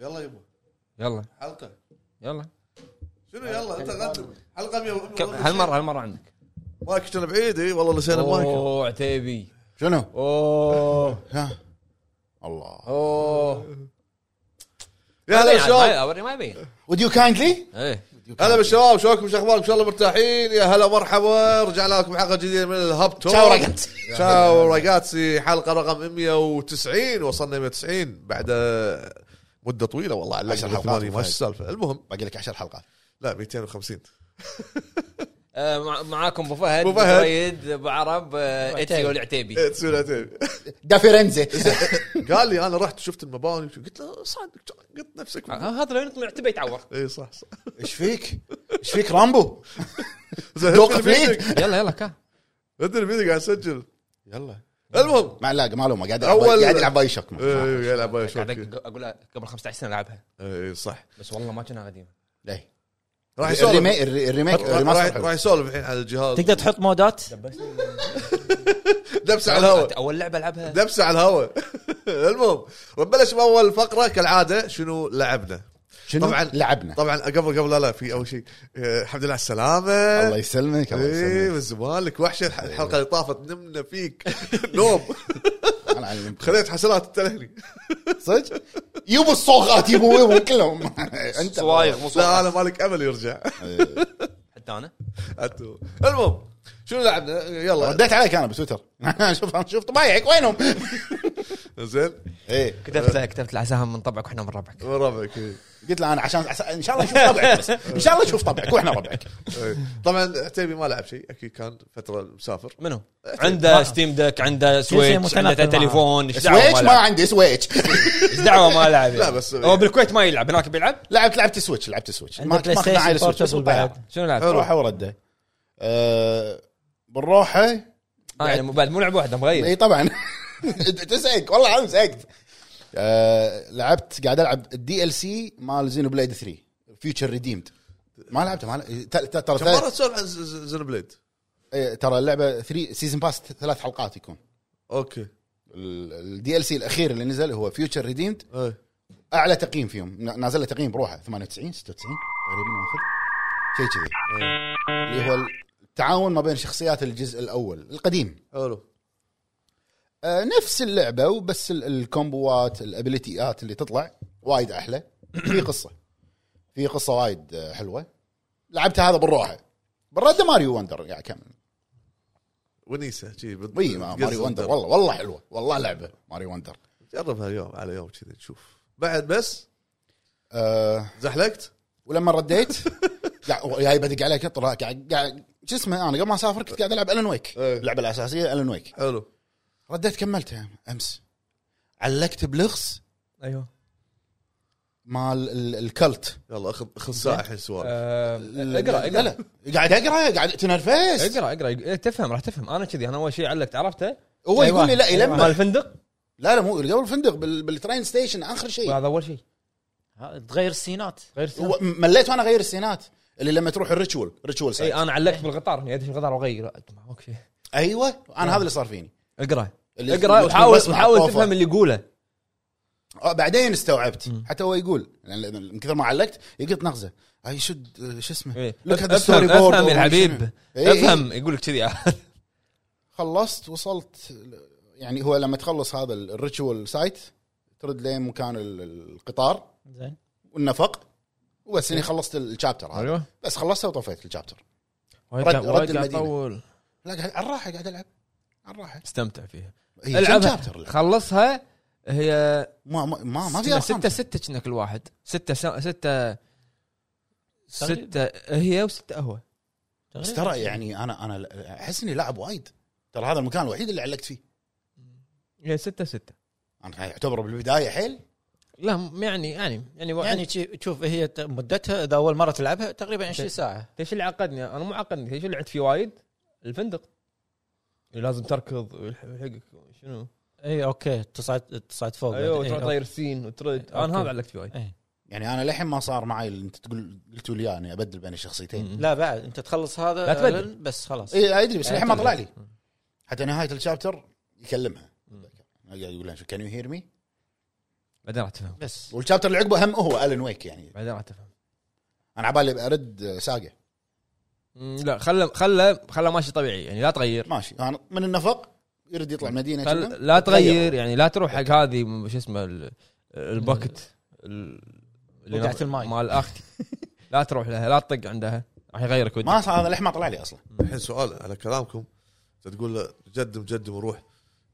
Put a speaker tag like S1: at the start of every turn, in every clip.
S1: يلا يبا
S2: يلا
S1: حلقه
S2: يلا
S1: شنو يلا انت غنت حلقه 100
S2: كم- هالمره هالمره عندك
S1: مايك كان بعيد اي والله لسانه مايك
S2: اوه عتيبي
S3: شنو؟
S2: اوه
S3: ها الله
S2: اوه
S1: يا هلا بالشباب
S2: اوري ما يبين
S3: ود يو كايندلي؟
S2: ايه
S1: هلا بالشباب شلونكم شو اخباركم ان شاء الله مرتاحين يا هلا مرحبا رجعنا لكم حلقه جديده من الهب توك
S3: تشاو رقت.
S1: تشاو رقاتسي حلقه رقم 190 وصلنا 190 بعد آه، مده طويله والله على
S3: عشر
S1: 10
S3: حلقات
S1: حلقات ما
S3: وفايد.
S1: ايش السالفه المهم
S3: باقي لك 10 حلقات
S1: لا 250
S2: آه، مع- معاكم ابو فهد
S1: أبو فهد.
S2: فريد ابو عرب آه، اتسيو العتيبي
S1: إيه، تسوي لها تاني.
S3: دافيرنزي
S1: قال لي انا رحت شفت المباني قلت له صادق قلت نفسك
S2: آه، هذا لو يطلع عتيبي يتعور
S1: اي صح صح
S3: ايش فيك؟ ايش فيك رامبو؟
S1: زين،
S3: دوق
S1: أدري مين
S3: فليت.
S2: يلا يلا كا
S1: ادري مين قاعد اسجل يلا المهم
S3: ما لا ما لومه قاعد
S1: أول-
S3: أول... قاعد يلعب باي شوك
S1: إيه، يلعب باي
S2: قاعد
S1: شوكي.
S2: أق- اقول قبل 15 سنه العبها
S1: اي إيه، صح
S2: بس والله ما كنا قديم
S3: ليه؟
S1: راح يسولف
S3: الريميك الري- الريميك
S1: راح راح
S3: الريماستر
S1: يسولف الحين على الجهاز
S4: تقدر تحط مودات
S1: دبسه على الهواء
S2: اول لعبه العبها
S1: دبسه على الهواء المهم ونبلش باول فقره كالعاده شنو لعبنا
S3: شنو؟
S1: طبعاً.
S3: طبعا لعبنا
S1: طبعا قبل قبل لا لا في اول شيء آه، الحمد لله على السلامه
S3: الله يسلمك الله
S1: ايه
S3: يسلمك إيه.
S1: من زمان لك وحشه الح- الحلقه اللي طافت نمنا فيك نوم
S3: أنا علمت.
S1: خذيت حسرات التلهني
S3: صدق؟ يبو الصوغات يبو يبو كلهم انت
S4: صوايغ مو
S1: لا انا مالك امل يرجع
S2: حتى انا
S1: أتو. المهم شنو لعبنا يلا
S3: رديت عليك انا بتويتر شوف شفت بايعك وينهم؟
S1: زين
S3: ايه
S2: كتبت له كتبت له عساهم من طبعك واحنا من ربعك
S1: من ربعك إيه.
S3: قلت له انا عشان ان شاء الله نشوف طبعك بس ان شاء الله نشوف طبعك واحنا ربعك
S1: إيه. طبعا عتيبي ما لعب شيء اكيد كان فتره مسافر
S2: منو؟ عنده ستيم دك عنده سويتش
S4: متنقل
S2: عنده
S4: معاه.
S2: تليفون ايش دعوه
S3: سويتش
S2: ما
S3: ما
S2: لعب
S3: عندي سويتش
S2: ايش دعوه ما لعب
S1: لا، بس-
S3: يعني.
S2: هو بالكويت ما يلعب هناك بيلعب
S3: لعبت لعبت سويتش لعبت سويتش
S4: عندك بلاي ستيشن
S3: عائلة سويتش، بس
S4: بورتبل
S3: بالطيارة.
S4: بعد.
S2: شنو لعب؟
S1: حلو.
S3: روحه ورده أه، بالروحه
S2: اه يعني مو- بعد مو لعب واحده مغير
S3: اي طبعا تسعك والله العظيم سعكت أه، لعبت قاعد العب الدي ال سي مال زينو بليد 3 فيوتشر ريديمد ما لعبته ما لع- ت- ت-
S1: كم مره
S3: ترى
S1: تسولف عن زين بليد
S3: إيه، ترى اللعبه 3 سيزون باس ثلاث حلقات يكون
S1: اوكي
S3: الدي ال سي الاخير اللي نزل هو فيوتشر ريديمد
S1: إيه.
S3: اعلى تقييم فيهم نا- نازل له تقييم بروحه 98 96 تقريبا واخذ شيء كذي إيه. اللي هو التعاون ما بين شخصيات الجزء الاول القديم
S1: حلو
S3: آه، نفس اللعبه وبس ال- الكومبوات الابيليتيات اللي تطلع وايد احلى في قصه في قصه وايد آه، حلوه لعبتها هذا بالروحه بالرده ماريو وندر يعني كم
S1: ونيسه شي بت-
S3: وي ما-
S1: تقزز
S3: ماريو وندر
S1: الدم.
S3: والله والله حلوه والله لعبه ماريو وندر
S1: جربها يوم على يوم كذي نشوف بعد بس
S3: أه
S1: زحلقت
S3: ولما رديت قاعد- جاي بدق عليك طلع قاعد قاعد- شو اسمه انا قبل ما اسافر كنت قاعد العب الن ويك
S1: إيه.
S3: اللعبه الاساسيه الن ويك
S1: حلو
S3: رديت كملتها امس علقت بلغص
S2: ايوه
S3: مال ال- الكلت
S1: يلا اخذ اخذ ساعه الحين سوالف
S2: آه، اقرا
S3: لا
S2: اقرا
S3: لا قاعد اقرا قاعد تنرفز
S2: اقرا اقرا إيه، تفهم راح تفهم انا كذي انا اول شيء علقت عرفته
S3: هو يقول لي لا
S2: أيوة. مال
S3: يلمع
S2: الفندق
S3: لا لا مو قبل الفندق بال- بالترين ستيشن اخر شيء
S2: هذا اول شيء
S4: ها، تغير السينات
S2: غير
S3: هو م- مليت وانا اغير السينات اللي لما تروح الريتشول ريتشول
S2: اي
S3: سايت
S2: انا إيه، علقت بالقطار اني ادش القطار واغير اوكي
S3: ايوه انا هذا اللي صار فيني
S2: اقرا
S3: اللي-
S2: اقرا
S3: اللي
S2: آه. وحاول
S3: بسمع
S2: وحاول
S3: الطوفة.
S2: تفهم اللي يقوله
S3: آه، بعدين استوعبت حتى هو يقول لأن- لأن من كثر ما علقت يقط نغزه اي شد شو اسمه
S2: إيه.
S3: Look at the
S2: افهم
S3: storyboard
S2: افهم
S3: أو
S2: يا
S3: شنو.
S2: الحبيب
S3: إيه، إيه.
S2: افهم يقول لك كذي
S3: خلصت وصلت يعني هو لما تخلص هذا الريتشول سايت ترد لين مكان ال- القطار
S4: زين
S3: والنفق وبس
S2: إيه.
S3: اني خلصت الشابتر هذا
S2: ايوه
S3: بس خلصته وطفيت الشابتر
S2: وايد
S3: رد-
S2: قاعد-
S3: رد
S2: وايد قاعد
S3: المدينة.
S2: اطول
S3: لا قاعد على الراحه قاعد العب على الراحه
S2: استمتع فيها
S3: هي
S2: العبها
S3: شابتر لا.
S2: خلصها هي
S3: ما ما ما, آه، ما في
S2: ستة-
S3: ارقام
S2: ستة ستة كنا كل واحد ستة سا- ستة ستة هي وستة قهوة
S3: بس ترى يعني انا انا احس اني لاعب وايد ترى هذا المكان الوحيد اللي علقت فيه
S2: هي ستة ستة
S3: انا يعتبر بالبدايه حيل
S2: لا م- يعني يعني يعني
S4: يعني
S2: يعني
S4: شي- تشوف هي ت- مدتها اذا اول مره تلعبها تقريبا 20 ساعه
S2: ايش اللي عقدني انا مو عقدني ايش اللي لعبت فيه وايد الفندق اللي لازم تركض ويلح- ويلحقك شنو
S4: اي اوكي تصعد تصعد فوق
S2: ايوه
S4: بعدين.
S2: تروح
S4: إي،
S2: أيوة، تغير السين وترد انا
S4: أوكي.
S2: هذا علقت فيه وايد
S4: إي.
S3: يعني انا للحين ما صار معي اللي انت تقول قلتوا لي إياه اني ابدل بين الشخصيتين
S4: لا بعد انت تخلص هذا
S2: لا تبدل.
S4: ألن، بس خلاص
S3: اي ادري إيه، بس
S4: يعني
S3: للحين ما
S4: تبدل.
S3: طلع لي حتى نهايه الشابتر يكلمها قاعد يقول لها كان يو هير مي
S2: بعدين راح تفهم
S4: بس
S3: والشابتر اللي عقبه هم هو الن ويك يعني
S2: بعدين راح تفهم
S3: انا عبالي ارد ساقه
S2: مم، لا خله خله خله ماشي طبيعي يعني لا تغير
S3: ماشي انا من النفق يرد يطلع مدينه كذا.
S2: خل... لا تغير يعني لا تروح حق هذه م- شو اسمه ال- الباكت ال- اللي
S4: ودعة
S2: نط-
S4: الماي.
S2: مال اختي لا تروح لها لا تطق عندها راح يغيرك ودي
S3: ما صار هذا للحين ما طلع لي اصلا
S1: الحين سؤال على كلامكم أنت تقول له جدم جدم وروح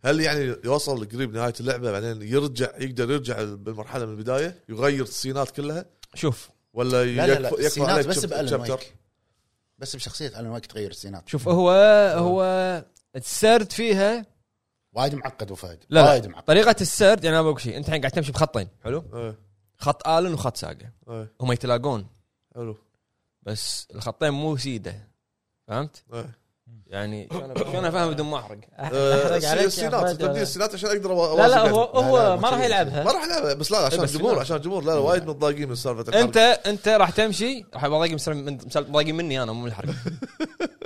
S1: هل يعني يوصل قريب نهايه اللعبه بعدين يرجع يقدر يرجع بالمرحله من البدايه يغير السينات كلها
S2: شوف
S1: ولا
S3: لا لا
S1: يكفى- يكفى
S3: لا السينات
S1: عليك
S3: بس
S1: شب-
S3: بالن
S1: شابتر؟
S3: ويك بس بشخصيه الن ويك تغير السينات
S2: شوف هو هو السرد فيها
S3: وايد معقد وفهد
S2: لا, لا
S3: وايد معقد
S2: طريقه السرد يعني انا بقول شيء انت الحين قاعد تمشي بخطين حلو
S1: إيه،
S2: خط الن وخط ساقه
S1: إيه،
S2: هم يتلاقون
S1: حلو
S2: بس الخطين مو سيده فهمت؟
S1: إيه.
S2: يعني شلون أف- شلون افهم بدون ما احرق؟
S1: آه،
S4: أحرق عليك يا
S1: السينات
S4: أحمد
S1: تبدي
S4: ولا-
S1: السينات عشان اقدر
S4: لا لا هو
S1: أوازن.
S4: هو
S3: ما
S4: ما راح
S3: تبي.
S4: يلعبها
S1: ما راح العبها بس لا عشان
S2: بس
S1: الجمهور
S2: لا.
S1: عشان الجمهور لا لا وايد متضايقين من سالفه الحرق.
S2: انت انت راح تمشي راح يضايق مسل- من- مسل- مضايقين مني انا مو من الحرق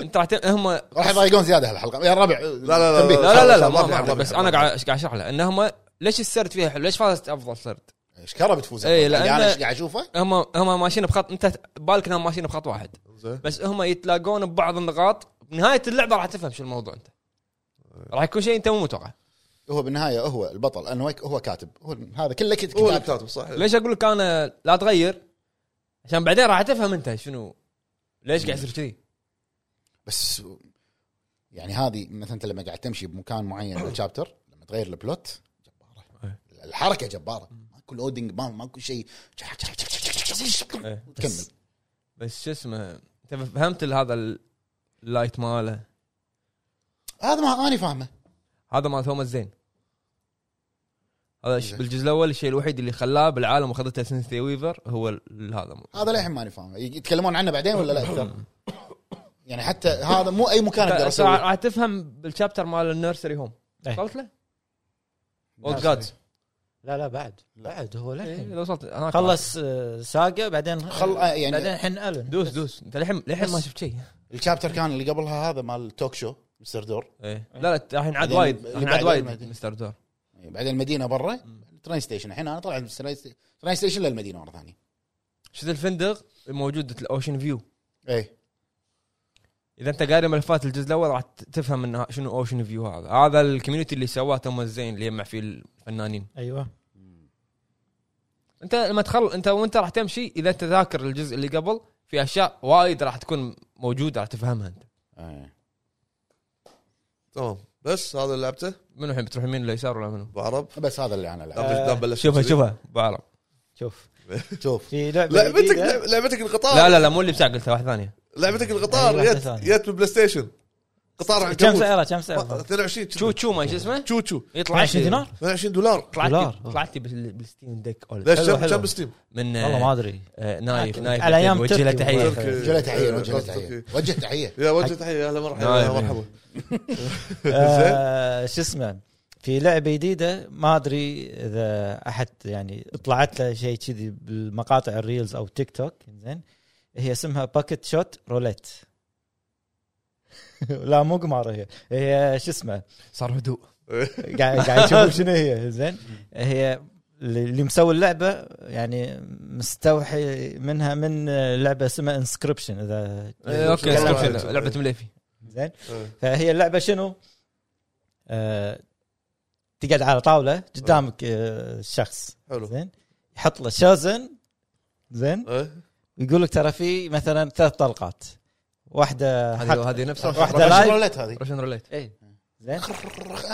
S2: انت راح تم... هم لا
S3: راح يضايقون زياده هالحلقه يا الربع
S1: لا لا
S3: تنبيه.
S1: لا
S2: لا لا,
S1: لا،
S2: لا
S1: ما
S2: ما
S1: في حرق،
S2: ما
S1: ما
S2: بس
S1: في حرق.
S2: انا قاعد قاعد اشرح له ان هم ليش السرد فيها حلو؟ ليش فازت افضل سرد؟
S3: اشكره بتفوز
S2: إيه،
S3: اللي
S2: لأن-
S3: انا ايش قاعد اشوفه
S2: هم هم ماشيين بخط انت بالك انهم ماشيين بخط واحد
S1: زين
S2: بس هم يتلاقون ببعض النقاط بنهايه اللعبه راح تفهم شو الموضوع انت راح يكون شيء انت مو متوقع
S3: هو بالنهايه هو البطل الن ويك هو كاتب هو هذا كله كت-
S1: هو اللي
S3: كتاب
S1: كاتب صح
S2: ليش اقول لك انا لا تغير عشان بعدين راح تفهم انت شنو ليش قاعد يصير كذي
S3: بس يعني هذه مثلا انت لما قاعد تمشي بمكان معين بالشابتر لما تغير البلوت جباره
S2: إيه.
S3: الحركه جباره ماكو لودنج ما ماكو شيء كمل
S2: بس بس شو اسمه انت فهمت ال- هذا ال- اللايت ماله
S3: هذا ما انا فاهمه
S2: هذا مال توماس زين هذا الش-
S3: زين.
S2: بالجزء الاول الشيء الوحيد اللي خلاه بالعالم وخذته سينثي ويفر هو ال- هذا
S3: هذا للحين ماني فاهمه يتكلمون عنه بعدين ولا لا أكثر؟ يعني حتى هذا مو اي مكان اقدر
S2: انت
S3: اسوي
S2: راح تفهم بالشابتر مال النيرسري هوم
S4: إيه.
S2: وصلت له؟ Oh اولد جادز
S3: إيه.
S4: لا لا بعد بعد هو للحين
S2: إيه، وصلت هناك.
S4: خلص آه، ساقه بعدين
S3: خل آه،
S4: بعدين
S3: يعني
S4: الحين الن
S2: دوس دوس انت للحين للحين ما شفت شيء
S3: الشابتر كان اللي قبلها هذا مال توك شو مستر دور
S2: ايه لا لا راح ينعاد
S3: إيه. بعدين-
S2: وايد راح ينعاد
S3: بعدين-
S2: وايد
S3: بعدين.
S2: مستر دور
S3: بعدين المدينه إيه، برا ترين ستيشن الحين انا طلعت من الترين ستي- ترين ستيشن للمدينه مره ثانيه
S2: شفت الفندق موجود الاوشن فيو
S3: اي
S2: اذا انت قاري ملفات الجزء الاول راح ت- تفهم انه شنو اوشن فيو هذا هذا الكوميونتي اللي سواه توماس زين اللي يجمع فيه الفنانين
S4: ايوه
S2: انت لما تخل انت وانت راح تمشي اذا انت ذاكر الجزء اللي قبل في اشياء وايد راح تكون موجوده راح تفهمها انت
S3: إيه.
S1: تمام بس هذا اللي لعبته
S2: منو الحين بتروح يمين ولا يسار ولا منو؟
S1: ابو عرب
S3: بس هذا اللي انا لعبه
S1: دام بلشت
S2: آه، شوفها
S1: كذي.
S2: شوفها بعرف
S4: شوف
S3: شوف
S4: في لعبه
S1: لعبتك
S4: جديدة.
S1: لعب- لعبتك القطار
S2: لا إيه، لا لا مو اللي بتاع قلتها واحده ثانيه
S1: لعبتك القطار
S4: أي واحدة
S1: جت
S4: ثانية.
S1: جت بالبلاي ستيشن قطار عن
S4: كم
S1: جمود.
S4: سعرها كم
S1: ما-
S4: سعرها
S1: 22
S2: شو شو ما شو اسمه؟
S1: شو شو
S2: يطلع
S4: 20 دينار
S1: 22 دولار
S2: طلعت
S4: دولار.
S2: طلعت بال- بالستيم ديك أول.
S1: ليش
S4: حلو،
S1: كم
S4: حلو.
S1: كم بستيم؟
S2: من
S4: والله ما ادري
S2: آه، نايف
S4: على
S2: نايف
S4: أيام
S2: وجه له
S4: تركي والله.
S2: تحيه
S1: تركي.
S3: وجه له تحيه
S1: آه،
S3: وجه له تحيه
S2: إيه.
S1: تركي.
S3: وجه تحيه
S1: يا وجه تحيه اهلا مرحبا
S2: نايف.
S1: يا مرحبا زين
S4: آه، شو اسمه في لعبه جديده ما ادري اذا احد يعني طلعت له شيء كذي بالمقاطع الريلز او تيك توك زين هي اسمها باكت شوت روليت لا مو قمار هي هي شو اسمه
S2: صار هدوء
S4: قاعد قاعد تشوف شنو هي زين هي اللي اللي مسوي اللعبه يعني مستوحي منها من لعبه اسمها انسكربشن اذا
S2: آه، اوكي
S1: كلام
S2: سكيب
S1: عادي.
S2: شنو. لعبه مليفي
S4: زين
S1: آه.
S4: فهي اللعبه شنو؟ آه تقعد على طاوله قدامك آه شخص
S1: حلو
S4: زين يحط له شوزن زين
S1: إيه.
S4: ويقول لك ترى في مثلا ثلاث طلقات واحده حق
S2: هذه أيوه، هذه نفسها
S4: آه، واحدة
S2: روشن-
S4: لايف.
S3: رولت هذه
S2: روشن ريليت
S4: زين آه،
S3: آه،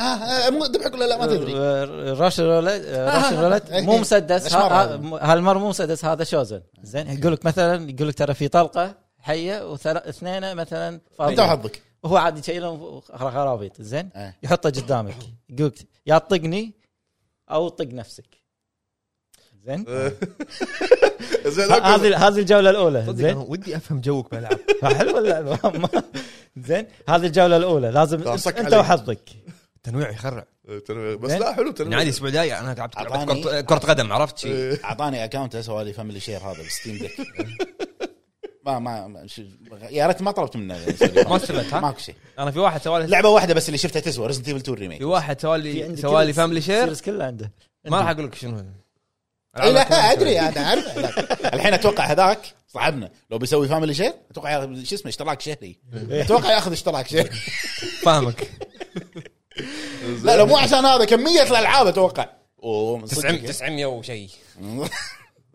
S3: آه، مو ذبحك ولا لا ما تدري آه،
S4: راشن رولت راشن رولت مو
S3: إيه.
S4: مسدس
S3: أشمر
S4: ها-
S3: هذا.
S4: ها- هالمره مو مسدس هذا شوزن زين يقول لك مثلا يقول لك ترى في طلقه حيه واثنين مثلا
S2: آه.
S3: انت
S4: فاضيه
S3: وحظك
S4: وهو عادي يشيلهم خرابيط زين
S3: إيه.
S4: يحطه قدامك يقول يا طقني او طق نفسك زين
S1: إيه. زين
S4: ه-
S1: أوكي.
S4: هذه هذه الجوله الاولى زين
S2: ودي افهم جوك بالعب
S4: حلوه اللعبه ما- زين هذه الجوله الاولى لازم
S1: لا، صك
S4: انت
S1: علي.
S4: وحظك
S2: التنويع يخرع
S1: تنويع إيه، بس
S4: زين.
S1: لا حلو
S2: يعني
S1: تنويع
S2: عادي الاسبوع الجاي انا العب
S3: أعطاني.
S2: كرة- كره قدم عرفت شي
S1: إيه.
S3: اعطاني اكونت اسوي لي فاميلي شير هذا بالستيم ديك ما ما ما- ش- يا ريت ما طلبت منه
S2: ما استفدت، ها؟
S3: ماكو شيء
S2: انا في واحد سوالي
S3: لعبه واحده بس اللي شفتها تسوى ريزنت ايفل 2 ريميك
S2: في واحد سوالي سوالي فاملي شير
S4: كله عنده
S2: ما راح اقول لك شنو هذا.
S3: اي إيه، لا ادري انا اعرف الحين اتوقع هذاك صعبنا لو بيسوي فاميلي شير اتوقع ياخذ- شو اسمه اشتراك شهري اتوقع ياخذ اشتراك شهري
S2: فاهمك
S3: لا لا مو عشان هذا كميه الالعاب اتوقع اوه من
S2: 900
S3: صدق
S2: 900 وشيء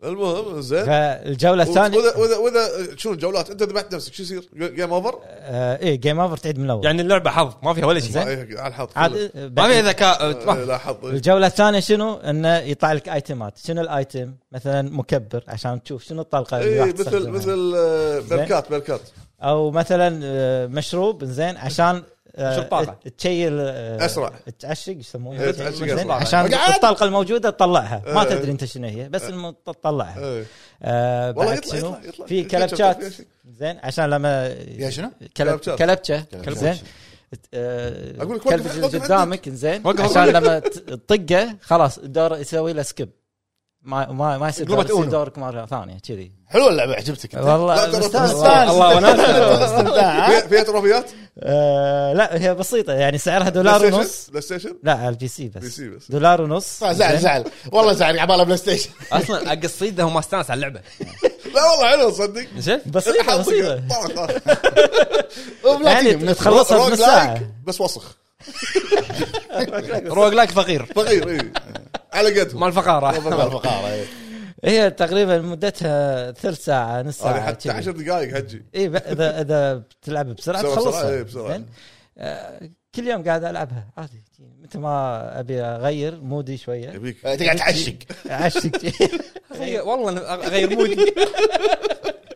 S1: المهم زين
S4: فالجوله الثانيه
S1: واذا واذا واذا شنو جولات انت ذبحت نفسك شو يصير؟ جيم اوفر؟
S4: آه ايه جيم اوفر تعيد من الاول
S2: يعني اللعبه حظ ما فيها ولا شيء
S4: زين.
S1: إيه، على الحظ
S4: عاد
S1: كله.
S4: آه،
S2: ما فيها
S4: بعد-
S2: ذكاء
S1: إيه،
S2: ما-
S1: لا حظ
S4: الجوله الثانيه شنو انه يطلع لك ايتمات شنو الايتم مثلا مكبر عشان تشوف شنو الطلقه اللي راح
S1: اي إيه، مثل
S4: تستخدمها.
S1: مثل آه، بركات بركات
S4: او مثلا آه، مشروب زين عشان آه،
S2: شو الطاقة؟
S4: تشيل آه،
S1: أسرع.
S4: تعشق ايش يسمونه
S1: إيه، تعشق
S4: زين،
S1: أسرع.
S4: عشان
S3: وقعد.
S4: الطلقه الموجوده تطلعها ما
S1: إيه.
S4: تدري انت شنو هي بس الم- تطلعها
S1: إيه.
S4: آه،
S1: والله
S4: بعد
S1: يطلع-
S4: شنو؟
S1: يطلع- يطلع.
S4: في
S1: يطلع- يطلع
S4: كلبشات
S1: شيء.
S4: زين عشان لما
S3: يا شنو؟
S4: كلب
S1: كلبشات.
S4: كلبشه
S3: كلبشات.
S4: زين
S1: أقول
S4: اقول
S1: لك وقف-
S4: كلبش
S1: وقف
S4: اللي قدامك زين
S2: وقف-
S4: عشان لما ت- تطقه خلاص الدور يسوي له سكيب ما ما ما يصير
S2: قلبت
S4: دور- يصير
S2: أونو.
S4: دورك مره ثانيه كذي
S3: حلوه اللعبه عجبتك أنت.
S1: لا، ترى
S4: والله مستانس
S1: مستانس.
S4: والله وناس
S3: استمتاع، ها؟
S1: فيها- فيها تروفيات؟
S4: آه، لا هي بسيطه يعني سعرها
S1: بلاي
S4: دولار
S1: ستيشن؟
S4: ونص
S1: بلاي ستيشن؟
S4: لا على البي سي بس
S1: بي سي بس. طيب،
S4: دولار ونص
S3: زعل
S4: زين.
S3: زعل والله زعل عباله بلاي ستيشن
S2: اصلا اقصيده هو ما استانس على اللعبه
S1: لا والله حلو تصدق
S2: شفت
S4: بسيطه
S1: حظك.
S4: بسيطه
S1: طبعاً.
S4: يعني تخلصها
S1: روج
S4: بنص
S1: لايك،
S4: ساعه
S1: بس وسخ
S2: روج لايك فقير
S1: صغير اي إيه. على قدهم
S2: مال فقاره
S3: الفقاره
S4: هي تقريبا مدتها ثلث ساعه نص إيه،
S1: هذه
S4: ساعه
S1: حتى 10 دقائق هجي
S4: اي اذا اذا بتلعب بسرعه
S1: بسرعة- بسرعة،
S4: تخلصها
S1: إيه، بسرعة.
S4: زين؟ آه، كل يوم قاعد العبها عادي متى ما ابي اغير مودي شويه
S1: يبيك
S3: تقعد تعشق
S4: عشت
S2: أخي، والله أنا اغير مودي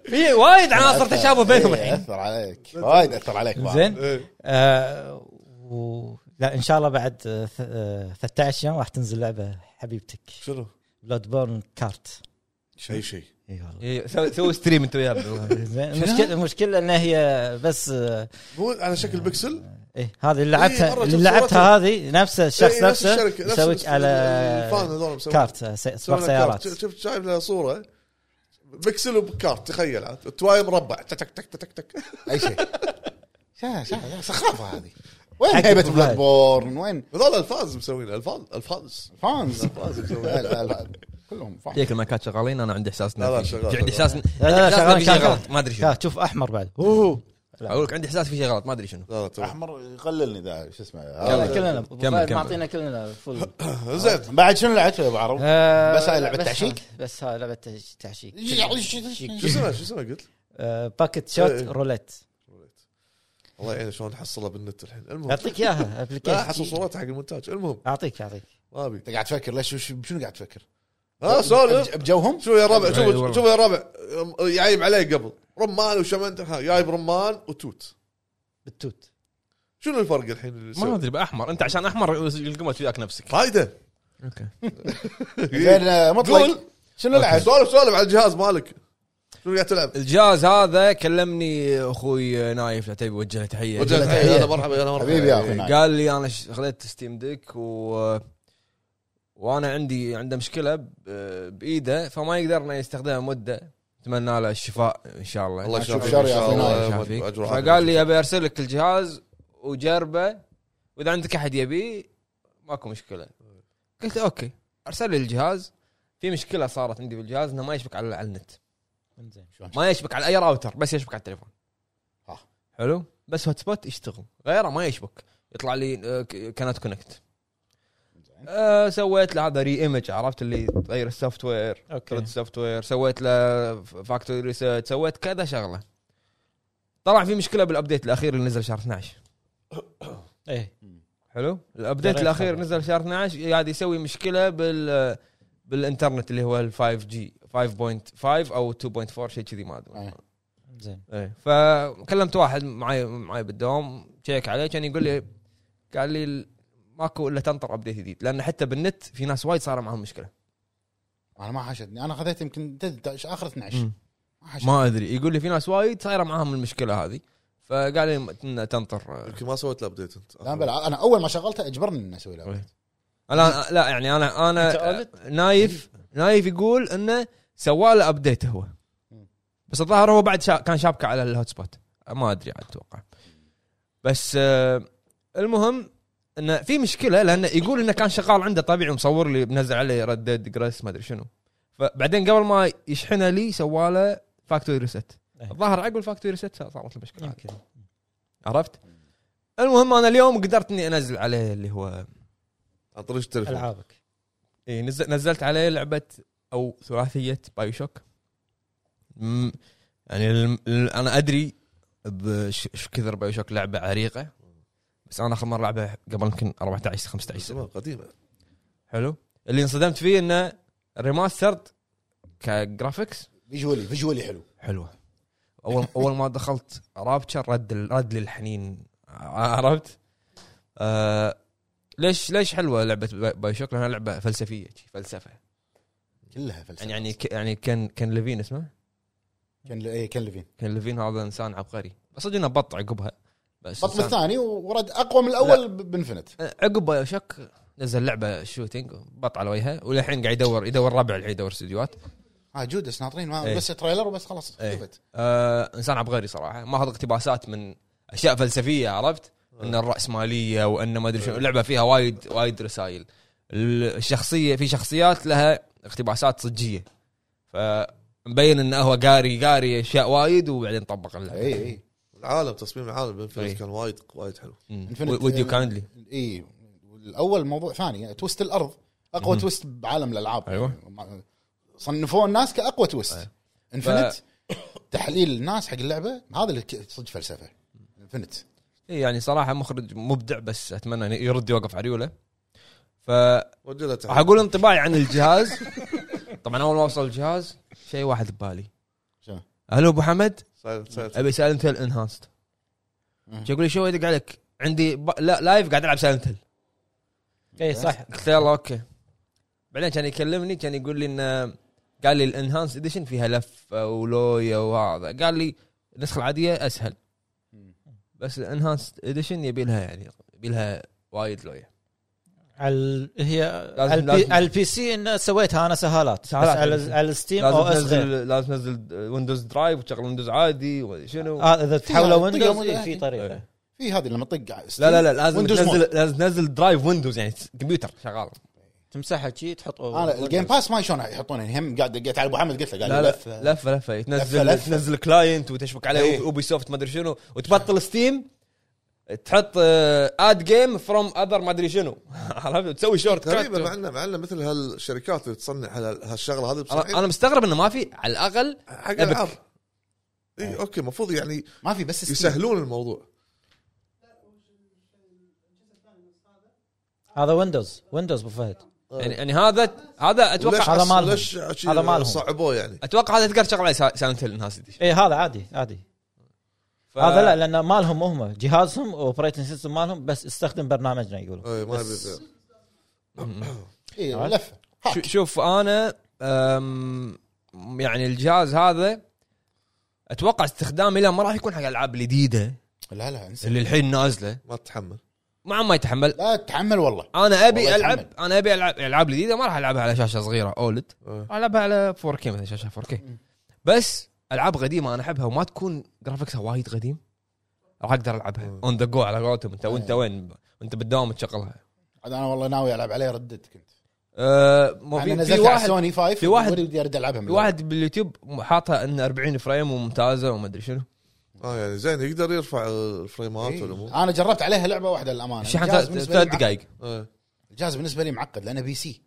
S2: في وايد عناصر تشابه بينهم
S3: إيه،
S2: الحين
S3: اثر عليك وايد اثر عليك بعد.
S4: زين
S1: إيه.
S4: آه، و... لا ان شاء الله بعد آه، ث- آه، 13 يوم راح تنزل لعبه حبيبتك
S1: شنو؟
S4: بلاد بورن كارت
S1: شيء شيء
S4: اي والله
S2: إيه، سوي- سوي ستريم انت وياه
S1: طيب.
S4: زين المشكله المشكله ان هي بس آه،
S1: مو على شكل بكسل
S4: ايه هذه اللي لعبتها
S1: إيه، مرة
S4: اللي
S1: شفت
S4: لعبتها هذه نفسه الشخص
S1: إيه، نفس
S4: نفسه
S1: الشركة، نفس
S4: يسويك
S1: الس- الفان
S4: على
S1: هذول مسوي-
S4: كارت آه، س-
S1: سوى
S4: سباق
S1: لنا
S4: سيارات
S1: كارت. شفت شايف لها صوره بكسل وبكارت تخيل عاد التواي مربع تك تك تك تك تك
S3: اي شيء شا- شا- سخافه هذه وين هيبه بلاد بورن وين
S1: هذول الفاز مسوين الفاز الفاز
S3: فانز لا، لا، لا. كلهم فانز
S2: فيك المايكات شغالين انا عندي احساس إنه
S1: لا، لا،
S2: في شيء.
S1: شغال،
S2: عندي
S1: شغال.
S2: احساس إن-
S4: لا،
S2: عندي
S4: لا،
S2: إحساس إن
S4: شغال،
S2: في شيء
S4: شغال.
S2: غلط ما ادري شنو
S4: كارت شوف احمر بعد اوه
S2: اقول لك عندي احساس في شيء غلط ما ادري شنو
S1: لا لا تمام
S3: احمر يقللني ذا شو اسمه
S1: آه،
S4: يلا،
S3: هذا.
S4: كلنا أبو
S2: كمل،
S4: فهد
S2: كمل.
S4: معطينا كلنا فل
S1: زين
S3: بعد شنو لعبت يا ابو عرب؟
S4: آه،
S3: بس هاي لعبة تعشيق؟
S4: هاي- بس هاي لعبه تج- تعشيق
S1: شو اسمه شو اسمه قلت؟
S4: آه، باكت شوت
S1: يعني؟ إيه.
S4: روليت
S1: الله يعينه يعني شلون حصلها بالنت الحين المهم
S4: اعطيك اياها
S1: لا حصل
S4: ابلكيشن
S1: صورتها حق المونتاج المهم
S4: اعطيك اعطيك
S1: ما ابي
S3: انت قاعد تفكر ليش شو- بشنو قاعد تفكر؟
S1: ها سولف
S3: بج- بجوهم؟
S1: شوف يا ربع
S2: أي
S1: شوف
S2: والله.
S1: شوف يا ربع أم- يعيب علي قبل رمان وشمنت ها جايب رمان وتوت
S4: بالتوت
S1: شنو الفرق الحين اللي
S2: ما
S1: يصير؟
S2: ادري باحمر انت عشان احمر القمت وياك نفسك
S1: فايده
S2: اوكي
S3: زين آه، مطلق
S1: قول.
S3: شنو لعبت؟
S1: سولف سولف على الجهاز مالك شنو قاعد تلعب؟
S2: الجهاز هذا كلمني اخوي نايف تبي وجه له
S4: يعني
S2: تحيه
S1: وجهت
S3: تحية.
S1: يلا مرحبا يلا مرحبا
S3: حبيبي يا أخي. نايف.
S2: قال لي انا ش- خذيت ستيم ديك و وانا عندي عنده مشكله ب- بايده فما يقدر انه يستخدمها مده اتمنى له الشفاء ان شاء الله
S1: الله يشافيك
S3: شوف شر
S1: إن
S3: يا
S1: شاء
S3: أخي
S1: الله.
S2: الله
S1: ما-
S2: يشافيك
S1: أجر وعافية.
S2: فقال لي ابي ارسل لك الجهاز وجربه واذا عندك احد يبيه ماكو مشكله قلت اوكي ارسل لي الجهاز في مشكله صارت عندي بالجهاز انه ما يشبك على على النت
S4: انزين
S2: ما يشبك على اي راوتر بس يشبك على التليفون
S3: آه.
S2: حلو بس هوت سبوت يشتغل غيره ما يشبك يطلع لي آه، كانت كونكت آه سويت له هذا ري ايمج عرفت اللي تغير السوفت وير ترد
S4: اوكي
S2: السوفت وير سويت له فاكتوري ريسيرش سويت كذا شغله طلع في مشكله بالابديت الاخير اللي نزل شهر 12
S4: ايه
S2: حلو الابديت
S4: دريت
S2: الاخير
S4: خبر.
S2: نزل شهر 12 قاعد يسوي مشكله بال بالانترنت اللي هو ال 5 جي 5.5 او 2.4 شيء كذي ما ادري
S3: آه.
S4: زين
S2: ايه فكلمت واحد معي معي بالدوام شيك عليه كان يقول لي قال لي ال- ماكو الا تنطر ابديت جديد لان حتى بالنت في ناس وايد صار معهم مشكله
S3: انا ما حاشتني انا خذيت يمكن تد- اخر 12 ما حاشتني
S2: ما ادري يقول لي في ناس وايد صايره معاهم المشكله هذه فقاعدين إن تنطر
S1: يمكن ما سويت له ابديت انت
S3: لا بلع- انا اول ما شغلته اجبرني اني اسوي له
S2: أوكي. لا لا يعني انا
S4: أنت
S2: انا
S4: قالت؟
S2: نايف نايف يقول انه سوى له ابديت هو بس الظاهر هو بعد شا كان شابكه على الهوت سبوت ما ادري عاد اتوقع بس آه، المهم انه في مشكله لانه يقول انه كان شغال عنده طبيعي مصور لي منزل عليه ردد جريس ما ادري شنو فبعدين قبل ما يشحنه لي سواله فاكتوري ريست
S4: إيه.
S2: الظاهر عقب الفاكتوري ريست صارت المشكله هذه.
S4: يمكن
S2: عرفت؟ المهم انا اليوم قدرت اني انزل عليه اللي هو
S1: عن طريق التليفون
S4: العابك
S2: اي إيه، نزل نزلت عليه لعبه او ثلاثيه بايو شوك مم، يعني الم- ال- انا ادري بش ش- كثر بايو شوك لعبه عريقه بس انا اخر مره لعبها قبل يمكن 14 15
S1: زمان
S2: سنه
S1: قديمه
S2: حلو اللي انصدمت فيه انه ريماسترد كجرافيكس
S3: فيجولي فيجولي حلو
S2: حلوه اول اول ما دخلت رابتشر رد ال- رد لي الحنين ع- عرفت؟ آه ليش ليش حلوه لعبه باي- بايو شوك لانها لعبه فلسفيه شي، فلسفه
S3: كلها فلسفه
S2: يعني يعني ك- يعني كان كان لevine اسمه
S3: كان إيه، كان ليفين
S2: كان ليفين هذا انسان عبقري بس صدق انه بط عقبها بس
S3: بطل
S2: إنسان- أه،
S3: الثاني ورد اقوى من الاول ب- بانفنت
S2: عقب بايو شوك نزل لعبه شوتينج بط على وجهه والحين قاعد يدور يدور ربع الحين يدور استديوهات
S3: اه جودس ناطرين ما
S2: إيه.
S3: بس تريلر وبس خلاص
S2: إيه.
S3: خفت
S2: آه انسان عبقري صراحه ماخذ اقتباسات من اشياء فلسفيه عرفت ان الراسماليه وان ما ادري شنو اللعبه فيها وايد وايد رسائل ال- الشخصيه في شخصيات لها اقتباسات صجيه فمبين انه هو قاري قاري اشياء وايد وبعدين طبق اللعبه
S3: اي اي
S1: العالم تصميم العالم
S2: إيه.
S1: انفنت كان وايد وايد حلو
S3: Infinite-
S2: وديو كايندلي
S3: اي الاول إيه، موضوع ثاني يعني توست الارض اقوى
S2: مهم.
S3: توست بعالم الالعاب
S2: أيوة.
S3: ما- صنفوه الناس كاقوى توست
S2: أيوة.
S3: انفنت تحليل الناس حق اللعبه هذا اللي ك- صدق فلسفه انفنت
S2: إيه يعني صراحه مخرج مبدع بس اتمنى انه يرد يوقف عريوله ف
S1: وجه له تحية.
S2: راح اقول انطباعي عن الجهاز طبعا اول ما وصل الجهاز شيء واحد ببالي
S3: شنو؟
S2: الو ابو حمد
S1: سايلنت- سايلنت.
S2: ابي سايلنت هيل انهانست
S3: مم.
S2: يقول لي شو يدق عليك عندي ب... لا لايف قاعد العب سايلنت هيل
S4: اي إيه، صح
S2: قلت له يلا اوكي بعدين كان يكلمني كان يقول لي انه قال لي الانهانس اديشن فيها لفه ولويا وهذا قال لي النسخه العاديه اسهل بس الانهانس اديشن يبي لها يعني يبي لها وايد لويا
S4: على هي
S2: لازم-
S4: على, البي...
S2: لازم.
S4: على البي سي انه سويتها انا سهالات,
S2: سهالات.
S4: بس على, على الستيم او
S2: لازم
S4: اس غير
S2: تنزل لازم تنزل ويندوز درايف وتشغل ويندوز عادي وشنو
S4: آه، اذا تحوله
S3: طقة
S4: ويندوز
S3: موجودة.
S4: في طريقه
S2: إيه.
S3: في هذه لما طق
S2: لا لا لا لازم
S3: Windows
S2: تنزل
S3: Mode.
S2: لازم تنزل درايف ويندوز يعني كمبيوتر شغال
S4: تمسحها شي تحطه
S3: انا الجيم باس ما شلون يحطونه هم قاعد دقيت على ابو حمد قلت له قال
S2: لا
S3: لي
S2: لا
S3: لفه
S2: لفه لفه تنزل
S3: لفة.
S2: تنزل كلاينت وتشبك عليه
S3: إيه.
S2: اوبي سوفت ما ادري شنو وتبطل ستيم تحط آه، اد جيم فروم اذر ما ادري شنو عرفت تسوي شورت
S1: غريبه
S2: كات
S1: معنا معنا مثل هالشركات اللي تصنع هال- هالشغله هذه بصحيح
S2: انا مستغرب انه ما في على الاقل
S1: حق
S2: أبك.
S1: العاب
S4: إيه.
S1: اي اوكي المفروض يعني
S3: ما في بس ستيم.
S1: يسهلون الموضوع
S4: هذا ويندوز ويندوز ابو فهد
S2: يعني, يعني هذا هذا اتوقع
S4: هذا مالهم.
S1: ليش
S4: هذا مالهم.
S1: صعبوه يعني
S2: اتوقع هذا تقدر تشغل عليه ساوند هيل الناس دي
S4: اي إيه، هذا عادي عادي
S2: ف...
S4: هذا لا لان مالهم هم جهازهم اوبريتنج سيستم مالهم بس استخدم برنامجنا يقولوا
S1: إيه، ما
S4: بس-
S1: أبي-
S3: إيه، لفه
S2: شو-
S3: هاك.
S2: شوف انا أم، يعني الجهاز هذا اتوقع استخدامي له ما راح يكون حق الالعاب الجديده
S3: لا لا انسى
S2: اللي الحين نازله
S1: ما تتحمل
S2: مع ما يتحمل
S3: لا تحمل والله
S2: انا ابي
S3: والله
S2: العب
S3: يتحمل.
S2: انا ابي العب العاب جديده ما راح العبها على شاشه صغيره اولد
S1: إيه.
S2: راح العبها على 4K مثلا شاشه 4K بس العاب قديمه انا احبها وما تكون جرافيكسها وايد قديم راح اقدر العبها اون ذا جو على قولتهم
S3: إيه.
S2: انت وانت وين وانت بالدوام تشغلها
S3: عاد انا والله ناوي العب عليه ردد كنت
S2: أه ما
S3: انا
S2: في, في
S3: نزلت على
S2: واحد
S3: سوني 5
S2: في واحد-
S3: ودي ارد العبها
S2: في واحد باليوتيوب حاطها ان 40 فريم وممتازه وما ادري شنو
S1: اه يعني زين يقدر يرفع
S4: إيه.
S1: الفريمات والامور
S3: انا إيه. جربت عليها لعبه واحده للامانه
S2: شحن
S3: الجهاز
S2: ثلاث
S3: بالنسبة لي
S2: ثلاث دقائق
S1: إيه.
S3: الجهاز بالنسبه لي معقد لانه بي سي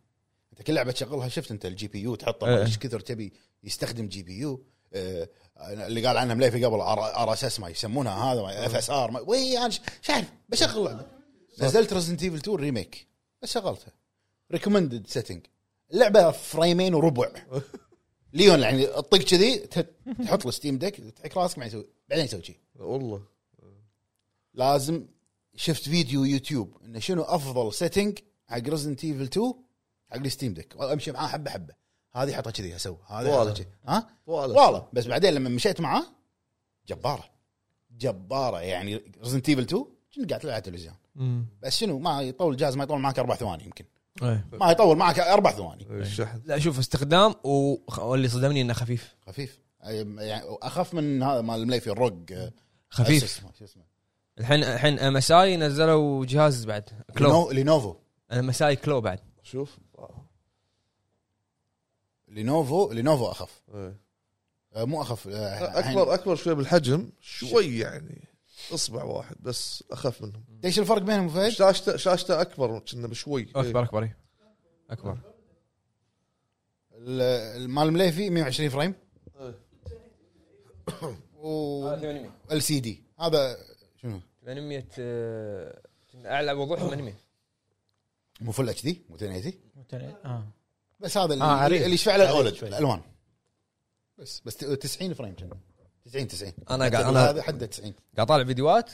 S3: انت كل لعبه تشغلها شفت انت الجي بي يو
S2: إيه.
S3: تحطه ايش كثر تبي يستخدم جي بي يو آه، اللي قال عنها مليفي قبل ار اس اس ما يسمونها هذا اف اس ار وي انا ش- شو اعرف بشغل لعبه نزلت ريزنت ايفل 2 ريميك بس شغلتها ريكومندد سيتنج اللعبه فريمين وربع ليون يعني تطق كذي ت- تحط الستيم ديك تحك راسك بعدين يسوي بعدين يسوي شي
S1: والله
S3: لازم شفت فيديو يوتيوب انه شنو افضل سيتنج حق ريزنت ايفل 2 حق الستيم ديك امشي معاه حبه حبه هذه حطها كذي اسوي هذه
S1: والله.
S3: حطها كذي ها
S1: والله
S3: والله بس بعدين لما مشيت معاه جباره جباره يعني ريزنت ايفل 2 كنت قاعد تلعب على التلفزيون
S2: مم.
S3: بس شنو ما يطول الجهاز ما يطول معك اربع ثواني يمكن
S2: إيه.
S3: ما يطول معك اربع ثواني
S1: الشحن
S2: لا شوف استخدام وخ- واللي صدمني انه خفيف
S3: خفيف أي- يعني اخف من هذا مال المليفي الروج آه،
S2: خفيف
S3: أسس ما- شو اسمه
S2: الحين الحين ام اس اي نزلوا جهاز بعد كلو
S3: لينو- لينوفو
S2: ام اس اي كلو بعد
S1: شوف آه،
S3: لينوفو لينوفو اخف
S1: إيه.
S3: آه، مو اخف آه،
S1: اكبر اكبر شوي بالحجم شوي يعني اصبع واحد بس اخف منهم
S3: الحين- ايش الفرق بينهم فهد؟
S1: شاشته شاشته اكبر كنا بشوي
S2: اكبر اكبر إيه. اكبر
S3: ال- مال المليفي 120 فريم
S1: إيه.
S3: و
S2: 800
S3: ال سي دي هذا شنو
S2: 800 اعلى آه، وضوح 800
S3: مو فل اتش دي مو 1080
S4: آه.
S3: بس هذا اللي,
S4: آه،
S3: آه
S4: عريض.
S3: اللي يشفع له
S4: عريض
S3: الاولد
S4: شوي.
S3: الالوان بس بس ت- 90 فريم كان 90 90
S2: أنا قاعد- أنا-
S3: هذا حده 90
S2: قاعد طالع فيديوهات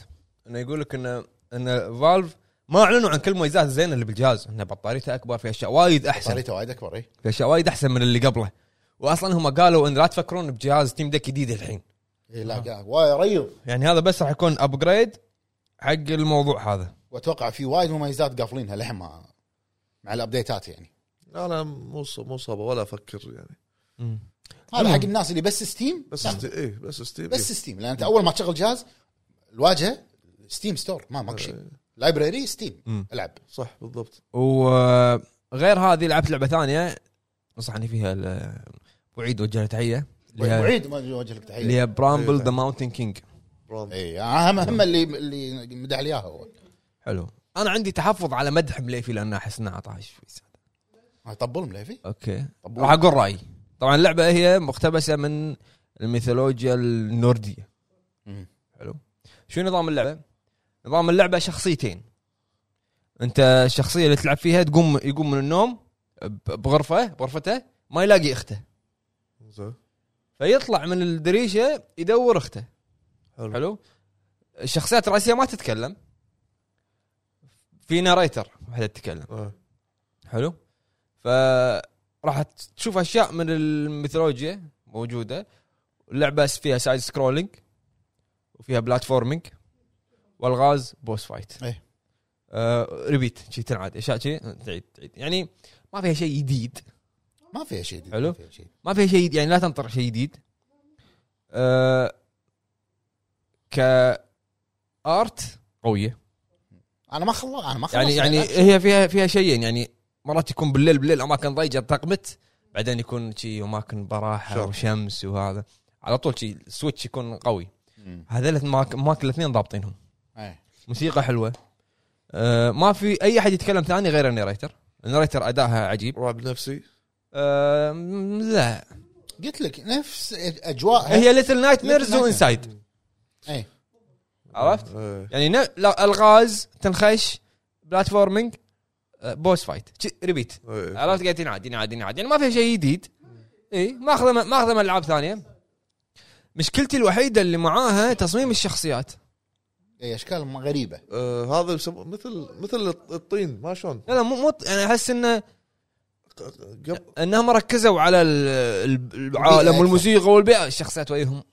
S2: انه يقول لك انه انه فالف ما اعلنوا عن كل المميزات الزينه اللي بالجهاز انه بطاريته اكبر في اشياء وايد احسن
S3: صاريته وايد اكبر اي
S2: في اشياء وايد احسن من اللي قبله واصلا هم قالوا ان لا تفكرون بجهاز تيم ديك جديد الحين
S3: إي إيه، لا قاعد- وايد ريض
S2: يعني هذا بس راح يكون ابجريد حق الموضوع هذا
S3: واتوقع في وايد مميزات قافلينها للحين ما مع الابديتات يعني
S1: لا لا مو ص- مو صابه ولا افكر يعني
S3: هذا
S2: مم.
S3: حق الناس اللي بس ستيم
S1: بس
S3: نعم.
S1: است... ايه بس ستيم
S3: بس ستيم لان انت اول ما تشغل جهاز الواجهه ستيم ستور ما ماكو شيء لايبراري
S2: مم.
S3: ستيم العب
S1: إيه، صح بالضبط
S2: وغير هذه لعبت لعبه ثانيه نصحني فيها ال- ابو عيد وجه له تحيه اللي هي-
S3: وعيد ما اوجه لك تحيه
S2: اللي هي برامبل
S1: أيوة.
S2: ذا ماونتن كينج
S1: برام
S3: اي اهم هم إيه، اللي اللي مدح لي اياها هو
S2: حلو انا عندي تحفظ على مدح مليفي لان احس انه عطاش في سنة.
S3: آه، طبل مليفي
S2: اوكي
S3: طبل
S2: راح اقول رايي طبعا اللعبه هي مقتبسه من الميثولوجيا النورديه
S3: مم.
S2: حلو شو نظام اللعبه؟ نظام اللعبه شخصيتين انت الشخصيه اللي تلعب فيها تقوم يقوم من النوم ب- بغرفه بغرفته ما يلاقي اخته
S1: زين
S2: فيطلع من الدريشه يدور اخته
S1: حلو.
S2: حلو الشخصيات الرئيسيه ما تتكلم في ناريتر واحده تتكلم
S1: آه.
S2: حلو فراح تشوف اشياء من الميثولوجيا موجوده اللعبه فيها سايد سكرولينج وفيها بلاتفورمينج والغاز بوس فايت
S3: إيه.
S2: آه ريبيت شي تنعاد اشياء شي تعيد تعيد يعني ما فيها شيء جديد
S3: ما فيها شيء جديد،
S2: حلو.
S3: ما فيها شيء.
S2: ما فيها شيء جديد، يعني لا تنطر شيء جديد آه ك ارت قويه
S3: انا ما خلص انا ما خلص
S2: يعني يعني هي فيها فيها شيئين يعني مرات يكون بالليل بالليل اماكن ضيقه تقمت بعدين يكون شي اماكن براحه
S1: شوف.
S2: وشمس وهذا على طول شي السويتش يكون قوي هذول اماكن الاثنين ضابطينهم
S3: إيه.
S2: موسيقى حلوه أه ما في اي احد يتكلم ثاني غير النيريتر النيريتر اداها عجيب
S1: رعب نفسي
S2: أه م- لا
S3: قلت لك نفس اجواء
S2: هي ليتل نايت ميرز
S3: Little Nightmares.
S2: وانسايد
S3: إيه.
S2: عرفت
S1: ايه
S2: يعني ن- لا، الغاز تنخش بلاتفورمينج أه، بوس فايت شي- ريبيت
S1: ايه
S2: عرفت قاعد ينعاد ينعاد ينعاد يعني ما فيها شيء جديد اي ماخذه ماخذه من العاب ثانيه مشكلتي الوحيده اللي معاها تصميم الشخصيات
S3: اي اشكال م- غريبه
S1: آه، هذا يسمو مثل مثل الطين ما شلون
S2: لا لا مو يعني مو انا احس انه
S1: قبل
S2: انهم ركزوا على ال- ال- العالم
S3: أكثر.
S2: والموسيقى والبيئه الشخصيات ويهم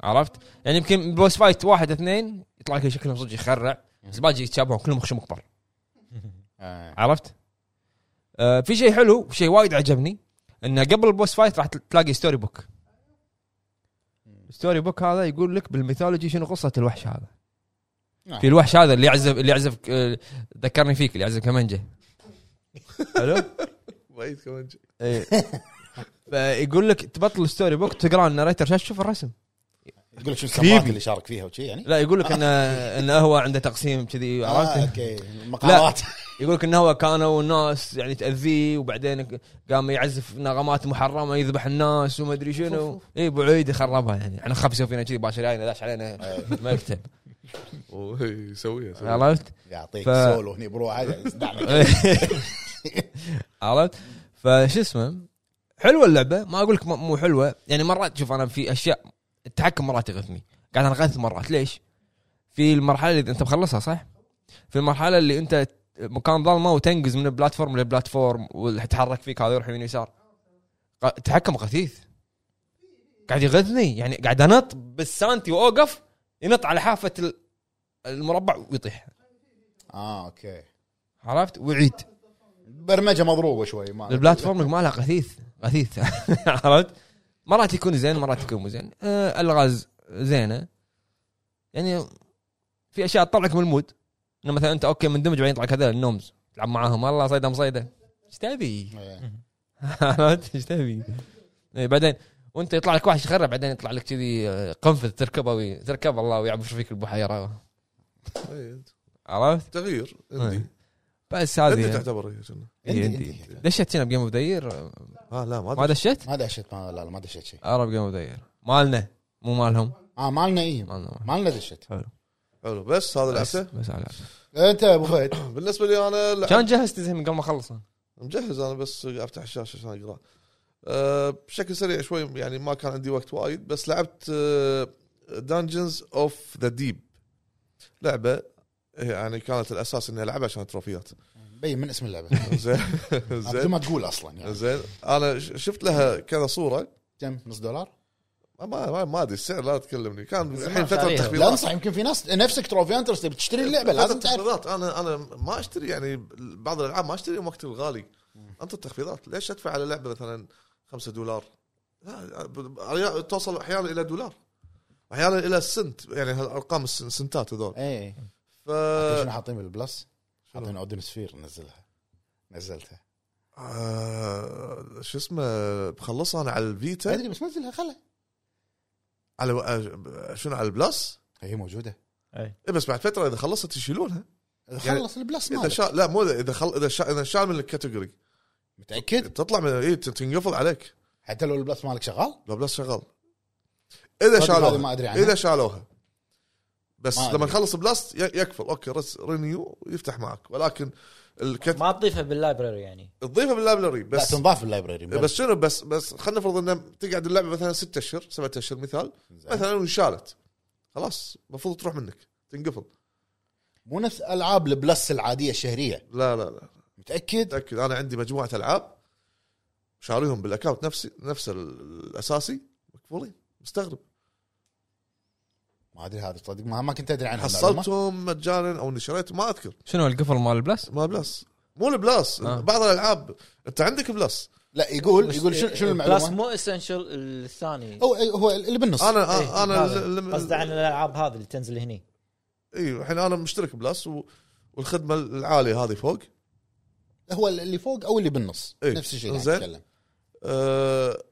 S2: عرفت؟ يعني يمكن بوس فايت واحد اثنين يطلع لك شكلهم صدق يخرع بس باجي يتشابهون كلهم خشم كبار
S3: آه.
S2: عرفت؟ آه في شيء حلو شيء وايد عجبني انه قبل البوس فايت راح تلاقي ستوري بوك ستوري بوك هذا يقول لك بالميثولوجي شنو قصه الوحش هذا
S3: نعم.
S2: في الوحش هذا اللي يعزف اللي يعزف آه، ذكرني فيك اللي يعزف كمانجه حلو
S1: بعيد كمان شيء.
S2: إيه. فيقول لك تبطل الستوري بوك تقرا الناريتر شاشه تشوف الرسم
S3: تقول لك شو
S2: Creepy.
S3: السباق اللي شارك فيها وشي يعني
S2: لا يقول لك انه انه هو عنده تقسيم كذي
S3: آه
S2: عرفت
S3: اوكي مقالات
S2: يقول لك انه هو كانوا الناس يعني تاذيه وبعدين قام يعزف نغمات محرمه يذبح الناس وما ادري شنو اي ابو عيد يخربها يعني احنا خبسوا فينا كذي باشر جاينا داش علينا مكتب
S1: أوه، إيه، يسويها يسويها.
S2: عرفت
S3: يعطيك
S2: ف-
S3: سولو هني بروحه دعنا.
S2: عرفت فشو اسمه حلوه اللعبه ما اقول لك م- مو حلوه يعني مرات شوف انا في اشياء التحكم مرات يغثني قاعد انغث مرات ليش؟ في المرحله اللي انت مخلصها صح؟ في المرحله اللي انت مكان ظلمه وتنقز من البلاتفورم للبلاتفورم وتحرك فيك هذا يروح يمين يسار ق- تحكم غثيث قاعد يغثني يعني قاعد انط بالسانتي واوقف ينط على حافه ال- المربع ويطيح
S3: اه اوكي
S2: عرفت ويعيد
S3: برمجه مضروبه شوي ما
S2: البلاتفورم ماله غثيث غثيث عرفت مرات يكون زين مرات يكون مو زين آه الغاز زينه يعني في اشياء تطلعك من المود انه مثلا انت اوكي مندمج بعدين يطلع لك هذول النومز تلعب معاهم والله صيده مصيده ايش تبي؟
S3: إيه.
S2: عرفت ايش تبي؟ إيه، بعدين وانت يطلع لك واحد يخرب بعدين يطلع لك كذي آه، قنفذ تركبه وي- تركب الله ويعبش فيك البحيره
S1: إيه،
S2: عرفت؟
S1: تغيير عندي
S2: إيه. بس
S1: عندي
S2: هذه يعني.
S1: تعتبر هي شنو؟
S2: إيه،
S3: عندي-
S2: عندي.
S3: عندي.
S2: دشت هنا بجيم اوف ذا يير
S1: اه لا ما
S2: ما
S1: ادري
S2: دشت؟
S3: ما دشت ما لا لا ما دشت شيء
S2: عرب جيم اوف مالنا مو مالهم
S3: اه مالنا ايه
S2: مالنا
S3: مالنا دشت
S1: حلو بس هذا
S2: بس
S1: لعبته
S2: بس على
S3: انت ابو فهد
S1: بالنسبه لي انا لعبت-
S2: كان جهزت زين من قبل ما اخلص أنا.
S1: مجهز انا بس افتح الشاشه عشان اقرا أه بشكل سريع شوي يعني ما كان عندي وقت وايد بس لعبت أه، دانجنز اوف ذا ديب لعبه هي يعني كانت الاساس اني العبها عشان تروفيات
S3: بين من اسم اللعبه
S1: زين
S3: مثل
S1: زين
S3: ما تقول اصلا يعني
S1: زين انا ش- شفت لها كذا صوره
S3: كم نص دولار
S1: ما ما, ما ادري السعر لا تكلمني كان
S4: زمان
S1: الحين فتره
S4: شاريها.
S1: تخفيضات
S3: لا انصح يمكن في ناس نفسك تروفي انترست بتشتري اللعبه لازم تعرف
S1: تخفيضات انا انا ما اشتري يعني بعض الالعاب ما اشتري وقت الغالي انت التخفيضات ليش ادفع على لعبه مثلا 5 دولار لا ب- أريا- توصل احيانا الى دولار احيانا الى سنت يعني هالارقام الس- السنتات هذول
S3: ايه
S1: ف
S3: شنو حاطين بالبلس؟ حاطين اودن سفير نزلها نزلتها
S1: آه، شو اسمه بخلصها انا على
S3: ما
S1: الفيتا
S3: ادري بس نزلها خلها
S1: على آه، شنو على البلس
S3: هي موجوده
S1: إيه بس بعد فتره اذا خلصت يشيلونها
S3: اذا
S1: يعني
S3: خلص البلس
S1: اذا
S3: مالك
S1: شا... لا مو اذا إذا خل... اذا شا... اذا شال من الكاتيجوري
S3: متاكد؟
S1: تطلع من إيه، تنقفل عليك
S3: حتى لو البلس مالك شغال؟
S1: لو بلس شغال اذا
S3: صدق هذه
S1: شالوها
S3: ما ادري
S1: اذا
S3: عنها
S1: شالوها بس
S3: يعني ما أدري.
S1: لما نخلص بلاست ي- يكفل اوكي رس رينيو يفتح معك ولكن الكت...
S4: ما تضيفها باللايبرري يعني
S1: تضيفها باللابلري
S3: لا
S1: بس إيه،
S3: تنضاف باللايبرري
S1: بس شنو بس بس خلينا نفرض ان تقعد اللعبه مثلا ستة اشهر سبعة اشهر مثال
S3: زين.
S1: مثلا وانشالت خلاص المفروض تروح منك تنقفل
S3: مو نفس العاب البلس العاديه الشهريه
S1: لا لا لا
S3: متاكد؟
S1: متاكد انا عندي مجموعه العاب شاريهم بالاكونت نفسي نفس ال- الاساسي مقفولين مستغرب
S3: ما ادري هذا صدق ما, ما كنت ادري عنها المعلومة.
S1: حصلتهم مجانا او اني شريت ما اذكر
S2: شنو القفل مال البلس؟
S1: ما بلس مو البلس
S2: آه.
S1: بعض الالعاب انت عندك بلس
S3: لا يقول يقول شنو شنو
S4: بلس
S3: المعلومه؟
S4: مو اسنشل الثاني
S3: هو هو اللي بالنص
S1: انا
S4: إيه،
S1: انا
S4: هذا.
S1: لم-
S4: قصده عن الالعاب هذه اللي تنزل هني
S1: اي الحين انا مشترك بلس و... والخدمه العاليه هذه فوق
S3: هو اللي فوق او اللي بالنص
S1: إيه.
S3: نفس الشيء يعني قاعد
S1: زين.
S3: نتكلم
S1: أه...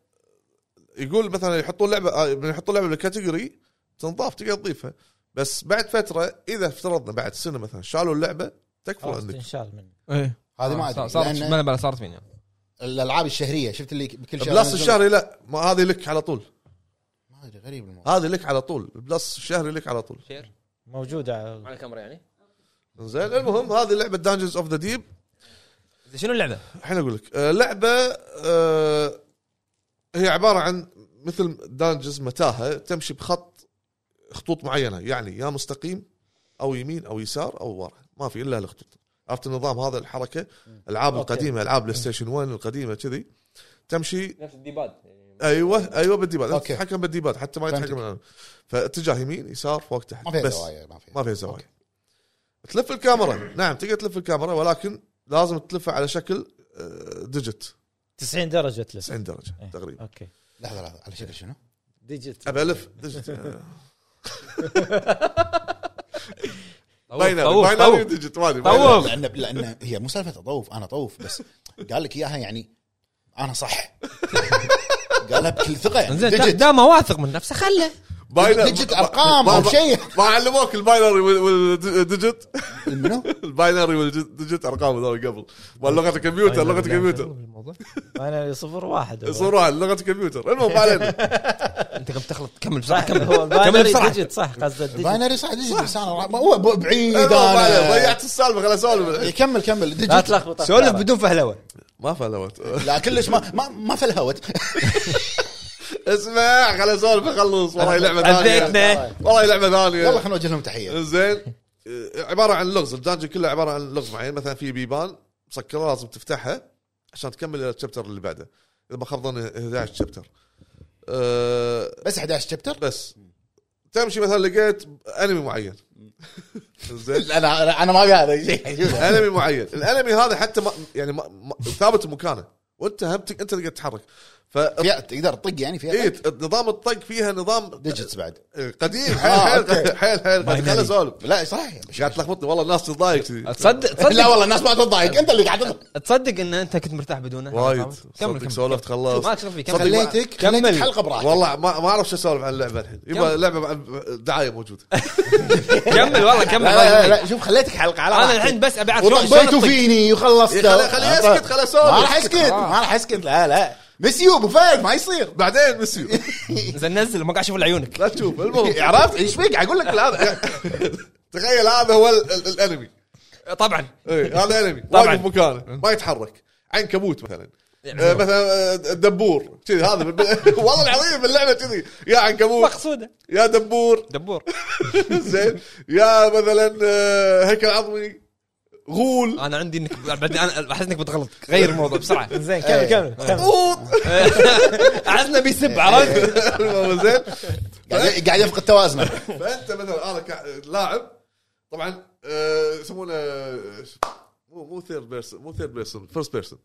S1: يقول مثلا يحطون لعبه آه، من يحطون لعبه بالكاتيجوري تنضاف تقدر تضيفها بس بعد فتره اذا افترضنا بعد سنه مثلا شالوا اللعبه تكفى
S4: خلاص
S1: عندك
S4: تنشال منه
S2: ايه
S3: إيه. هذه ما ادري
S2: صارت
S3: لان
S2: بلا بلا صارت فيني
S3: الالعاب الشهريه شفت اللي بكل شهر
S1: بلس
S3: نزل-
S1: الشهري لا ما هذه لك على طول
S3: ما ادري غريب الموضوع
S1: هذه لك على طول بلس الشهري لك على طول
S2: شير
S4: موجوده
S2: على الكاميرا يعني
S1: زين المهم هذه لعبه دانجنز اوف ذا ديب
S2: شنو اللعبه؟
S1: الحين اقول لك آه، لعبه آه، هي عباره عن مثل دانجز متاهه تمشي بخط خطوط معينه يعني يا مستقيم او يمين او يسار او ورا ما في الا الخطوط عرفت النظام هذا الحركه العاب
S4: أوكي.
S1: القديمه العاب بلاي ستيشن 1 القديمه كذي تمشي
S2: نفس الديباد
S1: ايوه ايوه بالديباد
S3: أوكي.
S1: تتحكم بالديباد حتى ما
S3: فهمتك.
S1: يتحكم الآن. فاتجاه يمين يسار فوق تحت
S3: ما فيها
S1: بس
S3: زوايا ما فيها
S1: ما فيها زوايا تلف الكاميرا نعم تقدر تلف الكاميرا ولكن لازم تلفها على شكل آه، ديجيت
S4: 90 درجه تلف
S1: 90 درجه
S4: إيه.
S1: تقريبا
S4: اوكي
S3: لحظه لحظه على شكل شنو؟
S4: ديجيت
S1: ابى الف ديجيت آه. باينري
S2: طوف
S1: باينري
S2: طوف
S1: ديجيت ما ادري
S2: طوف.
S1: باينري.
S2: طوف.
S3: لان لان هي مو سالفه اطوف انا طوف بس قال لك اياها يعني انا صح قالها بكل ثقه يعني
S2: زين دا-
S3: ديجيت
S2: دام واثق من نفسه خله
S1: باينري.
S3: ديجيت أرقام
S1: ما-
S3: أو
S1: ما-
S3: شيء.
S1: ما علموك الباينري وال- والديجيت
S3: منو؟
S1: الباينري والديجيت ارقام هذول قبل ما لغه الكمبيوتر لغه الكمبيوتر
S4: انا صفر واحد هو.
S1: صوروا على لغه الكمبيوتر المهم ما علينا
S2: انت قمت تخلط كمل
S4: صح
S2: بسرعه
S4: هو
S2: كمل كمل
S4: كمل بسرعه
S2: بسرعه
S4: ديجيت صح قصده الديجيت
S3: باينري صح ديجيت بس انا را- ما- هو ب- بعيد
S1: المهم إيه، ما علينا.
S3: انا
S1: ضيعت السالفه خلاص اسولف الحين.
S3: كمل كمل
S4: لا
S3: ديجيت
S4: تلخبط
S2: سولف
S4: أفكارك.
S2: بدون فهلوه
S1: ما فلوت
S3: لا كلش ما ما, ما فلهوت
S1: اسمع خلاص اسولف اخلص والله لعبه ثانيه
S2: عذيتنا
S1: والله لعبه ثانيه
S3: يلا خلينا نوجه لهم
S1: إيه.
S3: تحيه
S1: زين آه، عباره عن لغز الدانجن كله عباره عن لغز معين مثلا في بيبان مسكره لازم تفتحها عشان تكمل الشابتر اللي بعده اذا ما خاب ظني 11 شابتر آه،
S3: بس 11 شابتر
S1: بس تمشي مثلا لقيت انمي معين زين
S3: انا أنا- انا ما ابي هذا شيء
S1: انمي معين الانمي هذا حتى ما يعني ما ما ثابت بمكانه وانت هم تق- انت تقدر تتحرك ف
S3: فيها- تقدر تطق يعني فيها
S1: إيه،
S3: طق.
S1: نظام الطق فيها نظام
S3: ديجيتس بعد
S1: قديم
S3: آه،
S1: حيل
S3: أوكي.
S1: حيل حيل حيل قديم. خلنا نسولف
S3: لا صحيح
S1: قاعد تلخبطني والله الناس تضايق كذي.
S2: تصدق
S3: لا
S2: تصدق
S3: والله الناس ما تضايق انت اللي قاعد تضايق.
S2: تصدق ان انت كنت مرتاح بدونه
S1: وايد
S2: كمل
S1: صدق
S2: كمل
S1: سولفت
S2: ما
S1: خلصت
S2: تشوف فيه كمل
S3: خليتك
S2: كمل.
S3: خليتك حلقه براحتك
S1: والله ما ما اعرف شو اسولف عن اللعبه الحين يبا اللعبه مع- دعايه موجوده
S2: كمل والله كمل
S3: لا لا, لا شوف خليتك حلقه على
S2: انا
S3: راحتك.
S2: الحين بس ابي اعرف شلون- شلون
S3: وطبيتوا
S2: الطق.
S3: فيني وخلصت
S1: خليه خليه يسكت خليه
S3: ما
S1: يسولف
S3: راح اسكت ما راح اسكت لا لا مسيو ابو فهد ما يصير
S1: بعدين مسيو
S2: زين نزل ما قاعد اشوف إلا عيونك
S1: لا تشوف المهم
S3: عرفت ايش فيك اقول لك لا هذا
S1: تخيل هذا هو ال- ال- الانمي
S2: طبعا
S1: إيه، هذا انمي
S2: طبعاً.
S1: واقف مكانه ما يتحرك عنكبوت مثلا آه، مثلا آه، دبور كذي هذا بال- والله العظيم باللعبه كذي يا عنكبوت
S2: مقصوده
S1: يا دبور
S2: دبور
S1: زين يا مثلا آه، هيكل عظمي غول
S2: انا عندي انك بعدين انا احس انك بتغلط غير الموضوع بسرعه
S4: زين كمل كمل كمل
S1: قوط
S2: احس انه بيسب
S1: إيه.
S2: عرفت
S1: المهم زين
S3: قاعد قاعد يفقد توازنه
S1: فانت مثلا انا كا- لاعب طبعا آه، يسمونه آه، مو مو ثيرد بيرسون مو ثيرد بيرسون فيرست بيرسون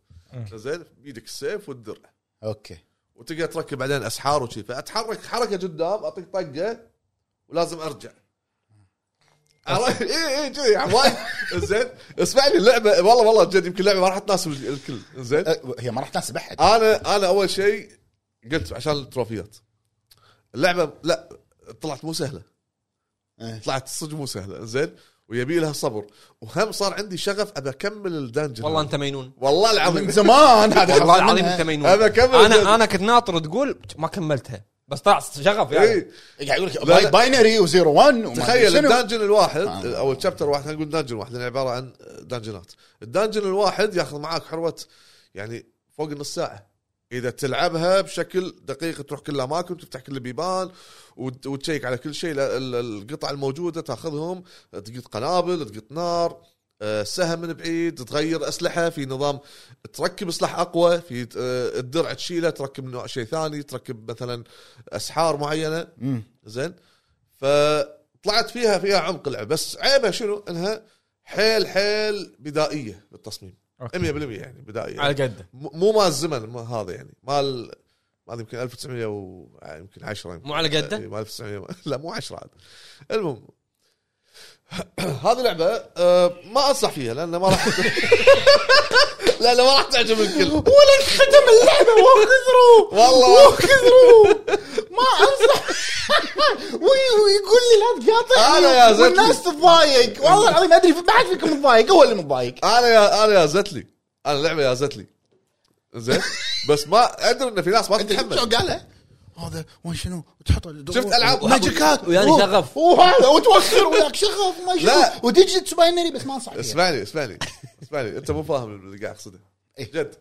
S1: زين بيدك السيف والدرع
S3: اوكي
S1: وتقدر تركب بعدين اسحار وشي فاتحرك حركه قدام اعطيك طقه ولازم ارجع عرفت؟ إيه، اي اي كذي يعني وايد زين اسمعني اللعبه والله والله جد يمكن اللعبه ما راح تناسب الكل زين
S3: أه، هي ما راح تناسب احد
S1: آه. انا انا اول شيء قلت عشان التروفيات اللعبه لا طلعت مو سهله
S3: إيه.
S1: طلعت صدق مو سهله زين ويبي لها صبر وهم صار عندي شغف ابى اكمل الدنجن
S2: والله انت مينون
S1: والله العظيم
S3: من زمان هذا
S2: والله
S3: خلص
S2: العظيم
S3: منها.
S2: انت مينون
S1: أبى أكمل الدنجن.
S2: انا انا كنت ناطر تقول ما كملتها بس طلع شغف يعني
S1: إيه.
S3: قاعد يقول لك
S1: لا، لا.
S3: باي- باينري وزيرو 1
S1: تخيل الدنجن الواحد
S3: آه.
S1: او الشابتر الواحد خلينا نقول دنجن واحد لانه عباره عن دنجنات الدنجن الواحد ياخذ معاك حروه يعني فوق النص ساعه اذا تلعبها بشكل دقيق تروح كل الاماكن تفتح كل البيبان وت- وتشيك على كل شيء ال- ال- القطع الموجوده تاخذهم تقط قنابل تقط نار آه، سهم من بعيد تغير اسلحه في نظام تركب سلاح اقوى في آه، الدرع تشيله تركب نوع شيء ثاني تركب مثلا اسحار معينه زين فطلعت فيها فيها عمق اللعب بس عيبها شنو انها حيل حيل بدائيه بالتصميم 100%
S2: أوكي.
S1: يعني بدائيه
S2: على قده
S1: م- مو مال الزمن ما هذا يعني مال ما أدري يمكن 1900 و يعني يمكن 10 يمكن إيه،
S2: مو على قده
S1: ما 1900 و- لا مو 10 عاد المهم هذه لعبه آه، ما انصح فيها لان ما راح لا لا ما راح تعجب الكل
S3: ولا انختم اللعبه وخسروا
S1: والله
S3: وخسروا ما انصح وي- ويقول لي لا تقاطعني
S1: أنا يا زلمة.
S3: والناس تتضايق والله العظيم ادري ما حد فيكم متضايق هو اللي متضايق
S1: انا يا انا يا زتلي انا اللعبه يا زتلي زين بس ما ادري ان في ناس ما تتحمل
S3: شو قالها؟ هذا وين شنو تحط ال-
S1: شفت ألعاب؟
S3: ماجيكات
S2: ويعني
S3: و-
S2: شغف.
S3: وهذا وتوخر وياك شغف ما
S1: لا.
S3: شنو وديجيتس باينري بس ما انصح فيها.
S1: اسمعني اسمعني اسمعني انت مو فاهم اللي قاعد اقصده
S3: إيه.
S1: جد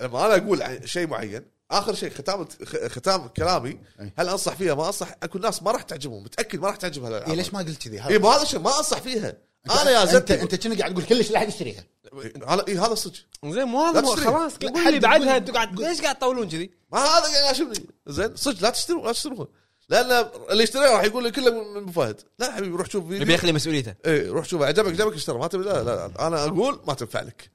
S1: لما انا اقول عن شيء معين اخر شيء ختام خ- ختام كلامي
S3: إيه.
S1: هل انصح فيها ما انصح اكو ناس ما راح تعجبهم متاكد ما راح تعجبها
S3: إيه
S1: الالعاب
S3: ليش ما قلت كذي؟ هذا-
S1: اي ما هذا شيء ما انصح فيها انا يا
S3: انت
S1: زلمه
S3: انت كنا قاعد تقول كلش لا احد يشتريها
S1: هذا اي هذا صدق
S2: زين مو هذا
S1: لا
S2: مو-
S1: تشتري.
S2: خلاص
S3: لا،
S2: قول لي
S3: حد
S2: بعدها
S3: يقول-
S2: انتوا قاعد ليش قاعد تطولون كذي؟
S1: ما هذا قاعد يعجبني زين صدق لا تشتروا لا تشتروها لان اللي يشتريها راح يقول لي كله من أبو فهد لا حبيبي روح شوف
S2: يبي
S1: فيديو
S2: يخلي مسؤوليته
S1: اي إيه، روح شوف عجبك عجبك اشترى ما تبي لا لا انا اقول ما تنفع لك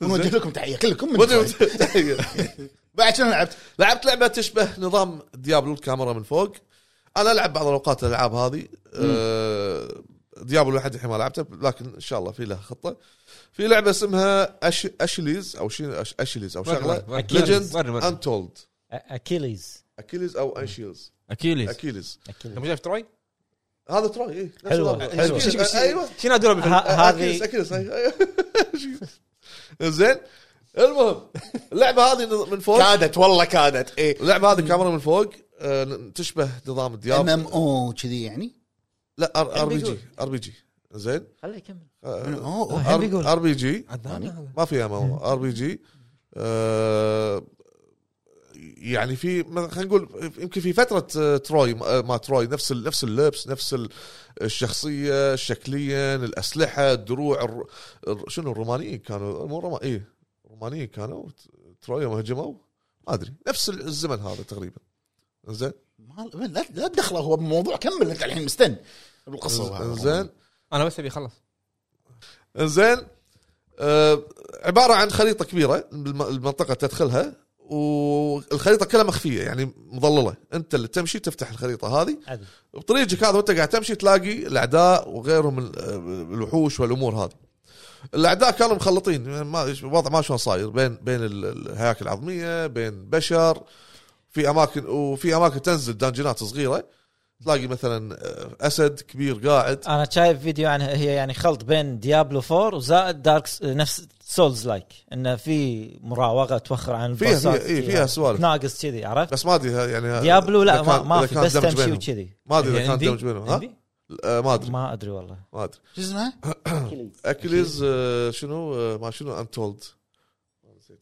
S3: ونوجه لكم تحيه كلكم
S1: ما
S3: من
S1: تبي- إيه.
S3: فوق. بعد شنو لعبت؟
S1: لعبت لعبه تشبه نظام ديابلو الكاميرا من فوق انا العب بعض الاوقات الالعاب هذه آه، ديابلو لحد الحين ما لعبته لكن ان شاء الله في لها خطه في لعبه اسمها أش... اشليز او شي... أش... اشليز او
S2: وري-
S1: شغله
S2: وري-
S1: ليجند
S2: وري- وري.
S1: انتولد
S4: اكيليز
S1: اكيليز او انشيلز
S2: اكيليز
S1: اكيليز
S2: انت
S4: اكيليز
S2: مو شايف تروي؟
S1: هذا إيه، تروي اي
S4: حلوة، حلوة.
S1: ايوه
S2: شنو ادور بالفيلم؟
S4: ه-
S1: اكيليز
S4: هذه
S1: اكيليز أيوة. زين المهم اللعبه هذه من فوق
S3: كادت والله كادت ايه
S1: اللعبه هذه كاميرا من فوق آه، تشبه نظام
S3: ام
S1: الديابلو
S3: ام او كذي يعني
S1: لا ار بي
S4: بيقول.
S1: جي ار بي جي زين
S4: خليه يكمل
S3: من او
S4: الحين بيقول.
S1: ار بي جي
S2: عدنان هذا.
S1: ما فيها ار بي جي آه، يعني في مثلا خلينا نقول يمكن في فتره آه، تروي آه، ما تروي نفس ال- نفس اللبس نفس ال- الشخصيه شكليا الاسلحه الدروع الر- الر- شنو الرومانيين كانوا مو روما إيه، اي رومانيين كانوا ت- تروي يوم هجموا ما ادري نفس الزمن هذا تقريبا زين
S3: ما لا لا تدخله هو بموضوع كمل انت الحين مستن بالقصه وهذا.
S1: زين
S2: انا بس ابي اخلص
S1: زين آه عباره عن خريطه كبيره بالم- المنطقه تدخلها والخريطه كلها مخفيه يعني مضلله انت اللي تمشي تفتح الخريطه هذه
S4: عدل
S1: بطريقك هذا وانت قاعد تمشي تلاقي الاعداء وغيرهم من آه، الوحوش والامور هذه الاعداء كانوا مخلطين يعني ما الوضع ما شلون صاير بين بين ال- الهياكل العظميه بين بشر في اماكن وفي اماكن تنزل دانجينات صغيره تلاقي مثلا آه، اسد كبير قاعد
S4: انا شايف فيديو عنها هي يعني خلط بين ديابلو 4 وزائد دارك س- نفس سولز لايك انه في مراوغه توخر عن
S1: فيها
S4: البوسات
S1: فيها إيه، فيها سوالف
S4: ناقص كذي عرفت
S1: بس ما ادري يعني
S4: ديابلو
S1: إذا
S4: لا ما,
S1: كان-
S4: ما
S1: إذا
S4: في
S1: كان
S4: بس
S1: دمج
S4: تمشي يعني
S1: بينهم.
S4: وكذي
S1: ما ادري
S2: هي
S1: اذا كان
S2: عندي؟
S1: دمج بينهم ها
S2: عندي؟
S1: آه، ما ادري
S4: ما ادري والله
S1: ما ادري
S3: شو اسمها؟
S1: اكليز
S4: يعني
S1: آه، شنو آه، ما شنو انتولد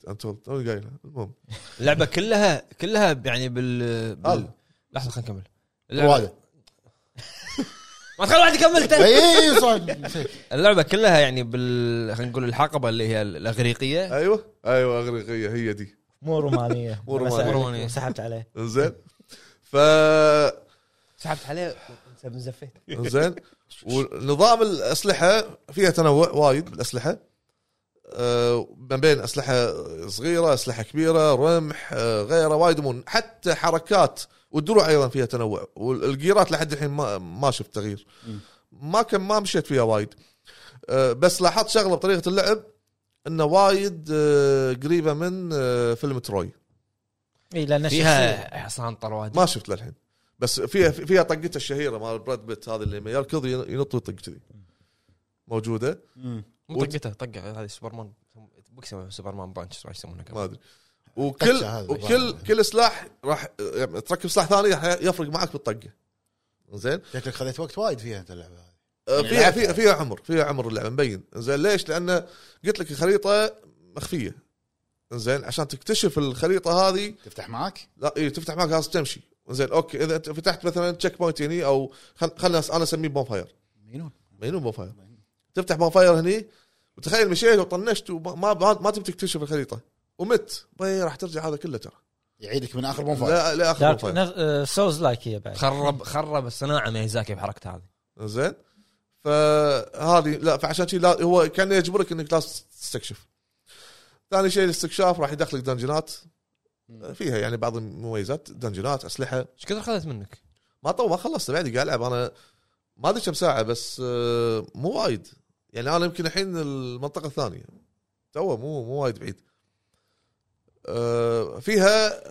S1: انتولد انا قايلها المهم
S2: اللعبه كلها كلها يعني بال, بال...
S1: هذا.
S2: لحظه خلينا نكمل اللعبة...
S3: وايد
S2: ما تخلي واحد يكمل انت.
S3: اي إيه، صح نسيت.
S2: اللعبه كلها يعني بال خلينا نقول الحقبه اللي هي
S4: إيه.
S2: الاغريقيه
S1: ايوه ايوه اغريقيه هي دي
S4: مو رومانيه
S1: مو
S4: أنا
S1: رومانية.
S4: سحبت-
S2: رومانية.
S4: سحبت عليه
S1: زين ف
S2: سحبت عليه زفيت
S1: زين ونظام الاسلحه فيها تنوع وايد بالاسلحه آه، ما بين اسلحه صغيره اسلحه كبيره رمح آه، غيره وايد امور حتى حركات والدروع ايضا فيها تنوع والجيرات لحد الحين ما ما شفت تغيير ما كان ما مشيت فيها وايد آه، بس لاحظت شغله بطريقه اللعب انه وايد آه، قريبه من آه، فيلم تروي
S4: اي لان الشخصية-
S2: فيها حصان طرواد
S1: ما شفت للحين بس فيها فيها طقته الشهيره مال براد بيت هذا اللي لما يركض ينط ويطق كذي موجوده
S2: مو طقته طقه هذه سوبرمان بوكسه سوبرمان بانش ايش يسمونها
S1: ما
S2: كمان.
S1: ادري وكل
S3: طقشة هذه.
S1: وكل كل سلاح راح يعني تركب سلاح ثاني راح يفرق معك بالطقه زين
S3: شكلك خذيت وقت وايد فيها انت اللعبه هذه
S1: آه، فيها
S3: لعبتها.
S1: فيها فيها عمر فيها عمر اللعبه مبين زين ليش؟ لان قلت لك الخريطه مخفيه زين عشان تكتشف الخريطه هذه
S3: تفتح معاك؟
S1: لا إيه تفتح معك لازم تمشي زين اوكي اذا انت فتحت مثلا تشيك بوينت هني او خل- خلنا انا اسميه بونفاير
S3: مجنون
S1: مجنون بونفاير تفتح بونفاير هني وتخيل مشيت وطنشت وما ما, ما, ما تبي تكتشف الخريطه ومت بي راح ترجع هذا كله ترى
S3: يعيدك من اخر بونفاير
S1: لا لا اخر
S4: دارك
S1: بونفاير
S4: نف- آه، سولز لايك هي بعد
S2: خرب خرب الصناعه ميزاكي بحركته هذه
S1: زين فهذه لا فعشان شي لا هو كان يجبرك انك لازم تستكشف ثاني شيء الاستكشاف راح يدخلك دنجنات فيها يعني بعض المميزات دنجنات اسلحه
S2: ايش كثر خذت منك؟
S1: ما طول ما خلصت بعد قاعد العب انا ما ادري كم ساعه بس آه، مو وايد يعني انا يمكن الحين المنطقه الثانيه تو مو مو وايد بعيد آه، فيها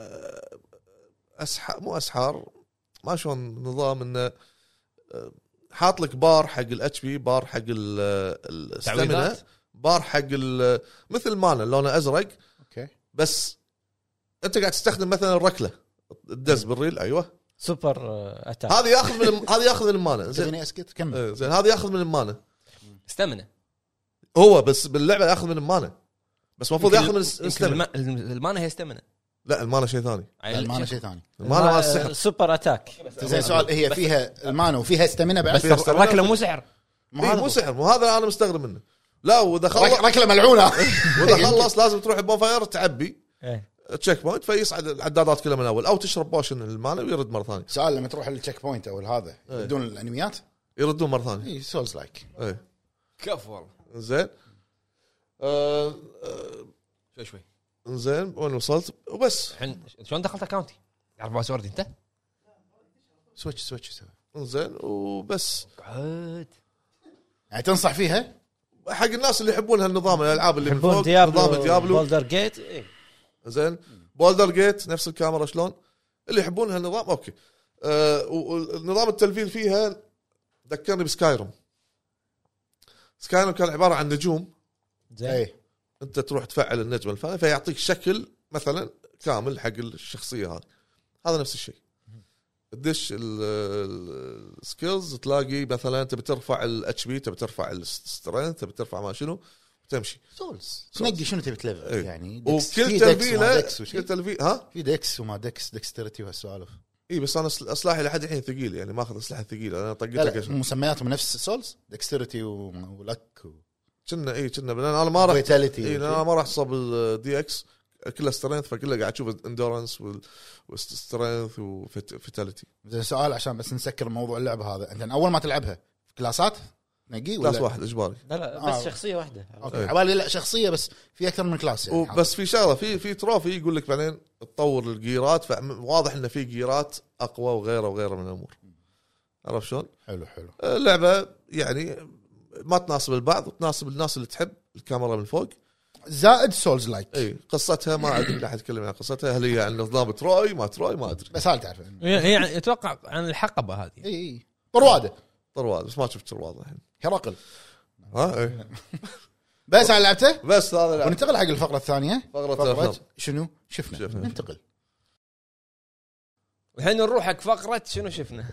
S1: اسحار مو اسحار ما شلون نظام انه آه، حاط لك بار حق الاتش بي بار حق الستامينا
S2: تعويضات؟
S1: بار حق ال- آه، مثل مانا لونه ازرق
S3: اوكي
S1: بس انت قاعد تستخدم مثلا الركله تدز بالريل ايوه
S4: سوبر آه، اتاك
S1: هذا ياخذ من الم- هذا ياخذ من المانا زين
S3: تبيني اسكت كمل
S1: إيه، زين هذا ياخذ من المانا
S2: استمنه
S1: هو بس باللعبه ياخذ من المانا بس المفروض ياخذ من الس- السلم
S2: الم- المانا هي يعني استمنه
S1: لا المانا شيء ثاني
S3: المانا شيء ثاني
S1: المانا مال
S4: آه،
S1: السحر إيه،
S4: سوبر اتاك
S3: زين سؤال هي فيها المانا وفيها استمنة بعد
S1: بس فيها استمنة.
S2: الركله مو سحر
S3: ما
S1: إيه،
S3: هذا
S1: مو
S3: هو.
S1: سحر وهذا انا مستغرب منه لا واذا
S3: رك-
S1: خلص
S3: ركله ملعونه
S1: إيه. واذا خلص لازم تروح بونفاير تعبي
S4: إيه.
S1: تشيك بوينت فيصعد العدادات كلها من اول او تشرب بوشن المانا ويرد مره ثانيه
S3: سؤال لما تروح للتشيك بوينت او هذا
S1: إيه.
S3: بدون الانميات
S1: يردون مره ثانيه
S3: اي سولز لايك
S1: ايه
S2: كف والله
S1: زين آه، آه،
S2: شوي شوي
S1: زين وين وصلت وبس
S2: الحين شلون دخلت اكاونتي؟ تعرف باسوردي انت؟
S3: سويتش سويتش سوي
S1: زين وبس
S2: قعد
S3: يعني تنصح فيها
S1: حق الناس اللي يحبون هالنظام الالعاب اللي من
S4: يحبون
S1: فوق نظام
S4: ديابلو
S1: ديابلو
S4: بولدر جيت إيه.
S1: زين بولدر جيت نفس الكاميرا شلون اللي يحبون هالنظام اوكي آه ونظام التلفيل فيها ذكرني بسكايروم سكايروم كان عباره عن نجوم
S4: زين
S3: اي
S1: انت تروح تفعل النجمه الفلاني فيعطيك شكل مثلا كامل حق الشخصيه هذه هذا نفس الشيء تدش السكيلز تلاقي مثلا تبي ترفع الاتش بي تبي ترفع السترينث تبي ترفع ما شنو وتمشي
S3: سولز تنقي شنو تبي تلفل
S1: إيه.
S3: يعني دكس- في
S1: وكل
S3: دكس وما
S1: تلفيله
S3: دكس وشي.
S1: كل تلفيل ها
S3: في دكس وما دكس دكسترتي وهالسوالف
S1: اي إيه، بس انا أسل- سلاحي لحد الحين ثقيل يعني ماخذ اسلحه ثقيله انا
S3: لا
S1: طقيتها
S3: لا
S1: كشن
S3: مسمياتهم نفس سولز دكسترتي و- ولك
S1: كنا اي كنا لان انا ما راح إيه،
S3: وفيتاليتي
S1: نعم. اي لان انا ما راح اصاب الدي اكس كلها سترينث فكلها قاعد تشوف اندورنس والسترينث وفتاليتي
S3: زين سؤال عشان بس نسكر موضوع اللعبه هذا انت اول ما تلعبها في كلاسات تنقي إيه، ولا
S1: كلاس واحد اجباري
S4: لا لا
S3: آه.
S4: بس شخصيه واحده
S3: اوكي
S1: إيه.
S3: عبالي لا شخصيه بس في اكثر من كلاس يعني
S1: وبس في شغله في في تروفي يقول لك بعدين تطور الجيرات فواضح انه في جيرات اقوى وغيره وغيره من الامور عرفت شلون؟
S3: حلو حلو
S1: اللعبه يعني ما تناسب البعض وتناسب الناس اللي تحب الكاميرا من فوق
S3: زائد سولز لايك
S1: اي قصتها ما ادري لا احد يتكلم عن قصتها هل هي عن نظام تروي ما تروي ما ادري
S3: بس هل تعرف إيه، اي
S2: يعني اتوقع عن الحقبه هذه
S3: اي طرواده
S1: طرواد بس ما شفت طرواد الحين
S3: هرقل
S1: ها إي.
S3: بس انا لعبته
S1: بس هذا لعب.
S3: وننتقل حق الفقره الثانيه
S1: فقرة الأفلام.
S3: شنو شفنا
S1: شفنا.
S3: ننتقل
S2: الحين نروح حق فقره شنو شفنا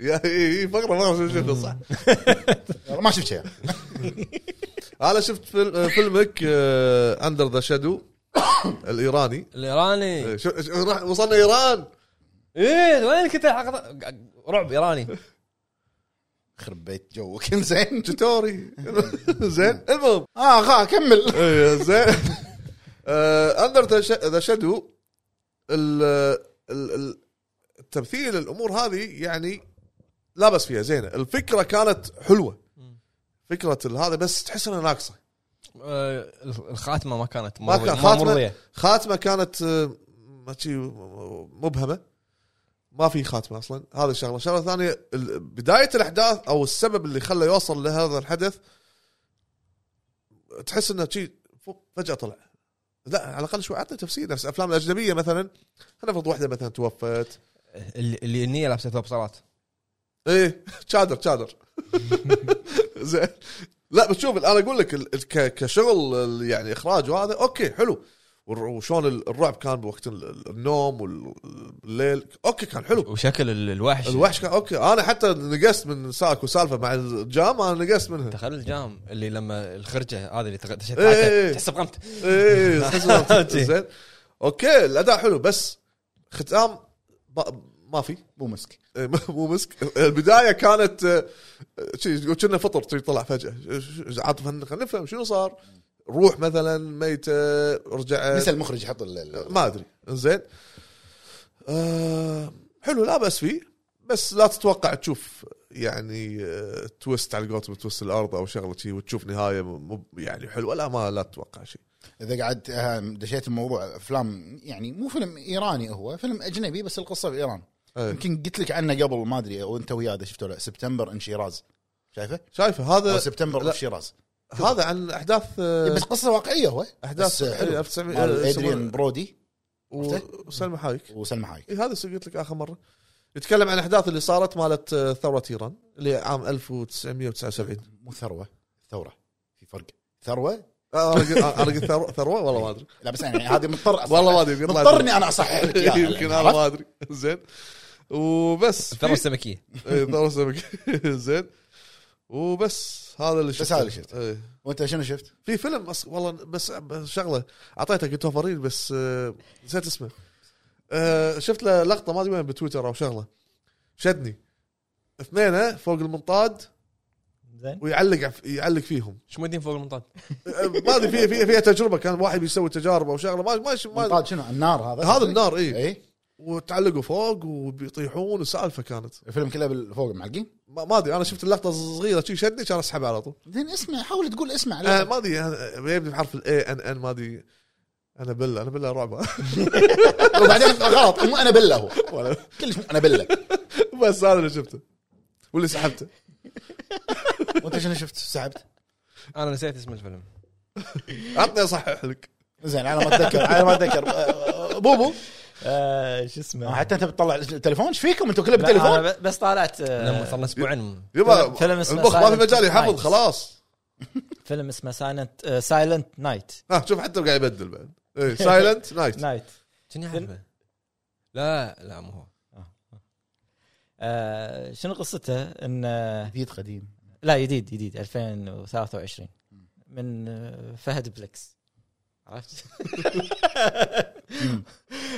S1: يا اي اي فقره ما شفت صح
S3: يلا، ما شفت شيء
S1: انا شفت فيلم- فيلمك آه، اندر ذا شادو الايراني
S2: الايراني
S1: آه، شو- شو- راح- وصلنا ايران
S2: ايه وين كنت الحلقه رعب ايراني
S3: خرب بيت جوك زين
S1: توتوري زين المهم
S3: اه خا كمل
S1: إيه، زين آه، اندر ذا شادو التمثيل الامور هذه يعني لا بس فيها زينه الفكره كانت حلوه فكره ال- هذا بس تحس انها ناقصه
S2: آه، الخاتمه ما كانت
S1: ما
S2: مرضية-
S1: كان خاتمه
S2: مرضية.
S1: خاتمه كانت آه، ما شي مبهمه ما في خاتمه اصلا هذا الشغله الشغله الثانيه ال- بدايه الاحداث او السبب اللي خلى يوصل لهذا الحدث تحس انه شي فوق فجاه طلع لا على الاقل شوي عطني تفسير نفس الافلام الاجنبيه مثلا خلينا نفرض واحده مثلا توفت
S2: اللي اللي النيه لابسه ثوب صلاه
S1: ايه تشادر تشادر زين لا بتشوف انا اقول لك ال- ال- ك- كشغل ال- يعني اخراج وهذا اوكي حلو والر- وشلون ال- الرعب كان بوقت ال- ال- النوم والليل اوكي كان حلو
S2: وشكل ال- الوحش
S1: الوحش كان اوكي انا حتى نقصت من ساكو سالفه مع الجام انا نقصت منها
S2: تخيل الجام اللي لما الخرجه هذه اللي تغ- تشد
S1: إيه، إيه.
S2: حالته، تحس بغمت
S1: ايه تحس بالوقت. زين اوكي الاداء حلو بس ختام ب- ما في
S3: مو مسك
S1: إيه، مو مسك البدايه كانت آه، شي تقول كنا فطر شي طلع فجاه ش- ش- عاطف خلينا نفهم شنو صار روح مثلا ميته رجعت
S3: نسى المخرج يحط ال- ال-
S1: ما ادري زين آه حلو لا بس فيه بس لا تتوقع تشوف يعني آه، تويست على قولتهم تويست الارض او شغله شي وتشوف نهايه مو يعني حلوه لا ما لا تتوقع شيء
S3: اذا قعدت آه، دشيت الموضوع افلام يعني مو فيلم ايراني هو فيلم اجنبي بس القصه بايران
S1: إيه.
S3: يمكن قلت لك عنه قبل ما ادري وانت وياه اذا شفته ولا سبتمبر ان شيراز شايفه؟
S1: شايفه
S3: او
S1: هذا
S3: سبتمبر
S1: إيه. لا.
S3: في شيراز
S1: هذا عن احداث آه،
S3: بس قصه واقعيه هو
S1: احداث
S3: بس حلو
S1: 1900
S3: مال ادريان برودي عرفته؟
S1: وسلمى حايك
S3: وسلمى حايك
S1: إيه هذا اللي قلت لك اخر مره يتكلم عن الاحداث اللي صارت مالت آه، ثوره ايران اللي عام 1979
S3: مو ثروه ثوره في فرق ثروه
S1: آه، انا قلت- أنا قلت ثروه ثروة؟ والله ما ادري
S3: لا بس يعني هذه مضطر أصحح-
S1: والله ما ادري يمكن لا أدري.
S3: مضطرني انا اصحح لك اياها
S1: يمكن انا ما ادري زين وبس
S2: الثروه السمكيه
S1: إيه، ثروه سمك. زين وبس هذا اللي شفته
S3: هذا اللي شفته.
S1: إيه.
S3: وانت شنو شفت؟
S1: في فيلم أص... والله بس بس شغله اعطيته قلت توفرين بس آه، نسيت اسمه آه، شفت له لقطه ما ادري وين بتويتر او شغله شدني اثنين فوق المنطاد
S4: زين
S1: ويعلق يعلق فيهم
S2: شو مودين فوق المنطاد
S1: آه، ما ادري فيها فيها فيها تجربه كان واحد بيسوي تجارب او شغله ما ما, ما
S3: منطاد شنو النار هذا
S1: هذا النار
S4: إيه.
S1: اي
S3: اي
S1: وتعلقوا فوق وبيطيحون وسالفه كانت
S3: الفيلم كله بالفوق معلقين
S1: ما ما ادري انا شفت اللقطه الصغيره شي شدني كان اسحبها على طول
S3: زين اسمع حاول تقول اسمع
S1: آه
S3: لا
S1: ما ادري أنا- يبدي بحرف الاي ان ان ما ادري انا بلا انا بلا رعب
S3: وبعدين غلط مو انا بله هو كلش مو انا بله
S1: بس هذا اللي شفته واللي سحبته
S3: وانت شنو شفت سحبت؟
S2: انا نسيت اسم الفيلم
S1: عطني اصحح لك
S3: زين انا ما اتذكر انا ما اتذكر آه، بوبو
S4: آه، شو اسمه
S3: حتى انت بتطلع التليفون ايش فيكم انتم كله
S4: لا، أنا
S3: بالتليفون
S4: ب- بس طالعت آه،
S2: لما صار لنا اسبوعين
S1: يبا
S4: فيلم اسمه
S1: المخ ما في
S4: Silent
S1: مجال يحفظ
S4: Night.
S1: خلاص
S4: فيلم اسمه آه، سايلنت سايلنت نايت
S1: ها شوف حتى قاعد يبدل بعد ايه سايلنت نايت
S4: نايت
S2: كني اعرفه لا لا مو هو
S4: آه، شنو قصته ان آه،
S3: جديد قديم
S4: لا جديد جديد 2023 من آه، فهد بلكس عرفت؟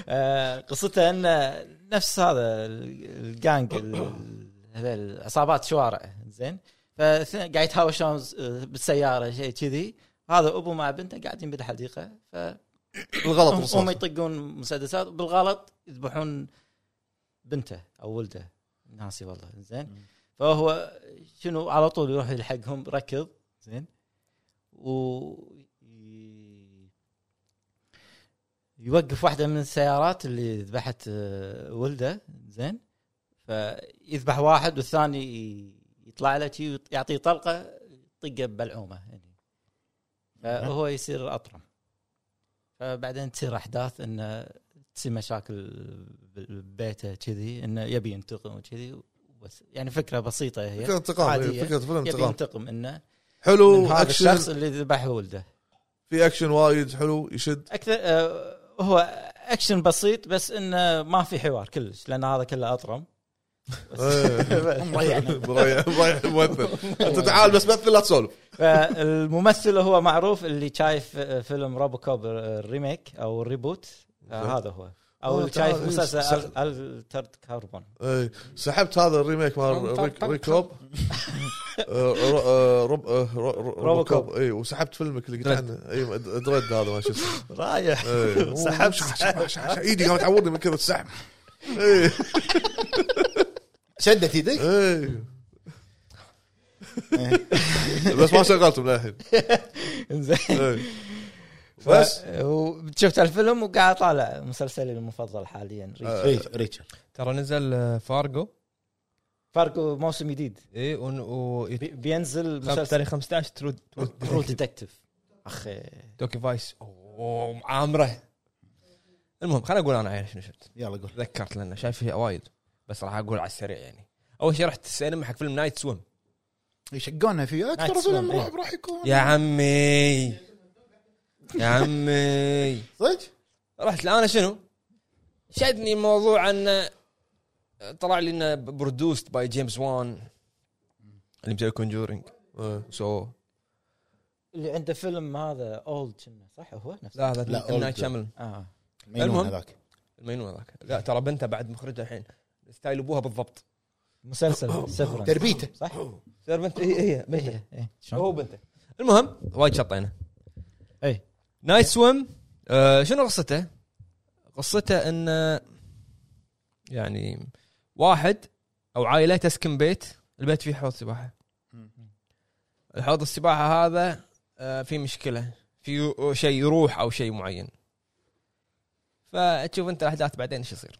S4: آه، قصته ان نفس هذا ال- الجانج ال- هذيل عصابات شوارع زين فاثنين قاعد آه، يتهاوشون ز- بالسياره شيء كذي هذا ابو مع بنته قاعدين بالحديقه ف
S1: بالغلط
S4: هم- هم
S1: رصاص
S4: يطقون مسدسات بالغلط يذبحون بنته او ولده ناسي والله زين فهو شنو على طول يروح يلحقهم ركض زين و ي- يوقف واحده من السيارات اللي ذبحت آه، ولده زين فيذبح واحد والثاني ي- يطلع له شي ويط- يعطيه طلقه طقه ببلعومه يعني فهو يصير اطرم فبعدين تصير احداث انه تصير مشاكل بال- ببيته كذي انه يبي ينتقم وكذي بس يعني فكره بسيطه هي
S1: فكره انتقام
S4: عادية.
S1: إيه، فكره فيلم
S4: يبي
S1: انتقام
S4: ينتقم انه من
S1: حلو
S4: هذا
S1: اكشن
S4: الشخص اللي ذبح ولده
S1: في اكشن وايد حلو يشد
S4: اكثر آه، هو اكشن بسيط بس انه ما في حوار كلش لان هذا كله اطرم إيه.
S1: مريح مريح الممثل انت تعال بس مثل لا تسولف
S4: فالممثل هو معروف اللي شايف آه، فيلم آه، روبو كوب الريميك او الريبوت آه، هذا هو او
S1: آه،
S4: اللي
S1: تعال،
S4: شايف
S1: إيه،
S4: مسلسل
S1: س-
S4: الترد كاربون
S1: إيه، سحبت هذا الريميك مال
S4: طب- طب-
S1: ريك-
S4: طب.
S1: ريكوب آه، رو- آه، روب آه، رو- رو-
S4: روبوكوب.
S1: روبوكوب اي وسحبت فيلمك اللي قلت
S2: دريد.
S1: عنه اي دريد هذا ما شو اسمه
S4: رايح
S1: إيه.
S4: سحب.
S1: شح- شح- شح- شح- ايدي قامت تعورني من كثر السحب ايه
S3: شدت يدك
S1: ايه بس ما شغلتهم للحين
S4: زين
S1: إيه.
S4: بس
S1: بس
S4: شفت الفيلم وقاعد طالع مسلسلي المفضل حاليا
S1: آه.
S3: ريتشارد
S2: ترى نزل آه، فارجو
S4: فاركو موسم جديد
S2: اي ون- و
S4: بي- بينزل
S2: خم-
S4: مسلسل
S2: تاريخ 15 ترو
S4: ترو ديتكتيف اخي
S2: توكي فايس اوه عامره المهم خليني اقول انا عيل شنو شفت
S3: يلا قول
S2: تذكرت لانه شايف فيها وايد بس راح اقول على السريع يعني اول شيء رحت السينما حق فيلم نايت سويم
S3: يشقونها فيه اكثر
S4: نايت
S3: فيلم
S4: سويم، إيه.
S3: رعب راح يكون
S2: يا عمي يا عمي
S3: صدق
S2: رحت انا شنو؟ شدني موضوع انه طلع لي انه برودوست باي جيمس وان اللي مسوي كونجورينج سو
S4: اللي عنده فيلم هذا اولد صح هو نفسه
S2: لا هذا
S3: لا،
S2: لا نايت
S3: old.
S2: شامل
S4: اه
S3: المينون
S2: المهم.
S3: هذاك
S2: المجنون ذاك لا ترى بنته بعد مخرجه الحين ستايل ابوها بالضبط
S4: مسلسل سفرنس
S3: تربيته
S4: صح؟
S2: تصير بنت هي هي بنته
S4: إيه، إيه.
S2: هو بنته المهم وايد شطينا
S4: اي
S2: نايت سويم آه شنو قصته؟ قصته ان يعني واحد او عائله تسكن بيت البيت فيه حوض سباحه الحوض السباحه هذا آه في مشكله في شيء يروح او شيء معين فتشوف انت الاحداث بعدين ايش يصير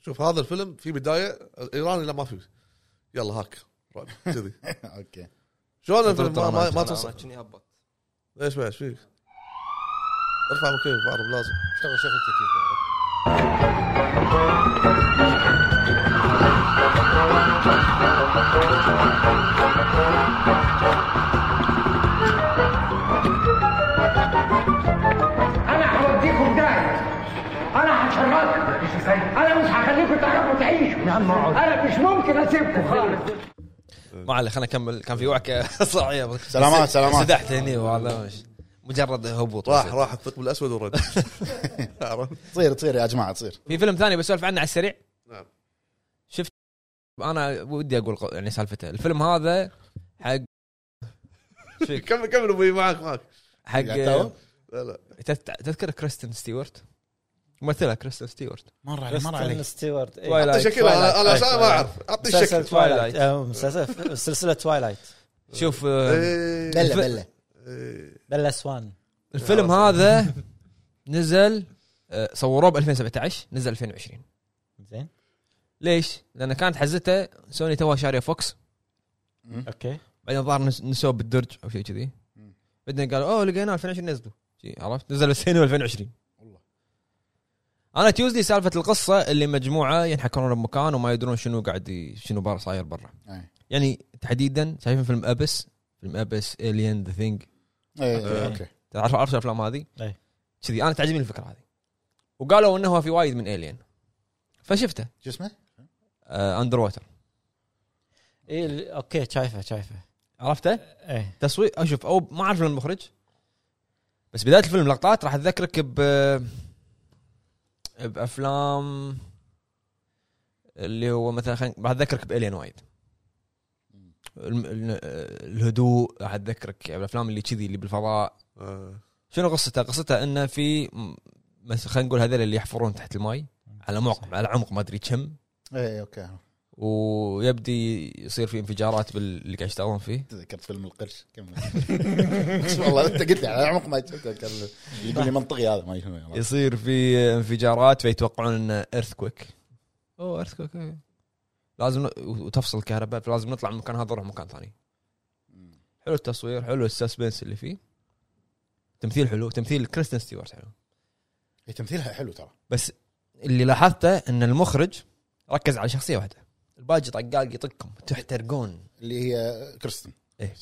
S1: شوف هذا الفيلم في بدايه الايراني لا ما في يلا هاك رعب كذي
S3: اوكي
S1: شلون الفيلم ما ما, ما
S2: أنا-
S1: توصل
S2: أنا شني أبط.
S1: ليش ما ايش فيك؟ ارفع مكيف اعرف لازم
S3: شغل شغل التكييف
S5: انا هوديكم داهيه انا هشربكم انا مش هخليكم تعرفوا تعيشوا يا عم انا مش ممكن اسيبكم خالص
S2: ما عليه خلينا نكمل كان في وعكه صاعيه
S3: سلامات، سلامات.
S2: سدحت هني وهذا مش- مجرد هبوط
S1: راح راح الثقب الاسود ورد عرفت؟
S3: تصير تصير يا جماعه تصير
S2: في فيلم ثاني بسولف عنه على السريع
S1: نعم.
S2: شفت انا ودي اقول ق- يعني سالفته الفيلم هذا حق إيش فيك؟
S1: كمل كمل ابوي معك معك
S2: حق
S3: قاعد تتابع؟
S1: لا لا
S2: تت- تذكر كريستن ستيوارت ممثلها كريستن ستيوارت
S3: مر
S4: كريستن ستيوارت إيه.
S2: Twilight.
S1: شكله انا أنا عشان ما اعرف اعطني
S4: مسلسل
S1: شكل
S4: توايلايت آه، مسلسل سلسله توايلايت
S2: شوف آه،
S1: إيه.
S3: بله بله
S1: إيه.
S4: بلا سوان
S2: الفيلم هذا نزل آه، صوروه ب 2017 نزل 2020
S4: زين
S2: ليش؟ لان كانت حزتها سوني توها شاريه فوكس
S4: اوكي
S2: بعدين ظهر نس- نسوه بالدرج او شيء كذي
S3: مم.
S2: بعدين قالوا اوه لقيناه 2020 نزلوا شي، عرفت نزل السينما 2020
S3: والله.
S2: انا تيوزلي سالفه القصه اللي مجموعه ينحكرون بمكان وما يدرون شنو قاعد ي- شنو بار صاير برا
S3: أي.
S2: يعني تحديدا شايفين فيلم ابس فيلم ابس الين ذا ثينج
S3: ايه اوكي
S2: تعرف عرفت الافلام هذه؟
S4: أي.
S2: كذي انا تعجبني الفكره هذه وقالوا انه هو في وايد من الين فشفته آه،
S3: شو اسمه؟
S2: اندر ووتر
S4: اي إيه، ال- اوكي شايفه شايفه
S2: عرفته؟
S4: ايه
S2: تصوير اشوف او أه، ما اعرف من المخرج بس بدايه الفيلم لقطات راح تذكرك ب بافلام اللي هو مثلا خلينا راح تذكرك بالين وايد يعني الم- ال- الهدوء راح تذكرك الافلام اللي كذي اللي بالفضاء
S1: آه.
S2: شنو قصته؟ قصته انه في م- مثل خلينا نقول هذول اللي يحفرون تحت الماي على معقم على عمق ما ادري كم
S3: اي اوكي
S2: ويبدي يصير في انفجارات باللي قاعد يشتغلون فيه
S3: تذكرت فيلم القرش كمل والله انت قلت لي على عمق ما تذكر يقول لي منطقي هذا ما يفهم
S2: يصير في انفجارات فيتوقعون انه ايرث كويك اوه ايرث كويك لازم ن- وتفصل الكهرباء فلازم نطلع من المكان هذا نروح مكان ثاني حلو التصوير حلو السسبنس اللي فيه تمثيل حلو تمثيل كريستن ستيوارت حلو
S3: هي إيه، تمثيلها حلو ترى
S2: بس اللي لاحظته ان المخرج ركز على شخصيه واحده الباجي طقاق يطقكم تحترقون
S3: اللي هي كريستن
S2: ايه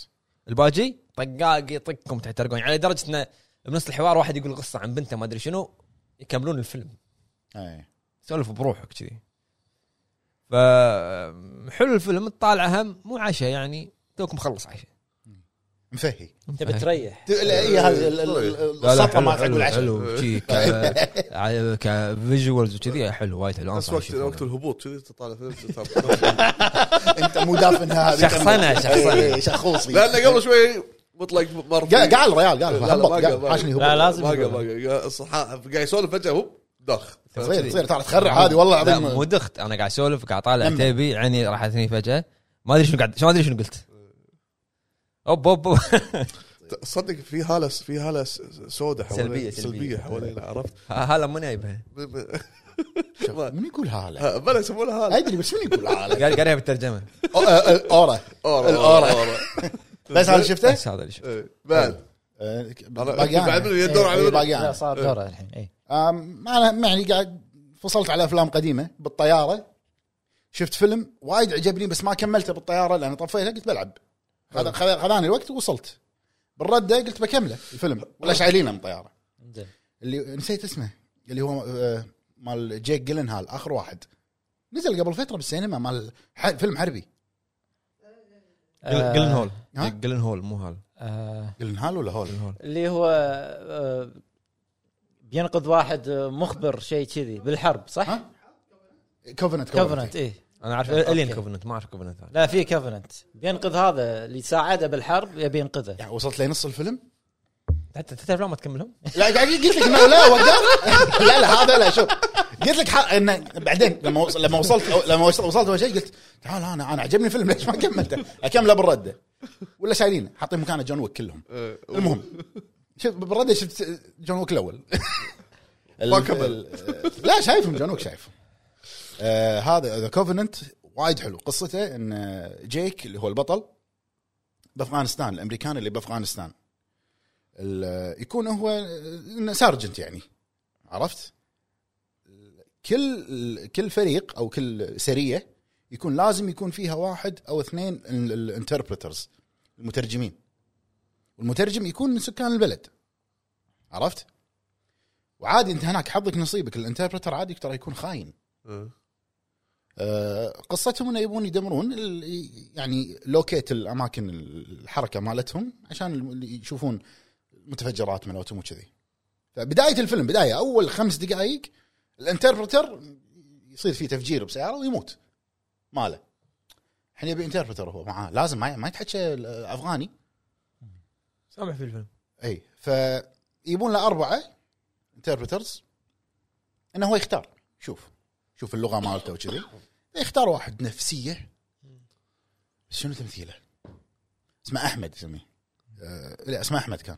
S2: الباجي طقاق يطقكم تحترقون يعني لدرجه انه بنص الحوار واحد يقول قصه عن بنته ما ادري شنو يكملون الفيلم
S3: اي
S2: سولف بروحك كذي ف حلو الفيلم تطالعه هم مو عشاء يعني توك مخلص عشاء
S3: مفهي آه،
S4: تبي تريح
S3: ت- لا، هي هذه ال- ال- ال- السطره ما اقول العشاء
S2: حلو شي ك- ع- كفيجوالز وكذي حلو وايد حلو
S1: بس
S2: أنصح
S1: وقت
S2: أشوفه.
S1: وقت الهبوط كذي تطالع فيلم تتابع.
S3: انت مو دافنها هذه
S2: شخصنة، شخصنة.
S3: إي، إي، إيه، شخوصي
S1: لانه قبل شوي مطلق مره
S3: قال قال الريال قال
S1: لا، لا،
S3: هبط
S1: ما
S3: قال،
S1: قال، ما
S3: عاشني
S1: قال.
S4: لا
S3: هبط
S4: لازم
S1: ما قال
S4: يقولها.
S1: ما قال صح- قاعد يسولف فجاه هوب دخ
S3: تصير تصير ترى تخرع هذه والله
S2: طيب. لا
S3: العظيم
S2: مو دخت انا قاعد اسولف قاعد اطالع
S3: لما.
S2: عتيبي عيني راحتني فجاه ما ادري شنو قاعد ما ادري شنو قلت اوب اوب أوب.
S1: تصدق في هاله في هاله س- سوداء حوالينا
S2: سلبية، سلبية.
S1: سلبيه حوالينا عرفت؟
S2: هلا مو نايبها
S3: من يقول هاله
S1: ها، بلا يسمونها هاله
S3: ادري بس من يقول هاله
S2: قال قاريها بالترجمه
S3: أو- آه، آه، اورا
S1: أورا،
S3: الأورا.
S1: أورا.
S3: بس هذا شفته؟
S2: بس هذا اللي شفته
S1: إيه، بعد
S3: آه،
S1: بعد من يدور على
S3: إي،
S1: من-
S3: باقي
S4: لا
S3: أنا.
S4: صار دوره الحين إيه. اي
S3: أم، انا ما يعني قاعد فصلت على افلام قديمه بالطياره شفت فيلم وايد عجبني بس ما كملته بالطياره لان طفيته قلت بلعب خذ- خذ- خذاني الوقت ووصلت بالرده قلت بكمله الفيلم ولا شايلينه من الطياره
S4: زين
S3: اللي نسيت اسمه اللي هو آه، مال جيك جيلنهال اخر واحد نزل قبل فتره بالسينما مال ح- فيلم حربي
S4: آه،
S2: جلن هول
S3: ها؟
S2: جلن هول مو هال
S4: آه،
S3: جيلنهال ولا هول؟
S2: جلن هول
S4: اللي هو آه، بينقذ واحد آه، مخبر شيء كذي بالحرب صح؟ إيه.
S3: ها؟ كوفننت
S4: كفننت اي
S2: انا اعرف
S3: إيه،
S4: أوكي.
S2: الين كوفننت ما اعرف كوفننت هذا
S4: لا في كفننت بينقذ هذا اللي ساعده بالحرب يبي ينقذه
S3: يعني وصلت لنص الفيلم
S2: حتى حتى افلام ما تكملهم
S3: لا قاعد قلت لك انه لا وقف لا لا هذا لا شوف قلت لك حق انه بعدين لما وص- لما وصلت أو- لما وصلت وصلت اول شيء قلت تعال انا انا عجبني الفيلم ليش ما كملته؟ اكمله بالرده ولا شايلينه حاطين مكانه جون ويك كلهم
S1: إيه،
S3: المهم شوف بالرده شفت جون ويك الاول
S1: ما كمل.
S3: ال- لا شايفهم جون ويك شايفهم آه هذا ذا كوفننت وايد حلو قصته ان جيك اللي هو البطل بافغانستان الامريكان اللي بافغانستان ال- يكون هو إنه سارجنت يعني عرفت كل كل فريق او كل سريه يكون لازم يكون فيها واحد او اثنين الانتربريترز المترجمين والمترجم يكون من سكان البلد عرفت وعادي انت هناك حظك نصيبك الانتربريتر عادي ترى يكون خاين
S1: إيه.
S3: آه، قصتهم انه يبون يدمرون ال- يعني لوكيت الاماكن الحركه مالتهم عشان الم- يشوفون متفجرات مالتهم وكذي فبدايه الفيلم بدايه اول خمس دقائق الانتربرتر يصير فيه تفجير بسياره ويموت ماله الحين يبي انتربرتر هو معاه لازم ما ما يتحكى افغاني
S2: سامح في الفيلم
S3: اي فيبون له اربعه انتربرترز انه هو يختار شوف شوف اللغه مالته وكذي يختار واحد نفسيه بس شنو تمثيله؟ اسمه احمد يسميه آه لا اسمه احمد كان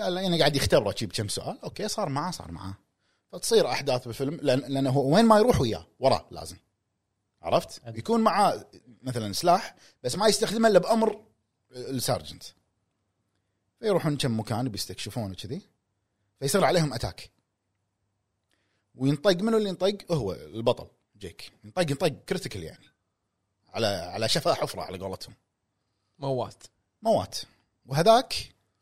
S3: قال له انا قاعد يختبره شي بكم سؤال اوكي صار معاه صار معاه فتصير احداث بالفيلم لان لانه هو وين ما يروح وياه وراه لازم عرفت؟ يكون معاه مثلا سلاح بس ما يستخدمه الا بامر السارجنت فيروحون كم مكان بيستكشفون وكذي فيصير عليهم اتاك وينطق منو اللي ينطق هو البطل جيك ينطق ينطق كريتيكال يعني على على شفاه حفره على قولتهم
S2: موات
S3: موات وهذاك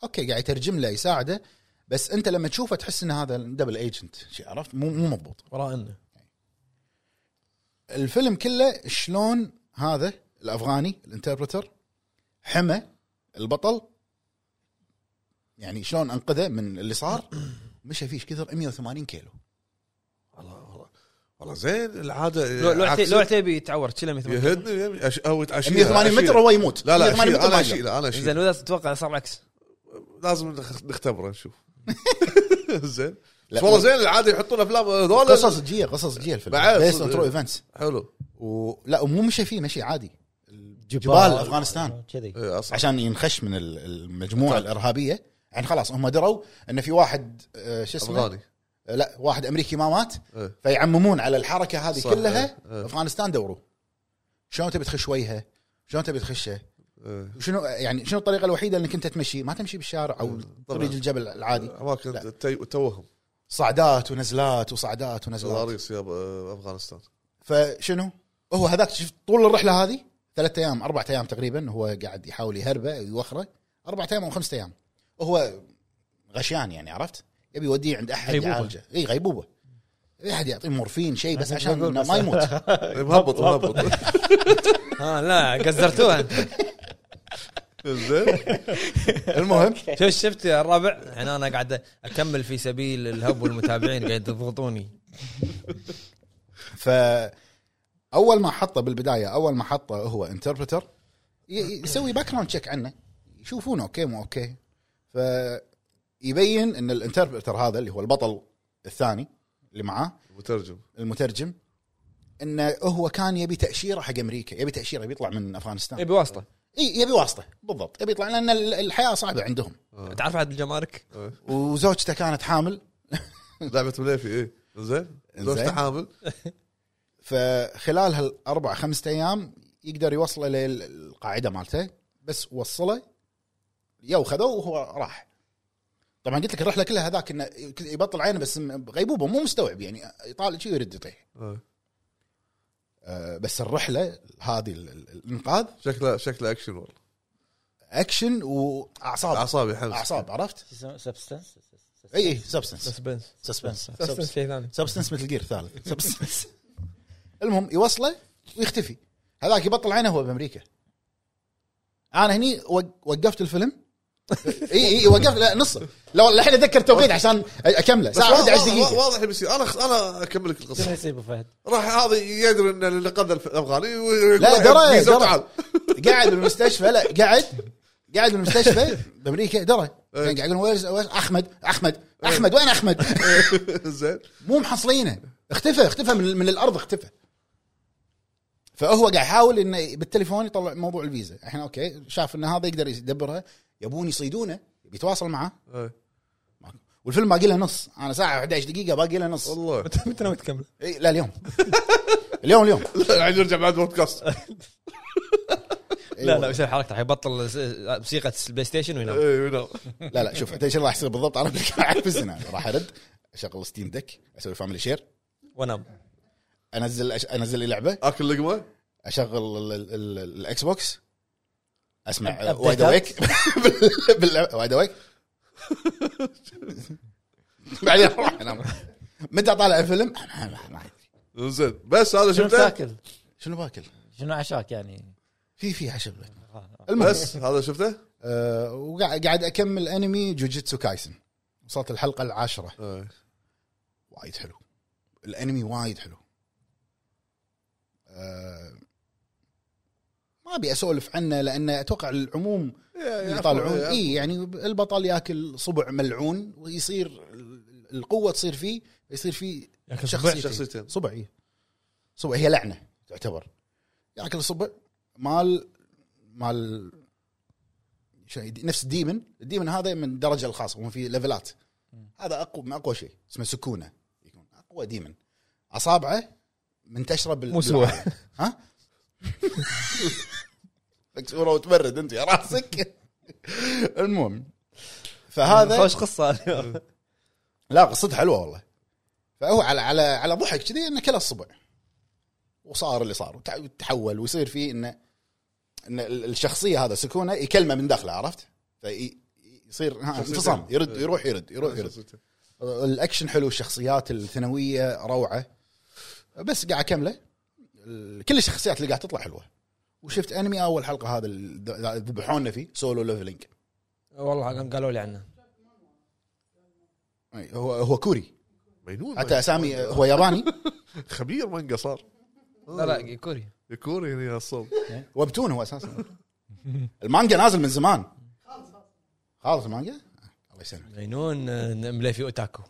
S3: اوكي قاعد يترجم له يساعده بس انت لما تشوفه تحس ان هذا دبل ايجنت عرفت مو مو مضبوط
S2: وراء انه
S3: الفيلم كله شلون هذا الافغاني الانتربرتر حمى البطل يعني شلون انقذه من اللي صار مشى فيه إيش كثر 180 كيلو
S1: والله والله زين العاده
S2: لو لو عتي-
S1: عكس-
S2: لو عتيبي يتعور تشيله مثل
S1: يهدني يبي أش- او اشيله
S3: 180 متر هو يموت
S1: لا لا
S3: 180
S1: أشيله،
S3: متر
S1: انا
S3: ما
S1: اشيله انا
S2: زين
S1: اشيله
S2: واذا تتوقع صار العكس
S1: لازم نخ- نختبره نشوف زين
S3: لا،
S1: بس والله زين العاده يحطون افلام هذول
S3: قصص جيه قصص جيه الفيلم
S1: بعد.
S3: بيست اون ترو ايفنتس
S1: حلو
S3: ولا ومو مشى فيه مشي عادي جبال افغانستان
S4: كذي
S1: إيه، أصلاً.
S3: عشان ينخش من ال- المجموعه
S1: طيب.
S3: الارهابيه يعني خلاص هم دروا ان في واحد آه، شو اسمه
S1: افغاني
S3: آه، لا واحد امريكي ما مات
S1: إيه.
S3: فيعممون على الحركه هذه
S1: صح،
S3: كلها
S1: إيه، إيه.
S3: افغانستان دوروا شلون تبي تخش وجهه شلون تبي تخشه
S1: إيه.
S3: شنو يعني شنو الطريقه الوحيده انك انت تمشي ما تمشي بالشارع او طريق الجبل العادي
S1: اماكن
S3: لا.
S1: التي- توهم
S3: صعدات ونزلات وصعدات ونزلات
S1: تضاريس يا ب- آه، افغانستان
S3: فشنو؟ هو هذاك شفت طول الرحله هذه ثلاثة ايام اربعة ايام تقريبا هو قاعد يحاول يهربه يوخره اربعة ايام او خمسة ايام هو غشيان يعني عرفت؟ يبي يوديه عند احد
S2: غيبوبة.
S3: يعالجه اي غيبوبه اي احد يعطيه مورفين شيء بس عشان
S4: بقول
S3: إنه
S4: بس.
S3: ما يموت
S1: إيه، مهبط مهبط
S2: ها لا قزرتوها انت
S1: زين
S3: المهم
S2: شو شفت يا الربع يعني انا قاعد اكمل في سبيل الهب والمتابعين قاعد يضغطوني
S3: ف اول ما حطه بالبدايه اول ما حطه هو انتربرتر يسوي باك جراوند تشيك عنه يشوفونه اوكي مو اوكي ف يبين ان الانتربرتر هذا اللي هو البطل الثاني اللي معاه
S1: مترجم
S3: المترجم انه هو كان يبي تاشيره حق امريكا يبي تاشيره يبي يطلع من افغانستان
S2: يبي واسطه
S3: اي يبي واسطه بالضبط يبي يطلع لان ال- الحياه صعبه عندهم
S2: تعرف عاد الجمارك
S3: وزوجته كانت حامل
S1: لعبه مليفي ايه زين
S3: إنزين.
S1: زوجته حامل
S3: فخلال هالاربع خمسة ايام يقدر يوصله للقاعده مالته بس وصله يو خذوه وهو راح طبعا قلت لك الرحله كلها هذاك انه يبطل عينه بس غيبوبه مو مستوعب يعني يطالع شي ويرد يطيح
S1: إيه.
S3: آه، بس الرحله هذه ال- ال- الانقاذ
S1: شكله شكله اكشن والله
S3: اكشن واعصاب
S1: اعصابي حمس
S3: اعصاب عرفت؟ إيه،
S4: سبستنس
S3: اي اي سبستنس
S2: سسبنس
S3: سسبنس
S2: سسبنس شيء ثاني
S3: سبستنس مثل جير ثالث سبستنس المهم يوصله ويختفي هذاك يبطل عينه هو بامريكا انا هني وق- وقفت الفيلم اي اي وقفت لا نصه لو الحين اتذكر التوقيت عشان اكمله
S1: بس
S3: ساعه
S1: واضح
S3: 11
S1: واضح-
S3: دقيقه
S1: واضح اللي بيصير انا انا اكمل لك
S4: شنو
S1: القصه
S4: يصير ابو فهد؟
S1: راح هذا يدري ان اللي قذى الافغاني
S3: لا درى درى
S1: تعال
S3: قاعد بالمستشفى لا قاعد قاعد بالمستشفى بامريكا درى قاعد يقول ويرز ويرز- احمد احمد احمد وين احمد؟
S1: زين
S3: مو محصلينه اختفى اختفى من, من الارض اختفى فهو قاعد يحاول انه بالتليفون يطلع موضوع الفيزا الحين اوكي شاف ان هذا يقدر يدبرها يبون يصيدونه بيتواصل معاه
S1: إيه.
S3: والفيلم باقي له نص انا ساعه 11 دقيقه باقي له نص
S1: والله
S2: متى ناوي تكمل؟
S3: إي، لا اليوم اليوم اليوم
S1: قاعد يرجع بعد بودكاست
S2: لا لا بيصير حركته راح يبطل س- موسيقى البلاي ستيشن وينام
S1: إيه، ينام.
S3: لا لا شوف انت ايش راح يصير بالضبط انا اعتبس هنا راح ارد اشغل ستيم دك اسوي فاميلي شير
S2: وانام
S3: انزل انزل لي لعبه
S1: اكل لقمه
S3: اشغل ال- ال- ال- الاكس بوكس اسمع
S4: أب-
S3: وايد
S4: updateات.
S3: اويك وايد اويك بعدين اروح انام متى اطالع الفيلم؟ ما- ما- ما أدري.
S1: زين بس هذا
S4: شنو
S1: شفته
S4: تاكل؟
S3: شنو باكل؟
S4: شنو عشاك يعني؟
S3: في في عشب المهم
S1: بس هذا شفته
S3: آه، وقاعد قاعد اكمل انمي جوجيتسو كايسن وصلت الحلقه العاشره
S1: إيه.
S3: وايد حلو الانمي وايد حلو آه، ما ابي اسولف عنه لان اتوقع العموم اللي يطالعون
S1: إيه.
S3: اي يعني البطل ياكل صبع ملعون ويصير ال- القوه تصير فيه يصير فيه
S2: ياكل
S3: صبع. شخصيتين.
S1: شخصيتين
S3: صبع إيه. صبع هي لعنه تعتبر ياكل صبع مال مال شو نفس الديمن الديمن هذا من الدرجه الخاصه هو في ليفلات هذا اقوى من اقوى شيء اسمه سكونه يكون اقوى ديمن اصابعه منتشره بال
S2: مو سوى.
S3: بالعالم. ها لك صوره وتبرد انت يا راسك المهم فهذا
S2: خوش قصه اليوم.
S3: لا قصته حلوه والله فهو على على على ضحك كذي انه كله الصبع وصار اللي صار وتع- وتحول ويصير فيه انه ان ال- الشخصيه هذا سكونه يكلمه من داخله عرفت؟ فيصير انفصام يرد يروح يرد يروح يرد
S1: شخصيتين.
S3: الاكشن حلو الشخصيات الثانويه روعه بس قاعد اكمله ال- كل الشخصيات اللي قاعد تطلع حلوه وشفت انمي اول حلقه هذا اللي ذبحونا فيه سولو ليفلينج
S2: والله قالوا لي عنه
S3: أي، هو هو كوري
S1: مجنون
S3: حتى اسامي هو ياباني
S1: خبير مانجا صار
S2: لا لا كوري
S1: يكون هنا الصوب
S3: وبتون هو اساسا المانجا نازل من زمان خالص المانجا الله يسلمك
S2: عينون آه، ملفي اوتاكو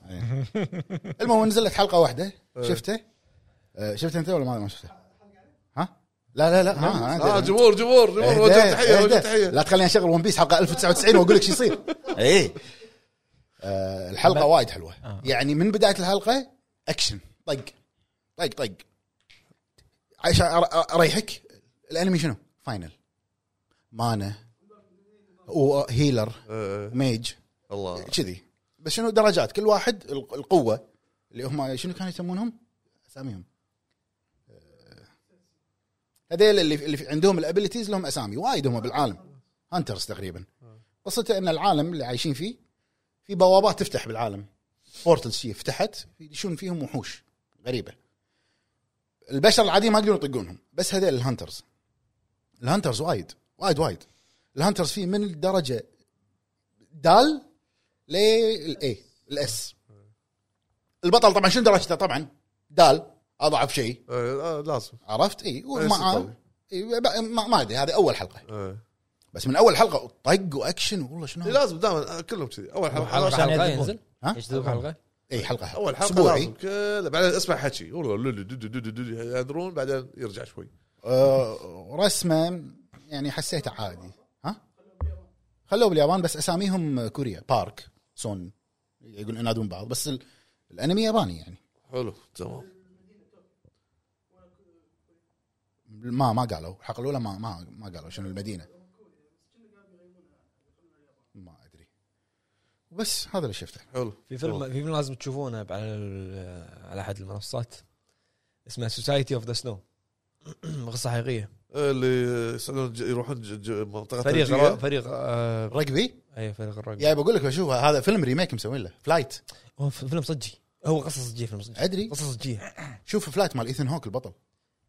S3: المهم نزلت حلقه واحده شفته آه، شفته انت ولا ما ما شفته؟ ها؟ لا لا لا ها، أنا
S1: اه
S3: أدري.
S1: جمهور جمهور جمهور وجه
S3: اهدأ،
S1: تحيه وجه
S3: اهدأ.
S1: تحيه
S3: إيه، لا تخليني اشغل ون بيس حلقه 1099 واقول لك شو يصير اي آه، الحلقه وايد حلوه يعني من بدايه الحلقه اكشن طق طق طق عشان أر- اريحك الانمي شنو؟ فاينل مانا وهيلر
S1: آه،
S3: ميج
S1: الله
S3: كذي بس شنو درجات كل واحد الق- القوه اللي هم شنو كانوا يسمونهم؟ اساميهم آه، هذيل اللي اللي في- عندهم الابيلتيز لهم اسامي وايد هم بالعالم هانترز تقريبا قصته ان العالم اللي عايشين فيه في بوابات تفتح بالعالم بورتلز شي فتحت يدشون فيهم وحوش غريبه البشر العاديين ما يقدرون يطقونهم بس هذيل الهانترز الهانترز وايد وايد وايد الهانترز فيه من الدرجه دال للاي الاس البطل طبعا شنو درجته طبعا دال اضعف شيء
S1: آه، آه، لازم
S3: عرفت اي
S1: إيه،
S3: ومع
S1: صدق.
S3: إي، ما- ما ما ادري هذه اول حلقه
S1: آه.
S3: بس من اول حلقه طق واكشن والله
S1: إيه،
S3: شنو
S1: لازم دائما آه، كلهم كذي اول حلقه
S2: عشان
S4: يذبون.
S2: ينزل
S3: ها؟
S4: يجذبهم.
S2: حلقه
S3: اي حلقه
S1: اول حلقه لازم
S3: اسبوعي
S1: كله بعدين اسمع حكي والله لولو دو- دو- دو- دو- دو- يهدرون بعدين يرجع شوي
S3: آه رسمه يعني حسيته عادي ها خلوه باليابان بس اساميهم كوريا بارك سون يقول ينادون بعض بس ال- الانمي ياباني يعني
S1: حلو تمام
S3: ما ما قالوا الحلقه الاولى ما ما ما قالوا شنو المدينه ما ادري بس هذا اللي شفته
S1: حلو
S2: في فيلم في فيلم لازم تشوفونه على على احد المنصات اسمه سوسايتي اوف ذا سنو قصه حقيقيه
S1: اللي يصعدون ج- يروحون ج- ج- منطقه
S2: فريق
S1: ثلجية.
S2: را- فريق آه،
S3: رقبي
S2: اي فريق الرقم
S3: يا بقول لك بشوف هذا فيلم ريميك مسوين له فلايت
S2: هو ف- فيلم صجي هو قصه صجيه فيلم صجي
S3: ادري
S2: قصه صجيه
S3: شوف فلايت مال ايثن هوك البطل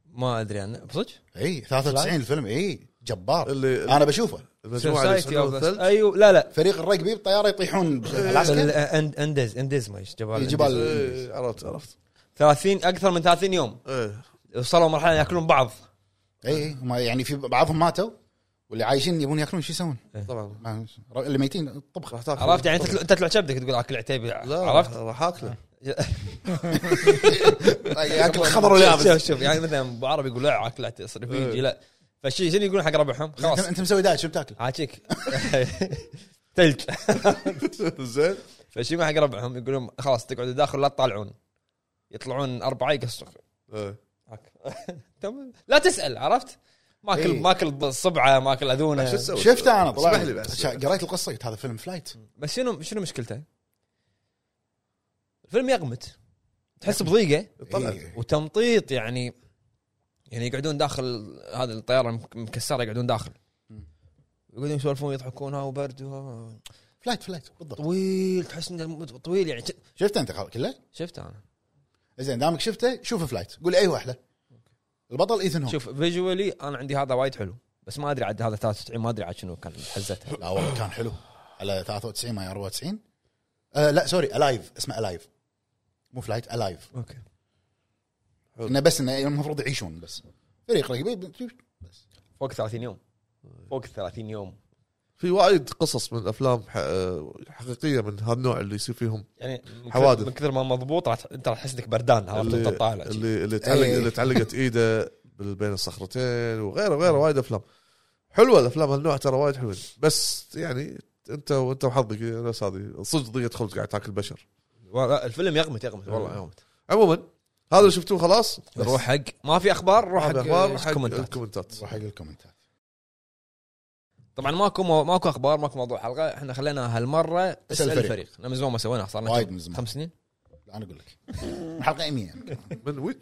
S2: ما ادري عنه صدق
S3: اي 93 الفيلم اي جبار
S1: اللي
S2: آه،
S3: انا بشوفه
S1: المجموعه اللي
S2: سوسايتي اوف
S1: يصعدون
S2: ذا
S1: الثلج
S2: ايوه لا لا
S3: فريق الرقبي بالطياره يطيحون
S2: بال-
S3: بالألاسكا.
S2: آه، أند- انديز انديز ما إيش، جبال
S3: إيه،
S2: أنديز.
S3: جبال.
S1: إيه، عرفت عرفت
S2: 30 اكثر من 30 يوم
S1: إيه.
S2: وصلوا مرحله ياكلون بعض
S3: اي إي، هم يعني في بعضهم ماتوا واللي عايشين يبون ياكلون شو يسوون؟
S1: طبعا
S3: ما- اللي ميتين الطبخ
S1: راح تاكل
S2: إيه. عرفت يعني انت تل- انت تطلع كبدك تقول اكل عتيبي
S1: لا
S2: عرفت
S1: راح اكله
S3: ياكل خضر ويابس
S2: شوف شوف يعني مثلا بعربي يقول لا اكل عتيبي صرفيجي لا فشي شنو يقولون حق ربعهم خلاص
S3: انت مسوي دايت شو بتاكل؟
S2: عاجيك ثلج
S1: زين
S2: فشي ما حق ربعهم يقولون خلاص تقعدوا داخل لا تطالعون يطلعون اربعه يقصوا
S1: إيه.
S2: هاك. تم- لا تسال عرفت؟ ماكل
S3: إيه.
S2: ماكل صبعه ماكل اذونه
S1: شو تسوي؟
S3: شفته انا طلع
S1: اسمح لي بس
S3: شا- قريت القصه قلت هذا فيلم فلايت
S2: بس شنو شنو مشكلته؟ الفيلم يغمت تحس بضيقه
S1: طبعا
S3: إيه.
S2: وتمطيط يعني يعني يقعدون داخل هذا الطياره المك- مكسره يقعدون داخل يقعدون يسولفون يضحكون ها وبرد ها.
S3: فلايت فلايت بالضبط
S2: طويل تحس انه الم- طويل يعني ش-
S3: شفته انت خل- كله؟
S2: شفت انا
S3: زين دامك شفته شوف فلايت قول اي واحده البطل ايثن هوك
S2: شوف فيجولي انا عندي هذا وايد حلو بس ما ادري عاد هذا 93 ما ادري عاد شنو كان حزتها
S3: لا والله كان حلو على 93 ما هي 94 آه لا سوري الايف اسمه الايف مو فلايت الايف
S2: اوكي
S3: انه بس انه المفروض يعيشون بس فريق رقبي بس
S2: فوق 30 يوم فوق 30 يوم
S1: في وايد قصص من الافلام ح- حقيقيه من هالنوع اللي يصير فيهم
S2: يعني من كثر-
S1: حوادث.
S2: من كثر ما مضبوط راح انت راح تحس انك بردان عرفت
S1: اللي
S2: انت طالع
S1: اللي اللي تعلق
S3: إيه.
S1: اللي تعلقت ايده بال- بين الصخرتين وغيره وغيره وايد افلام حلوه الافلام هالنوع ترى وايد حلوه بس يعني انت وانت وحظك نفس هذه صدق ضيقه خبز قاعد تاكل بشر
S2: والله الفيلم يغمت يغمت والله يغمت
S1: عموما هذا اللي شفتوه خلاص
S2: نروح إيه. حق ما في اخبار نروح
S1: روح
S2: حق
S1: اخبار
S2: آه،
S1: حق
S2: كومنتات
S1: الكومنتات
S3: روح حق الكومنتات
S2: طبعا ماكو مو- ماكو اخبار ماكو موضوع حلقه احنا خلينا هالمره اسال
S3: الفريق.
S2: الفريق احنا من زمان ما سويناها صار
S3: وايد
S2: لنا
S3: من زمان.
S2: خمس سنين
S3: انا اقول لك حلقه 100 يعني.
S1: من وين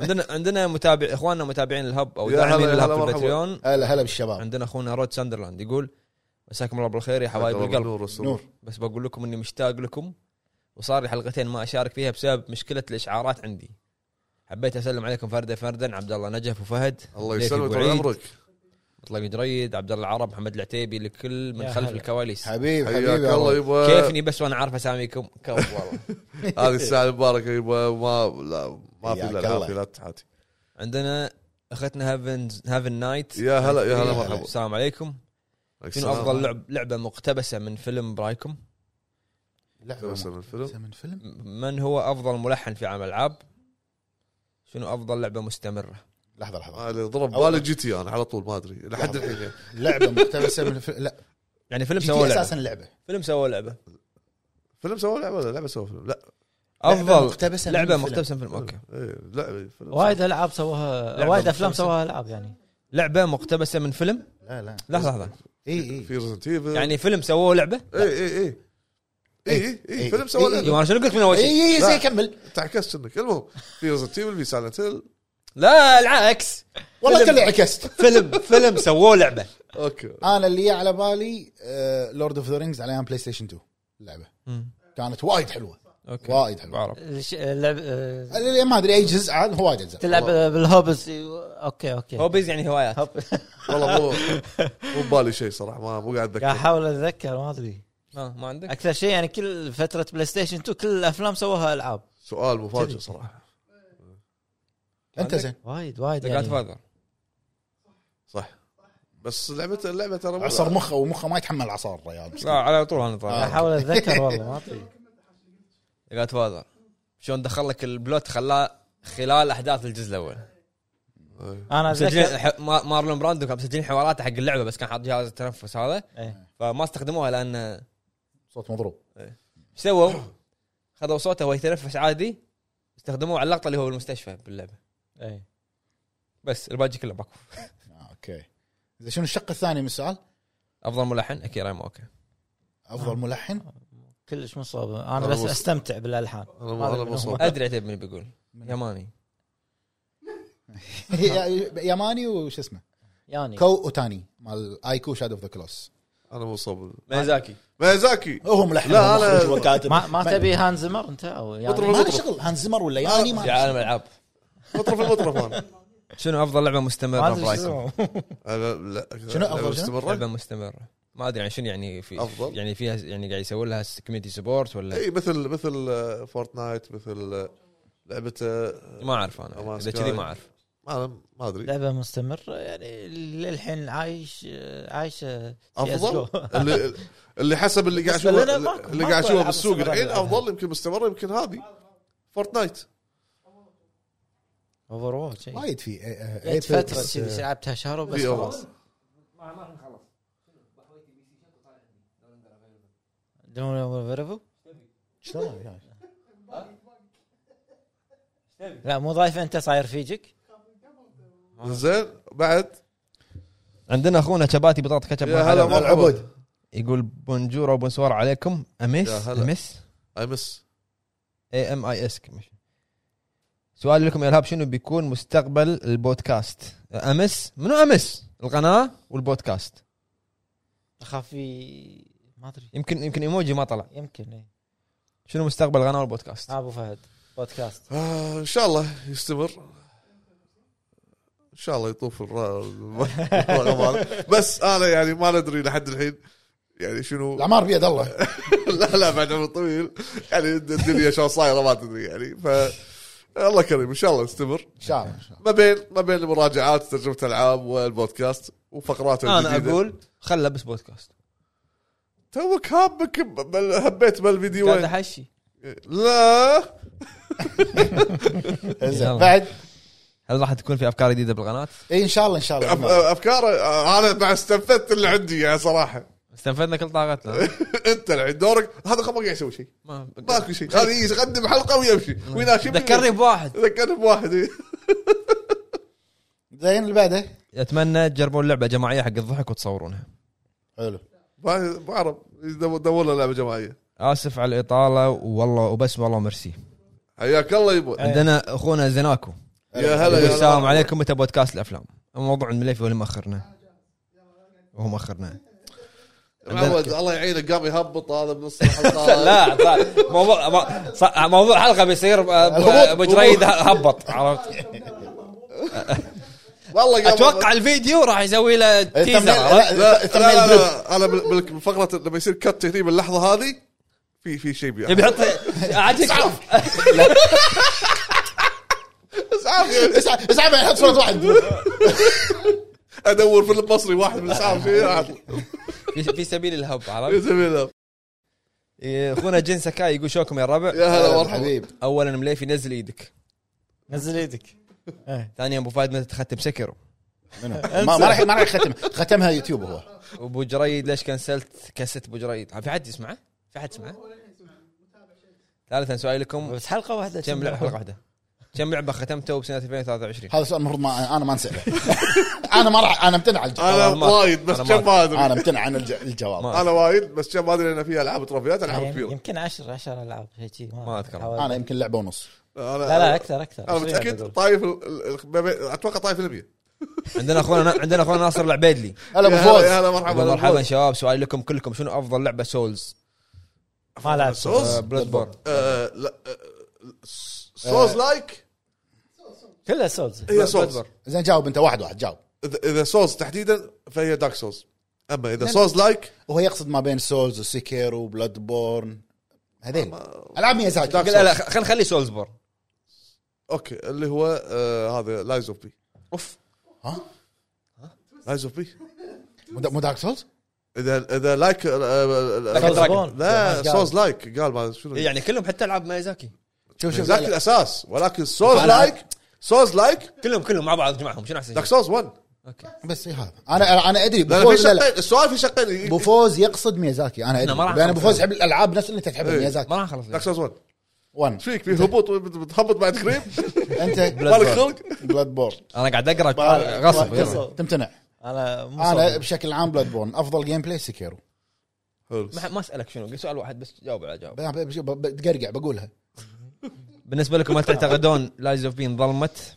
S2: عندنا عندنا متابع اخواننا متابعين الهب او
S1: يا
S2: داعمين
S1: هلا- يا
S2: الهب
S1: هلا
S2: في
S1: مرحبا.
S2: البتريون
S3: هلا هلا بالشباب
S2: عندنا اخونا رود ساندرلاند يقول مساكم الله بالخير يا حبايب
S1: الله
S2: القلب
S1: بالنور والسرور.
S3: نور
S2: بس بقول لكم اني مشتاق لكم وصار لي حلقتين ما اشارك فيها بسبب مشكله الاشعارات عندي حبيت اسلم عليكم فردا فردا عبد الله نجف وفهد
S1: الله
S2: ليث
S1: يسلمك
S2: أبو
S1: طول
S2: عيد،
S1: عمرك
S2: مطلق جريد عبد الله العرب محمد العتيبي لكل من
S4: يا
S2: خلف
S4: هلا.
S2: الكواليس
S3: حبيب حبيبي
S1: حياك الله يبا
S2: كيفني بس وانا عارف اساميكم كفو والله
S1: هذه الساعه المباركه يبا ما لا ما في
S3: حياك
S1: لا العافيه
S3: الله.
S1: لا تحاتي
S2: عندنا اختنا هافن هافن نايت
S1: يا هلا يا هلا
S3: يا
S1: مرحبا
S2: السلام إيه، عليكم شنو افضل لعب لعبه مقتبسه من فيلم برايكم؟
S3: لعبه
S1: مقتبسة من فيلم؟
S3: مقتبسة من فيلم
S2: م- من هو افضل ملحن في عالم الالعاب؟ شنو افضل لعبه مستمره؟
S3: لحظه لحظه
S1: اللي يعني ضرب
S3: أول-
S1: بالي جي تي انا على طول ما ادري لحد الحين يعني.
S3: لعبه مقتبسه من فيلم لا
S2: يعني فيلم
S3: جي
S2: سووا
S3: تي
S2: لعبه
S3: اساسا لعبه
S2: فيلم سووا لعبه
S1: فيلم سووا لعبه ولا لعبه سووا فيلم؟ لا
S2: افضل
S3: مقتبسة من
S2: لعبه
S3: فيلم.
S2: مقتبسه من فيلم اوكي
S1: إيه، لعبه فيلم
S4: وايد
S1: سووا.
S4: العاب سووها
S2: لعبة
S4: وايد افلام
S2: مختلفة.
S4: سووها العاب يعني
S2: لعبه مقتبسه من فيلم
S3: لا لا
S2: لحظه لحظه
S3: اي اي
S1: في إيه، ريزنت ايفل
S2: يعني فيلم سووا لعبه؟
S1: اي اي اي اي اي
S3: إيه.
S1: فيلم سووا
S3: إيه.
S1: لعبه
S2: ايوه انا شنو قلت من اول شيء؟
S3: اي اي زي
S1: لا.
S3: كمل
S1: تعكس كأنك المهم في ريزنت ايفل في سايلنت هيل
S2: لا العكس
S3: والله
S2: فيلم.
S3: كله عكست
S2: فيلم فيلم سووه لعبه
S1: اوكي
S3: انا اللي على بالي آه، لورد اوف ذا رينجز على ايام بلاي ستيشن 2 اللعبه كانت وايد حلوه
S2: اوكي
S3: وايد حلوه
S2: بعرف
S4: الش- اللعب آه،
S3: اللي ما ادري اي جزء عاد هو وايد اجزاء
S4: تلعب بالهوبز اوكي اوكي
S2: هوبيز يعني هوايات
S4: هوب.
S1: والله مو مو ببالي شيء صراحه ما مو قاعد
S4: قاعد
S1: اتذكر
S4: احاول اتذكر ما ادري
S2: ما, ما عندك؟
S4: اكثر شيء يعني كل فتره بلاي ستيشن 2 كل الافلام سووها العاب
S1: سؤال مفاجئ صراحه
S3: انت زين
S4: وايد وايد
S2: ذا جاد
S4: يعني
S2: فاذر
S1: صح بس لعبه اللعبه ترى مو-
S3: عصر مخه ومخه ما يتحمل عصار الرجال
S2: لا على طول انا طالع
S3: آه.
S4: احاول اتذكر والله ما ادري
S2: ذا جاد فاذر شلون دخل لك البلوت خلاه خلال احداث الجزء الاول
S4: انا
S2: مسجلين
S4: اتذكر
S2: ح- ما- مارلون براندو كان مسجلين حواراته حق اللعبه بس كان حاط جهاز التنفس هذا
S4: إيه.
S2: فما استخدموها لان
S3: صوت مضروب
S2: ايش سووا؟ خذوا صوته وهو يتنفس عادي استخدموه على اللقطه اللي هو بالمستشفى باللعبه
S4: إيه.
S2: بس الباقي كله باكو
S3: آه، اوكي زين شنو الشق الثاني من السؤال؟
S2: افضل ملحن اكيرا اوكي
S3: افضل ملحن
S4: كلش مصاب انا
S1: أنا
S4: بس
S1: مصاب.
S4: استمتع بالالحان
S1: انا مو انا مو صح.
S2: ادري عتيب من بيقول يماني
S3: يا- يماني وش اسمه
S4: يعني
S3: كو اوتاني مال ايكو شاد اوف ذا كلوس
S1: انا مو صبر
S2: ميزاكي
S1: ميازاكي
S3: هو ملحن
S1: لا،
S3: هو
S1: أنا-
S3: مخرج وكاتب
S4: ما, ما
S3: ما-
S4: تبي هانز زمر انت او يعني
S1: مطرب.
S3: ما له شغل هانز زمر ولا ياني ما
S2: في
S3: له
S2: عالم الالعاب
S1: مطرف المطرف انا
S2: شنو افضل لعبه مستمره
S4: ما ادري شو
S2: برايكم؟
S4: اسمه.
S1: أنا لا
S3: شنو أفضل
S1: لعبة
S3: شنو؟
S1: مستمره
S2: لعبه مستمره ما ادري عن شنو يعني في
S1: أفضل. إيه.
S2: يعني فيها يعني قاعد يسوي لها كوميدي سبورت ولا
S4: نعم.
S1: اي مثل مثل آه، فورتنايت مثل آه، لعبه آه،
S2: ما اعرف انا
S1: أمان
S2: اذا
S1: سكاي.
S2: كذي ما اعرف
S1: ما ما ادري
S4: لعبه مستمره يعني للحين عايش عايش
S1: افضل اللي اللي حسب اللي قاعد
S4: بالنسبة
S1: اشوفه
S4: لنا ماكو-
S1: اللي
S4: ماكو
S1: قاعد اشوفه
S4: ألعاب
S1: بالسوق
S4: مستمرة يعني.
S1: الحين
S4: بالألعاب.
S1: افضل يمكن مستمره يمكن هذه فورتنايت
S4: اوفر واتش
S3: وايد في آه، آه،
S1: إيه،
S4: فتره
S3: Apex،
S4: إيه. كذي لعبتها شهر وبس
S1: في
S4: خلاص
S1: أفضل.
S4: دون فيرفو
S3: شلون يعني؟
S4: لا مو ضايفه انت صاير فيجك
S1: زين بعد
S2: عندنا اخونا شباتي بطاطا كاتشب
S1: يا هلا
S3: هلا
S1: مرحبا
S3: العبود.
S2: يقول بونجور وبونسوار عليكم
S1: يا
S2: امس
S1: هلا.
S2: امس
S1: اي مس
S2: اي ام اي اس سؤالي لكم يا الهاب شنو بيكون مستقبل البودكاست؟ امس منو امس؟ القناه والبودكاست
S4: اخاف في ما ادري
S2: يمكن يمكن ايموجي ما طلع
S4: يمكن ايه
S2: شنو مستقبل القناه والبودكاست؟
S4: ها ابو فهد بودكاست
S1: آه، ان شاء الله يستمر ان شاء الله يطوف الر- الغمال بس انا يعني ما ندري لحد الحين يعني شنو
S3: العمار بيد الله
S1: لا لا بعد عمر طويل يعني الدنيا شلون صايره ما تدري يعني ف الله كريم ان شاء الله يستمر
S3: ان شاء الله إن شاء الله.
S1: ما بين ما بين المراجعات ترجمه العاب والبودكاست وفقرات
S2: انا
S1: الجديدة.
S2: اقول خله بس بودكاست
S1: توك هابك ب- بل- هبيت بالفيديو
S2: قاعد
S1: وين؟
S2: احشي
S1: لا
S3: زين
S2: يلا.
S3: بعد
S2: هل راح تكون في افكار جديده بالقناه؟
S3: اي ان شاء الله ان شاء
S1: أف-
S3: الله
S1: افكار آه، انا مع استنفذت اللي عندي يعني صراحه
S2: استنفذنا كل طاقتنا
S1: انت الحين دورك هذا خب ما قاعد يسوي شيء
S2: ما
S1: ماكو شيء هذا يقدم حلقه ويمشي ويناشبني
S2: ذكرني بواحد
S1: ذكرني بواحد إيه.
S3: زين اللي بعده
S2: اتمنى تجربون لعبه جماعيه حق الضحك وتصورونها
S3: حلو
S1: ما ما اعرف دور دور لنا لعبه جماعيه
S2: اسف على الاطاله والله وبس والله ميرسي
S1: حياك الله
S2: آه.
S1: يبا
S2: عندنا اخونا زناكو
S1: يا هلا
S2: يقول
S1: يا
S2: السلام
S1: هلا.
S2: عليكم متى بودكاست الافلام الموضوع المليفي ولا مأخرنا وهو مأخرنا
S1: معود الله يعينك قام يهبط هذا بنص الحلقه
S2: لا صار- موضوع مو- صار- موضوع حلقه بيصير ب- ب- ابو جريد هبط عرفت
S1: والله قام
S2: اتوقع الفيديو راح يسوي له
S3: الثمنيل-
S2: تيزر عرفت؟
S3: إيه،
S1: لا
S3: لا لا
S1: لا لا,
S3: لا
S1: لا انا بال- بال- بالفقره لما يصير كت هني باللحظه هذه في في شيء
S2: يبي
S1: بيعرف
S2: يحط عاجبك
S3: اسحب اسحب يحط صوره واحد
S1: ادور في المصري واحد من الاسعاف شيء
S2: في سبيل الهب
S1: يا
S2: عرفت؟
S1: سبيل الله
S2: إيه، اخونا جن سكاي يقول شوكم يا الربع
S1: يا هلا مرحبا
S3: حبيب
S2: اولا مليفي نزل ايدك
S4: نزل يدك إيه.
S2: ثانيا ابو فهد متى تختم سكر
S3: منو؟ ما ما راح ما راح يختمها ختمها يوتيوب هو
S2: وابو جريد ليش كنسلت كاسيت ابو جريد؟ في حد يسمعه؟ في حد يسمعه؟ ثالثا سؤالكم
S4: بس حلقه واحده
S2: كم لعبه حلقه واحده؟ كم لعبه ختمته بسنه 2023؟
S3: هذا سؤال المفروض ما انا ما نساله انا ما راح انا امتنع عن الجواب
S1: انا
S2: والله ما-
S1: وايد بس
S2: أنا
S1: كم ما
S3: انا
S1: ادري
S3: امتنع عن الج- الجواب
S2: ما
S1: انا وايد بس كم ما ادري ان فيها العاب تروفيات
S4: يعني
S1: العاب كبيره
S4: يمكن 10 10 العاب شيء شيء
S2: ما أذكر.
S4: حاول-
S3: انا يمكن لعبه ونص
S1: انا
S4: لا لا اكثر اكثر
S1: انا
S4: 20 لعبة
S1: متاكد
S4: أقول.
S1: طايف ال- ال- ال- اتوقع طايف الابيه
S2: عندنا اخونا عندنا اخونا ناصر العبيدلي
S3: هلا ابو
S1: يا هلا- يا
S3: فوز
S1: هلا
S2: يقول
S1: مرحبا
S2: مرحبا شباب سؤالي لكم كلكم شنو افضل لعبه سولز؟
S4: ما لعب
S1: سوز
S2: آه، بلاد بورن
S1: آه، لا، آه، س-
S2: آه،
S1: سوز لايك
S4: كلها سولز
S2: إيه.
S1: هي سوز
S3: زين جاوب انت واحد واحد جاوب
S1: اذا إذا سوز تحديدا فهي دارك سوز اما اذا سوز لايك
S3: وهو يقصد ما بين سولز وسكير وبلاد بورن هذيل العاب ميازاكي
S2: لا لا خل خلي سولز بورن
S1: اوكي اللي هو آه، هذا لايز اوف بي
S2: اوف
S3: ها
S1: لايز اوف بي
S3: مو دا- مو دارك سولز؟
S1: اذا اذا لايك آه، آه، آه،
S2: Like a Dragon.
S4: Soulsborne.
S1: لا
S4: Soulsborne.
S1: سوز لايك قال ما شنو
S2: يعني كلهم حتى العاب مايزاكي
S3: شوف شوف
S1: ذاك
S3: لا، لا.
S1: الاساس ولكن سوز
S3: أنا-
S1: لايك سوز لايك
S2: كلهم كلهم مع بعض جمعهم شنو احسن
S1: دارك
S2: شيء؟
S1: سولز 1
S3: بس إيه هذا انا انا ادري
S1: لا لا، في
S3: بفوز لا لا
S1: شقين السؤال في شقين
S3: ابو فوز يقصد ميازاكي انا ادري
S2: ما راح
S3: لان ابو
S2: أخلص.
S3: فوز يحب الالعاب نفس اللي انت تحبها
S1: إيه.
S3: ميازاكي
S2: ما راح اخلص
S1: دارك سولز 1
S3: 1
S1: ايش فيك في هبوط بتهبط بعد كريم
S3: انت
S1: مالك خلق
S3: بلاد بورن
S2: انا قاعد اقرا آه، غصب يلا.
S3: تمتنع
S4: انا مو
S3: انا
S4: انا
S3: بشكل عام بلاد بورن افضل جيم بلاي سكيرو
S1: حلو.
S2: ما ما اسالك شنو قل سؤال واحد بس جاوب على جاوب
S3: ب- ب- ب- بتقرقع بقولها
S2: بالنسبه لكم هل تعتقدون لايز اوف بين ظلمت؟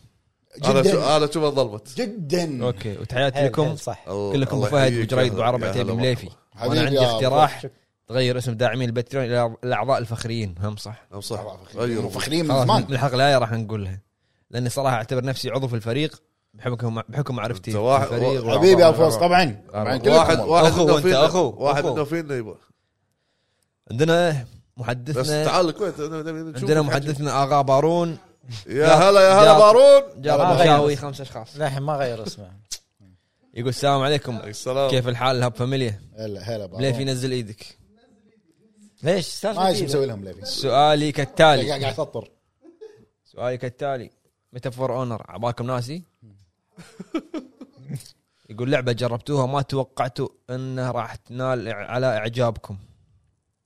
S1: انا شو
S3: جدا
S1: انا اشوفها انظلمت
S3: جدا
S2: اوكي وتحياتي لكم
S4: صح
S1: الله-
S2: كلكم ابو
S1: الله
S2: فهد
S1: يحييك.
S2: وجريد وعرب
S1: يا هلا
S2: عتيبي
S1: مرحبا.
S2: مليفي
S3: حبيبي
S2: وانا عندي
S3: يا
S2: اقتراح تغير اسم داعمين البتريون الى الاعضاء الفخريين هم صح
S1: نعم صح
S3: غيروا
S1: غيروا
S3: أيوه. فخرين من
S2: أيوه. خلاص من
S3: زمان
S2: الحلقه الجايه راح نقولها لاني صراحه اعتبر نفسي عضو في الفريق بحكم بحكم معرفتي
S1: أنت واحد-
S2: بالفريق وأعضاء
S3: حبيبي يا
S2: الفريق.
S3: فوز طبعا طبعا
S2: واحد-
S3: كلكم
S1: واحد
S3: والله.
S1: واحد
S2: أخو
S1: منهم
S2: أنت،
S1: فينا
S2: أخو،
S1: واحد
S2: أخو.
S1: منهم فينا يبا
S2: عندنا
S1: بس
S2: محدثنا
S1: تعال الكويت أنا- أنا- أنا-
S2: عندنا
S1: شوف.
S2: محدثنا اغا بارون
S1: يا هلا يا هلا
S2: جاب-
S1: بارون
S2: جاب
S4: آه،
S2: مشاوي
S4: غير.
S2: خمس اشخاص
S4: للحين ما غير اسمه
S2: يقول السلام عليكم
S1: السلام
S2: كيف الحال هاب فاميليا
S3: هلا هلا بابا.
S2: ليه في نزل ايدك
S4: ليش سالفه
S3: ما ايش
S4: كذا؟
S3: مسوي لهم ليفي
S2: سؤالي كالتالي
S3: قاعد قاعد اسطر
S2: سؤالي كالتالي متى فور اونر عبالكم ناسي يقول لعبه جربتوها ما توقعتوا انها راح تنال على اعجابكم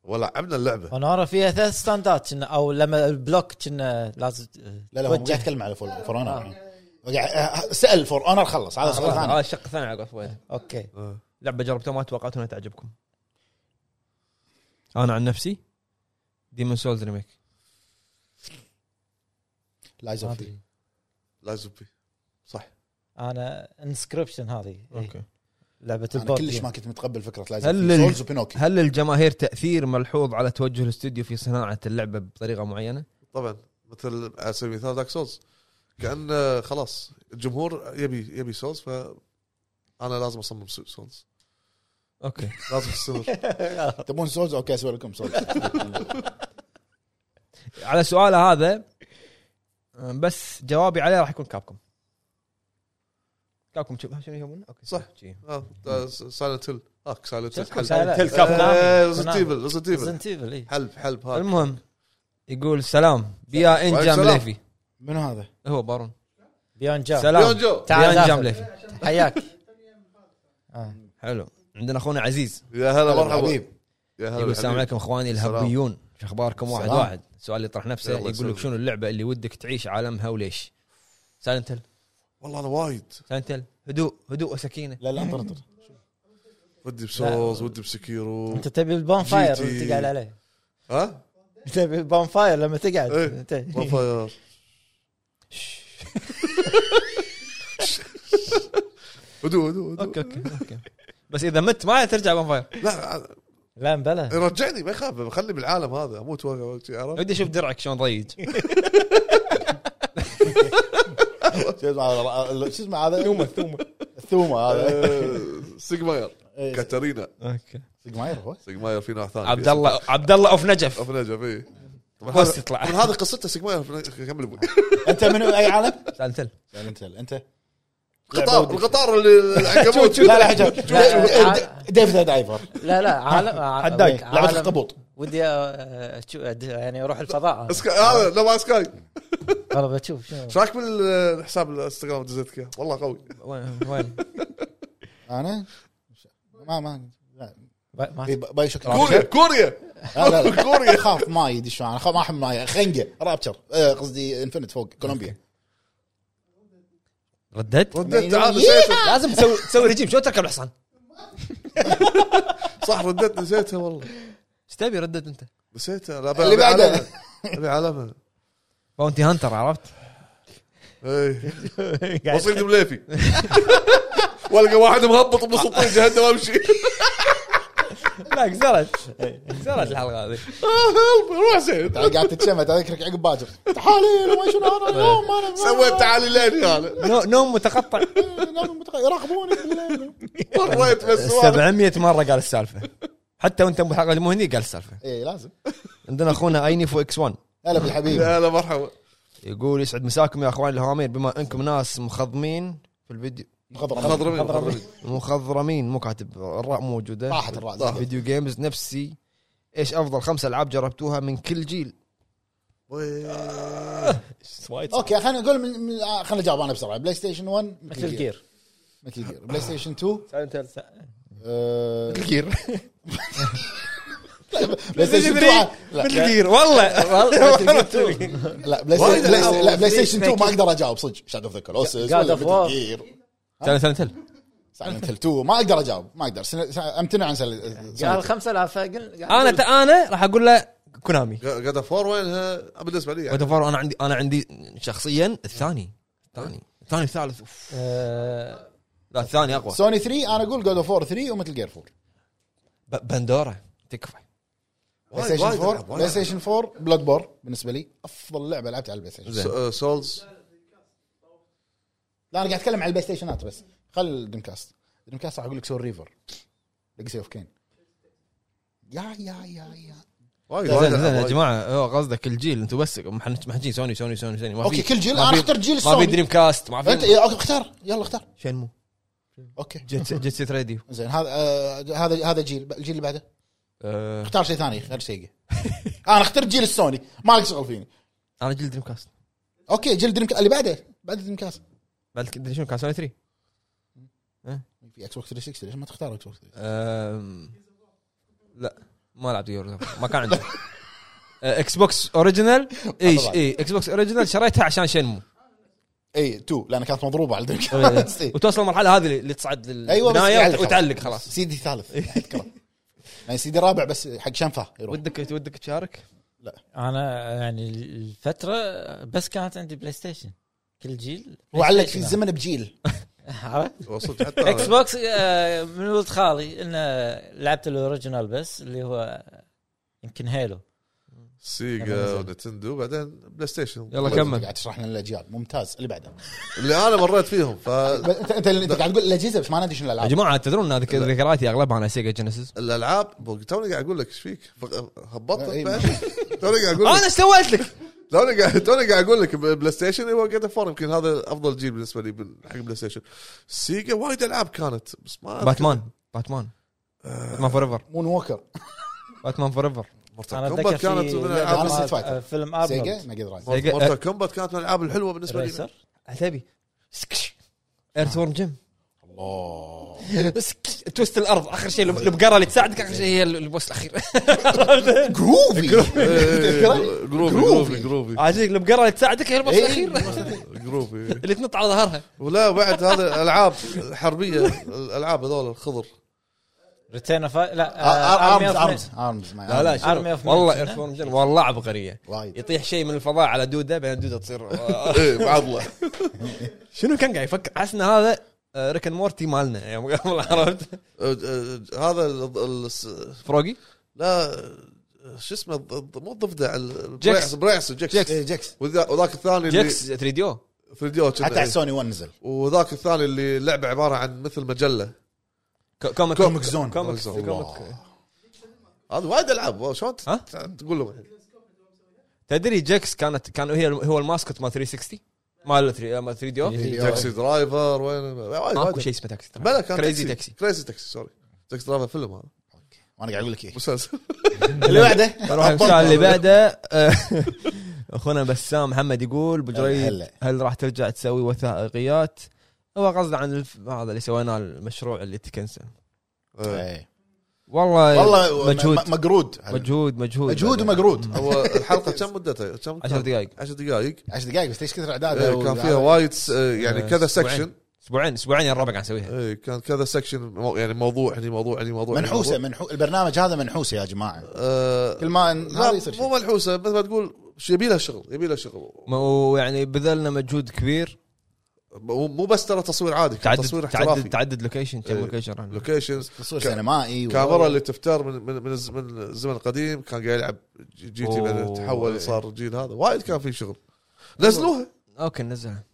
S1: ولعبنا اللعبه
S4: ونورا فيها ثلاث ستاندات كنا او لما البلوك كنا لازم
S3: لا لا هو مو قاعد يتكلم على فور فور اونر
S2: آه.
S3: قاعد- سال فور اونر خلص هذا سؤال
S2: هذا
S3: ثاني
S2: الشق الثاني على قفوين
S4: اوكي
S2: لعبه جربتوها ما توقعت انها تعجبكم انا عن نفسي ديمون سولز ريميك
S3: لايز
S4: ما
S3: اوف
S4: أدري.
S1: لازم بي صح
S4: انا انسكربشن هذه إيه.
S2: اوكي
S4: لعبه
S3: انا
S4: البورد
S3: كلش
S4: جيم.
S3: ما كنت متقبل فكره لايز
S2: هل
S3: اوف
S2: ال-
S3: سولز وبينوكي
S2: هل للجماهير تاثير ملحوظ على توجه الاستوديو في صناعه اللعبه بطريقه معينه؟
S1: طبعا مثل على سبيل المثال دارك سولز كان آه، خلاص الجمهور يبي يبي سولز ف انا لازم اصمم سو- سولز
S2: اوكي
S1: لازم استمر
S3: تبون سولز اوكي اسوي لكم سولز
S2: على سؤال هذا أه، بس جوابي عليه راح يكون كابكم كابكم شوف شنو يسمونه؟ اوكي
S1: صح.
S2: شي.
S1: آه، سايلنت هيل اك سايلنت هيل
S4: شفتكم
S1: حل
S4: سايلنت هيل كاب
S1: آه،
S4: كونامي.
S1: ريزنت
S4: كونامي.
S1: ايفل ريزنت ايفل
S4: Resident Evil، إيه.
S1: حلب حلب هذا
S2: المهم يقول سلام بيا انجام
S1: سلام.
S2: ليفي
S3: منو هذا؟
S2: هو بارون
S4: بيون جام
S2: سلام
S1: بيون جو.
S4: تعال
S2: بيا انجام
S4: داخل.
S2: ليفي
S4: حياك
S2: حلو عندنا اخونا عزيز
S1: يا هلا مرحبا
S3: حبيب
S1: يا هلا
S2: يقول السلام
S1: بالحبيب.
S2: عليكم اخواني
S1: السلام.
S2: الهبيون شو اخباركم واحد
S3: السلام.
S2: واحد السؤال اللي طرح نفسه
S1: يلا
S2: يقول لك
S1: يسلمك.
S2: شنو اللعبه اللي ودك تعيش عالمها وليش؟ سالنتل
S1: والله انا وايد
S2: سالنتل هدوء هدوء وسكينه
S3: لا لا انطر انطر
S1: ودي بسولز ودي بسكيرو
S4: انت تبي البون فاير
S1: جي تي.
S4: اللي تقعد عليه
S1: ها؟
S4: تبي البون فاير لما تقعد
S1: إيه.
S4: انت
S1: بونفاير هدوء هدوء هدوء
S2: اوكي اوكي اوكي بس اذا مت ما ترجع بانفاير
S1: لا
S4: لا
S3: إيه.
S4: بلا
S1: رجعني ما يخاف خلي بالعالم هذا اموت وأنا- عرفت؟
S2: ودي اشوف درعك شلون ضيج
S3: شو اسمه هذا شو اسمه هذا ثومه ثومه الثومه هذا
S1: آه، سيجماير
S2: إيه.
S1: كاترينا
S2: اوكي
S3: سيجماير هو
S1: سيجماير في نوع ثاني
S2: عبد الله عبد الله اوف نجف
S1: اوف نجف اي طبعا
S2: بس
S1: هذا-
S2: يطلع.
S1: طبعاً هذه قصته سيجماير كمل ابوي
S3: انت منو اي عالم؟
S2: سالنتل
S3: انت انت
S1: القطار القطار اللي العنكبوت
S3: لا لا حجاب
S4: لا، لا.
S3: ديف ذا دايفر
S4: لا لا عالم ع-
S3: حدايق
S4: عالم-
S3: لعبه القبوط
S4: ودي أ- أشو- أد- يعني اروح الفضاء
S1: سكا- هذا نوبا سكاي
S4: والله بشوف شنو
S1: ايش رايك بالحساب الانستغرام اللي دزيتك اياه؟ والله قوي
S2: وين وين
S3: انا ما ما لا.
S4: ب- ما
S3: في باي شكل
S1: كوريا كوريا
S3: لا لا لا
S1: كوريا
S3: اخاف ما يدري شو انا أخاف ما احب ماي خنقه رابتشر آه، قصدي انفنت فوق كولومبيا
S2: ردت
S1: ردت تعال نسيتها
S2: لازم تسوي تسوي رجيم شلون تركب الحصان
S1: صح ردت نسيتها والله
S2: ايش تبي ردت انت
S1: نسيتها لا،
S3: اللي
S1: أبي
S3: بعده.
S1: علامة. ابي علامه
S2: باونتي هانتر عرفت
S1: إيه. وصيد مليفي والقى واحد مهبط بنص الطريق جهنم وامشي
S2: لا كسرت إيه، كسرت الحلقه هذه
S1: آه، روح زين
S3: قاعد تتشمت اذكرك عقب باكر تعالي ما شنو هذا اليوم انا
S1: سويت تعالي لين هذا
S2: نو- نوم متقطع
S3: نام متق- يراقبوني بالليل
S1: مريت بس
S2: 700 مره قال السالفه حتى وانت بالحلقه مو هني قال السالفه
S3: اي إيه، لازم
S2: عندنا اخونا اينيفو اكس 1
S3: هلا بالحبيب
S1: هلا مرحبا
S2: يقول يسعد مساكم يا اخوان الهوامير بما انكم ناس مخضمين في الفيديو
S3: خضر
S1: خضرمين خضرمين
S2: مخضرمين مو كاتب الراء موجوده
S3: طاحت الرأس.
S1: طاح.
S2: فيديو جيمز نفسي ايش افضل خمس العاب جربتوها من كل جيل
S3: اوكي خلينا نقول من- من- آه، خلينا نجاوب انا بسرعه بلاي ستيشن 1
S4: مثل جير
S3: مثل جير بلاي ستيشن 2
S2: مثل جير
S3: بلاي ستيشن 2 لا،
S2: مثل جير والله
S3: لا بلاي
S1: وايد
S3: ستيشن لا،
S1: ألعاب.
S3: لا بلاي ستيشن 2 ما اقدر اجاوب صدق شاد اوف ذا كولوسس
S4: God of War.
S2: سنة هل
S3: سايلنت هيل 2 ما اقدر اجاوب ما اقدر سن- سن- امتنع عن سايلنت
S4: قال خمسة آلاف فقل
S2: انا ت- انا راح اقول له كونامي
S1: قاعد فور وينها بالنسبه لي يعني.
S2: God of War انا عندي انا عندي شخصيا الثاني الثاني الثاني الثالث أوف.
S4: آه،
S2: لا الثاني اقوى
S3: سوني 3 انا اقول جود اوف 3 ومثل جير 4
S2: ب- بندورا تكفى
S3: بلاي
S1: وايد-
S3: ستيشن
S1: وايد ألعاب،
S3: 4
S1: وايد
S3: بلاي ستيشن 4 بلاد بور بالنسبه لي افضل لعبه لعبتها على البلاي ستيشن
S2: زين.
S1: س- آه، سولز
S3: لا انا قاعد اتكلم على البلاي ستيشنات بس خل الدريم كاست الدريم كاست راح اقول لك سول ريفر ليجسي اوف كين يا يا يا يا
S1: وايد
S2: زين
S1: وايد
S2: زين يا
S1: ألعاب، وايد.
S2: جماعه هو قصدك الجيل انتم بس محن- محجين سوني سوني سوني سوني ما في
S3: اوكي كل جيل
S2: ما
S3: انا
S2: في-
S3: اخترت جيل
S2: ما في
S3: السوني
S2: دريم كاست ما
S3: انت
S2: في
S3: إيه، اوكي اختار يلا اختار
S2: شنمو
S3: اوكي
S2: جيت جيت سيت راديو
S3: زين هذا آه، هذا هذا جيل الجيل اللي بعده
S2: آه،
S3: اختار شيء ثاني غير سيجا انا اخترت جيل السوني ما لك شغل فيني
S2: انا جيل دريم كاست
S3: اوكي جيل دريم كاست اللي بعده بعد دريم كاست
S2: بعد كده شنو كان سوني 3
S3: في اكس بوكس 360 ليش ما تختار اكس بوكس 360
S2: آم، لا ما لعبت جير ما كان عندي آه، اكس بوكس اوريجينال اي اي اكس بوكس اوريجينال شريتها عشان شنمو
S3: اي 2 لان كانت مضروبه على دريم كاست إي.
S2: آه، وتوصل المرحله هذه اللي تصعد
S3: ايوه بس
S2: للبنايه
S3: يعلق
S2: وتعلق خلاص
S3: سيدي ثالث اذكره يعني سيدي رابع بس حق شنفه يروح
S2: ودك ودك تشارك؟
S4: انا يعني الفترة بس كانت عندي بلاي ستيشن كل جيل
S3: هو علق في الزمن بجيل
S4: عرفت؟
S1: وصلت حتى أنا.
S4: اكس بوكس آه، من ولد خالي انه لعبت الاوريجينال بس اللي هو يمكن هيلو
S1: سيجا ونتندو بعدين بلاي ستيشن
S2: يلا كمل
S3: قاعد تشرح لنا الاجيال ممتاز اللي بعده
S1: اللي انا مريت فيهم ف-
S3: انت انت انت قاعد تقول الاجهزه بس ما ندري شنو
S2: يا
S3: الالعاب
S2: جماعه تدرون ان ذك- ذكرياتي اغلبها انا سيجا جينيسيس
S1: الالعاب بو- توني قاعد اقول لك ايش فيك فق- هبطت
S3: إي.
S1: بعد؟ توني قاعد اقول
S2: انا
S1: لك
S2: ايش سويت لك؟
S1: توني قاعد توني قاعد اقول لك بلاي ستيشن هو جيت فور يمكن هذا افضل جيل بالنسبه لي بال- حق بلاي ستيشن سيجا وايد العاب كانت بس ما أذكر.
S2: باتمان باتمان باتمان فور ايفر
S3: مون ووكر
S2: باتمان فور ايفر
S1: مورتال
S4: انا
S1: كومبات
S4: اتذكر في
S1: كانت من
S4: لعبة
S1: الالعاب
S3: أنا ستريت فايتر.
S4: آه، فيلم
S3: سيجا
S4: ارنولد
S3: ميجا درايف
S2: سيجا-
S1: مورتال كومبات كانت من الالعاب الحلوه بالنسبه لي
S4: ريسر
S1: آه،
S2: عتبي سكش ايرث ورم جيم
S3: الله
S2: سكش. توست الارض اخر شيء الب- البقره اللي تساعدك اخر شيء هي ال- البوس الاخير
S3: جروفي تذكره؟
S1: إيه، جروفي جروفي جروفي
S2: عاجبك البقره اللي تساعدك هي البوس
S3: إيه.
S2: الاخير
S1: جروفي
S2: اللي تنط على ظهرها
S1: ولا بعد هذا العاب حربيه الالعاب هذول الخضر
S4: ريتيرن اوف آه،
S2: آه،
S3: ارمز
S4: لا
S3: ارمز ارمز
S2: لا لا شنو؟
S4: Army of
S2: والله
S4: Man.
S2: ايرث ورم جيم والله عبقريه
S3: وايد
S2: يطيح شيء من الفضاء على دوده بعدين دوده تصير
S1: ايه بعضله
S2: شنو كان قاعد يفكر حس ان هذا آه، ريكن مورتي مالنا يعني والله عرفت
S1: أه، أه، هذا ال- ال- الس-
S2: فروغي
S1: لا أه، شو اسمه الض- الض- مو الضفدع ال- بريعس
S2: جيكس.
S1: بريعس جيكس
S3: إيه، جيكس
S1: وذا- وذاك الثاني اللي
S2: جيكس 3 ديو
S1: 3 دي
S3: حتى على سوني 1 نزل
S1: إيه. وذاك الثاني اللي اللعبه عباره عن مثل مجله
S2: كوميك
S3: كوميك زون
S2: كوميك
S1: زون.
S2: كوميك
S1: هذا وايد العاب واو، شلون ت-
S2: ها؟
S1: ت- تقول لهم الحين؟
S2: تدري جيكس كانت كان هي هو الماسكوت مال 360 3 دي او
S1: تاكسي درايفر وين وايد-
S2: ماكو
S1: وايد.
S2: شيء اسمه تاكسي
S1: بلا كان
S2: كريزي تاكسي
S1: كريزي تاكسي سوري تاكسي درايفر فيلم هذا
S3: وانا قاعد اقول لك ايه
S1: مسلسل
S3: اللي بعده
S2: نروح المساء اللي بعده اخونا بسام محمد يقول ابو جريد
S3: هلا.
S2: هل راح ترجع تسوي وثائقيات؟ هو قصده عن الف... هذا اللي سويناه المشروع اللي تكنسل آه.
S1: إيه.
S3: إيه.
S2: والله
S3: والله
S2: مجهود
S3: مجهود مقرود
S2: مجهود مجهود
S3: مجهود ومقرود
S1: هو الحلقه كم مدتها؟ كم
S2: 10 دقائق
S1: 10 دقائق
S3: 10 دقائق بس ليش كثر اعداد
S1: إيه، كان فيها وايد س- يعني
S2: آه،
S1: كذا
S2: أسبوعين.
S1: سكشن
S2: اسبوعين اسبوعين يا الربع قاعد نسويها
S1: إيه، كان كذا سكشن مو- يعني موضوع هني موضوع هني موضوع يعني هني
S3: منحوسه
S1: موضوع.
S3: منحو... البرنامج هذا منحوسه يا جماعه
S1: آه،
S3: كل ما إن- هذا
S1: لا
S3: يصير
S1: مو
S3: شيء.
S1: منحوسه مثل ما تقول ش- يبي لها شغل يبي لها شغل
S2: م- ويعني يعني بذلنا مجهود كبير
S1: مو مو بس ترى تصوير عادي كان
S2: تعدد
S1: تصوير
S2: تعدد
S1: احترافي
S2: تعدد لوكيشن كم
S1: إيه.
S2: لوكيشن رحنا.
S1: لوكيشنز
S3: تصوير
S1: كا-
S3: سينمائي و-
S1: كاميرا اللي تفتر من من من الز- من الزمن القديم كان قاعد يلعب جي جي تي بعدين
S2: أوه.
S1: تحول صار الجيل هذا وايد كان في شغل نزلوها
S2: اوكي نزلها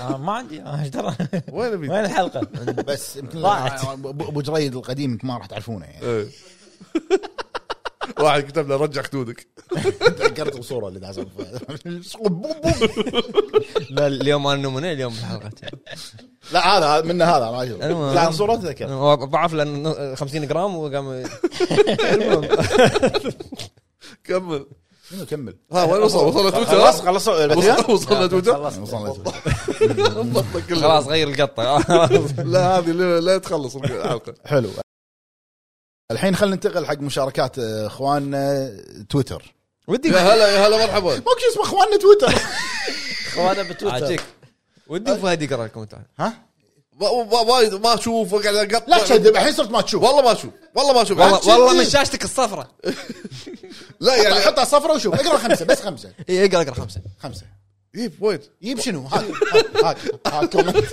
S4: آه، ما عندي آه، ايش ترى
S1: وين ابي
S4: وين الحلقه؟
S3: بس يمكن
S4: ضاعت.
S3: ابو أبو جريد القديم ما راح تعرفونه يعني
S1: إيه. واحد كتب له رجع خدودك
S3: تذكرت الصوره اللي دازت بوم بوم بوم.
S2: لا اليوم انا نموني اليوم بالحلقه
S3: لا هذا هذا- منه هذا ما أدري.
S2: المهم.
S3: لا صوره تذكر
S2: هو ضعف لان 50 جرام وقام المهم
S1: كمل
S3: شنو كمل
S1: ها وين وصل وصلنا
S3: خلاص
S1: تويتر
S3: خلاص
S1: وصل- وصلنا تويتر
S3: يعني خلاص
S1: ضبطنا كله.
S2: خلاص غير القطه
S1: لا هذه لا- لا تخلص الحلقه
S3: حلو الحين خلينا ننتقل حق مشاركات آه، اخواننا تويتر
S2: ودي
S1: يا هلا يا هلا مرحبا
S3: ماكو شيء اسمه اخواننا تويتر
S4: خوانا بتويتر
S2: عاجيك ودي فهد يقرا الكومنتات
S3: ها
S1: و- و- وايد ما اشوف وقاعد اقطع
S3: لا تكذب الحين صرت ما تشوف
S1: والله ما اشوف والله ما اشوف
S2: والله والله من شاشتك الصفراء
S1: لا
S3: يعني
S1: يعني
S3: حطها صفرة وشوف اقرا خمسه بس خمسه
S2: اي اقرا اقرا خمسه
S3: خمسه
S1: يب إيه، وين
S3: يجيب شنو هاك هاك هاك كومنت.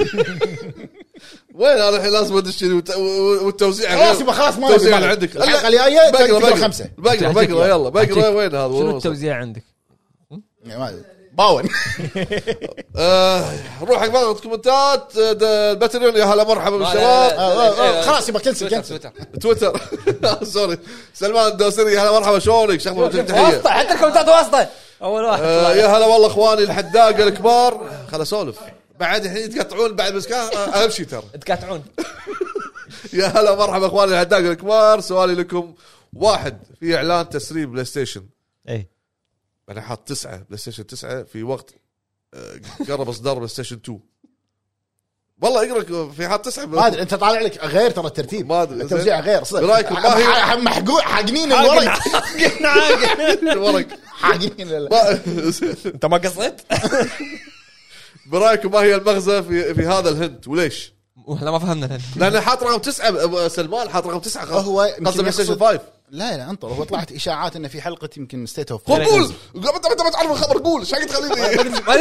S1: وين انا الحين لازم ادش شي وت- و- والتوزيع
S3: خلاص
S1: غير-
S3: يبقى خلاص ما
S1: التوزيع
S3: أبي.
S1: اللي عندك
S3: الحلقه الجايه
S1: بقرا
S3: تقرا
S1: بقرا
S3: خمسه
S1: بقرا بقرا يلا بقرا وين هذا وين
S2: شنو
S1: وصل؟
S2: التوزيع عندك؟
S3: يعني ما أدري. باون
S1: آه، نروح حق بعض الكومنتات آه، ده الباتريون يا هلا مرحبا بالشباب
S3: آه،
S1: إيه،
S3: خلاص يبقى كنسل كنسل
S2: تويتر
S1: تويتر سوري سلمان الدوسري يا هلا مرحبا شلونك شخبة وجهك تحيه
S4: واسطه حتى الكومنتات واسطه اول واحد
S1: آه، يا هلا والله اخواني الحداقه الكبار خل اسولف بعد الحين يتقطعون بعد بس كان آه، اهم شيء ترى
S2: تقاطعون
S1: يا هلا مرحبا اخواني الحداقه الكبار سؤالي لكم واحد في اعلان تسريب بلاي ستيشن
S4: اي
S1: انا حاط تسعه بلاي ستيشن تسعه في وقت آه، قرب اصدار بلاي ستيشن 2 والله اقرا في حاط تسعه
S3: ما ادري انت طالع لك غير ترى الترتيب
S1: ما أدري.
S3: التوزيع غير صدق
S1: برأيكم ما هي-
S3: ح- ح- محقوق حاقنين الورق
S1: ورق
S3: حاقنين ال-
S1: ما-
S2: انت ما قصيت؟
S1: برايكم ما هي المغزى في في هذا الهنت وليش؟
S2: احنا ما فهمنا الحين.
S1: لان حاط رقم تسعه أبو سلمان حاط رقم تسعه قصد-
S3: هو يمكن
S1: قصده بلاي
S3: يقصد-
S1: ستيشن 5
S3: لا لا انطر هو طلعت اشاعات انه في حلقه يمكن ستيت اوف
S1: قول قول انت انت ما تعرف الخبر قول ايش قاعد تخليني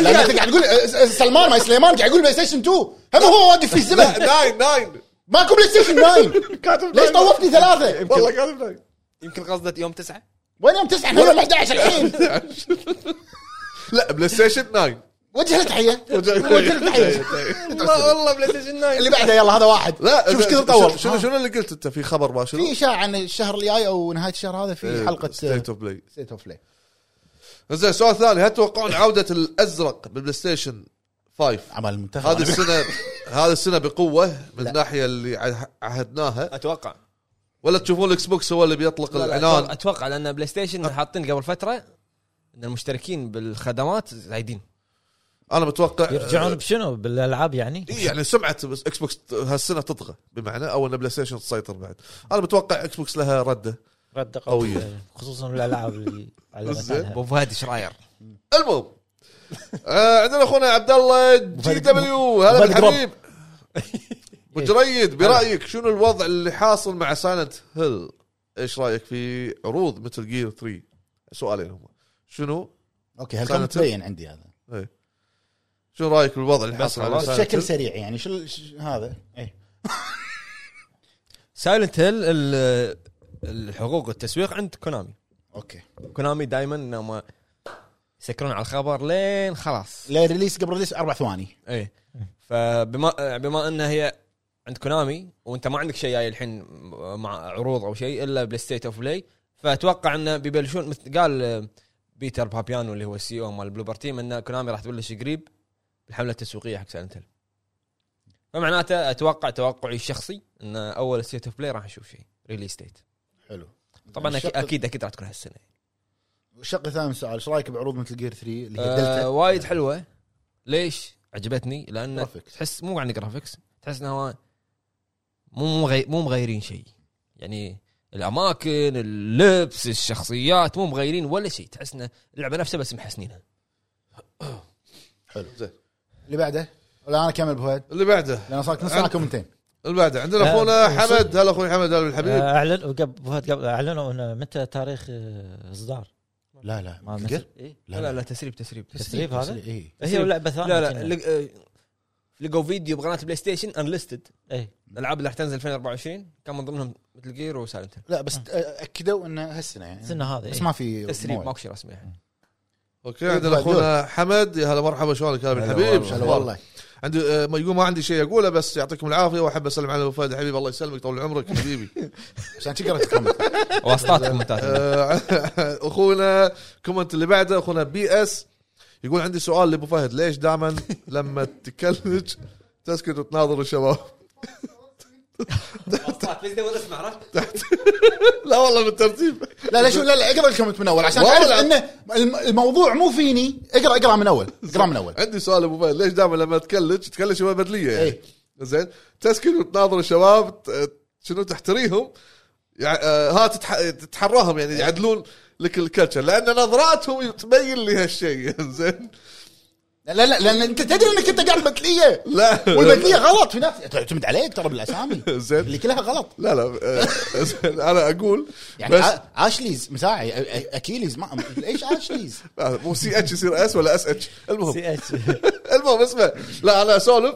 S3: لا انت قاعد تقول أه، س- سلمان ما سليمان قاعد يقول بلاي ستيشن 2 هم هو واقف في
S1: لا،
S3: الزمن
S1: ناين ناين
S3: ماكو بلاي ستيشن 9
S1: كاتب
S3: ليش
S1: ناين.
S3: طوفتني ثلاثه؟
S1: والله كاتب ناين
S2: يمكن قصدت يوم تسعه
S3: وين يوم 9 احنا يوم 11 الحين
S1: لا بلاي ستيشن 9
S3: وجه له تحيه وجه له تحيه
S2: والله والله بلاي ستيشن 9
S3: اللي بعده يلا هذا واحد
S1: لا
S3: شوف ايش كثر
S1: شنو-
S3: طول
S1: شنو
S3: ها.
S1: شنو اللي قلت انت في خبر ما شنو؟ إيه،
S3: في اشاعه عن الشهر الجاي او نهايه الشهر هذا في حلقه
S1: ستيت اوف بلاي
S3: ستيت اوف بلاي
S1: زين السؤال الثاني هل تتوقعون عوده الازرق بالبلاي ستيشن 5
S3: عمل المنتخب
S1: هذه السنه هذه السنه بقوه من الناحيه اللي عه- عهدناها
S2: اتوقع
S1: ولا تشوفون الاكس بوكس هو اللي بيطلق
S2: لا، لا،
S1: العنان
S2: اتوقع لان بلاي ستيشن حاطين قبل فتره ان المشتركين بالخدمات زايدين
S1: انا متوقع
S4: يرجعون بشنو بالالعاب يعني؟
S1: إيه يعني سمعه بس اكس بوكس هالسنه تطغى بمعنى او ان بلاي ستيشن تسيطر بعد انا متوقع اكس بوكس لها رده
S4: رد
S1: قوية.
S4: قوية خصوصا الالعاب اللي علمت
S1: زين.
S4: عنها
S2: ابو فهد ايش راير؟
S1: المهم آه عندنا اخونا عبد الله جي دبليو هلا
S3: مفيد
S1: بالحبيب أبو جريد برايك شنو الوضع اللي حاصل مع سايلنت هيل؟ ايش رايك في عروض مثل جير 3؟ سؤالين هم شنو
S3: اوكي هالكم
S1: سنة-
S3: تبين عندي هذا
S1: شنو رايك بالوضع اللي حاصل على
S2: خلاص.
S1: Silent
S3: بشكل
S1: Hill؟
S3: سريع يعني شو ال- ش- هذا ايه
S2: سايلنت هيل الحقوق التسويق عند كونامي
S3: اوكي
S2: كونامي دائما انهم يسكرون على الخبر لين خلاص
S3: لا ريليس قبل ريليس اربع ثواني
S2: ايه فبما بما انها هي عند كونامي وانت ما عندك شيء جاي الحين مع عروض او شيء الا بلاي ستيت اوف بلاي فاتوقع انه بيبلشون مثل قال آه، بيتر بابيانو اللي هو السي او مال بلوبر تيم ان كونامي راح تبلش قريب بالحمله التسويقيه حق سايلنت هيل فمعناته اتوقع توقعي الشخصي ان اول ستيت اوف بلاي راح نشوف شيء ريليز ديت
S3: حلو
S2: طبعا
S3: الشق-
S2: أكيد- اكيد اكيد راح تكون هالسنه
S3: الشق الثاني من السؤال ايش رايك بعروض مثل جير 3 اللي هي
S2: آه
S3: دلتا
S2: وايد حلوه ليش عجبتني لان
S3: Graphics.
S2: تحس مو عن جرافيكس تحس انه مو مو مغي- مو مغيرين شيء يعني الاماكن اللبس الشخصيات مو مغيرين ولا شيء تحس انه اللعبه نفسها بس محسنينها
S3: حلو
S1: زين.
S3: اللي بعده ولا انا كمل بفهد
S1: اللي بعده
S3: لان صار لك نص ساعه كومنتين
S1: اللي بعده عندنا
S4: آه،
S1: اخونا
S4: وصل.
S1: حمد هلا اخوي حمد هلا بالحبيب
S4: اعلن وقبل فهد آه، قبل اعلنوا انه متى تاريخ آه، اصدار
S3: لا لا
S4: ما
S3: مثل جير؟
S4: مثل- إيه؟
S2: لا لا, لا تسريب تسريب
S4: تسريب هذا
S3: اي
S4: هي لعبه ثانيه
S2: لا لا لق- آه، لقوا فيديو بقناه بلاي ستيشن انليستد
S4: اي
S2: الالعاب اللي راح تنزل 2024 كان من ضمنهم مثل جير وسايلنت
S3: لا بس آه، اكدوا انه هالسنه يعني
S4: سنه هذا
S3: بس
S4: إيه.
S3: ما في
S2: تسريب
S3: موعد.
S2: ماكو شيء رسمي يعني.
S1: اوكي
S2: الحين
S1: عندنا اخونا حمد يا هلا مرحبا شلونك هلا بالحبيب
S2: والله.
S3: هلا والله
S1: عندي آه، ما يقول ما عندي شيء اقوله بس يعطيكم العافيه واحب اسلم على ابو فهد حبيبي الله يسلمك طول عمرك حبيبي
S3: عشان تقرا تكمل
S2: واسطات كومنتات
S1: آه، اخونا كومنت اللي بعده اخونا بي اس يقول عندي سؤال لابو فهد ليش دائما لما تكلج تسكت وتناظر الشباب
S2: واسطات بس دول اسمع عرفت
S1: لا والله بالترتيب
S3: لا لا شو لا لا اقرا الكومنت من اول عشان
S1: والله.
S3: تعرف انه الم- الموضوع مو فيني اقرا اقرا من اول اقرا من اول
S1: عندي سؤال ابو فهد ليش دائما لما تكلج تكلج شباب بدليه يعني
S3: إيه.
S1: زين تسكت وتناظر الشباب ت- شنو تحتريهم يع- آه، ها تتح- تتحراهم
S3: إيه.
S1: يعني يعدلون لك الكلتشر لان نظراتهم تبين لي هالشيء زين
S3: لا لا لا، لان انت تدري انك انت قاعد بدليه
S1: لا
S3: والبدليه غلط في ناس تعتمد عليك ترى بالاسامي
S1: زين.
S3: اللي كلها غلط
S1: لا لا آه، زين، انا اقول
S3: يعني
S1: بس
S3: آ- اشليز مساعي أ- أ- اكيليز ما ليش اشليز؟
S1: لا، آه، مو سي اتش يصير اس ولا اس اتش المهم
S4: سي اتش
S1: المهم اسمع لا انا اسولف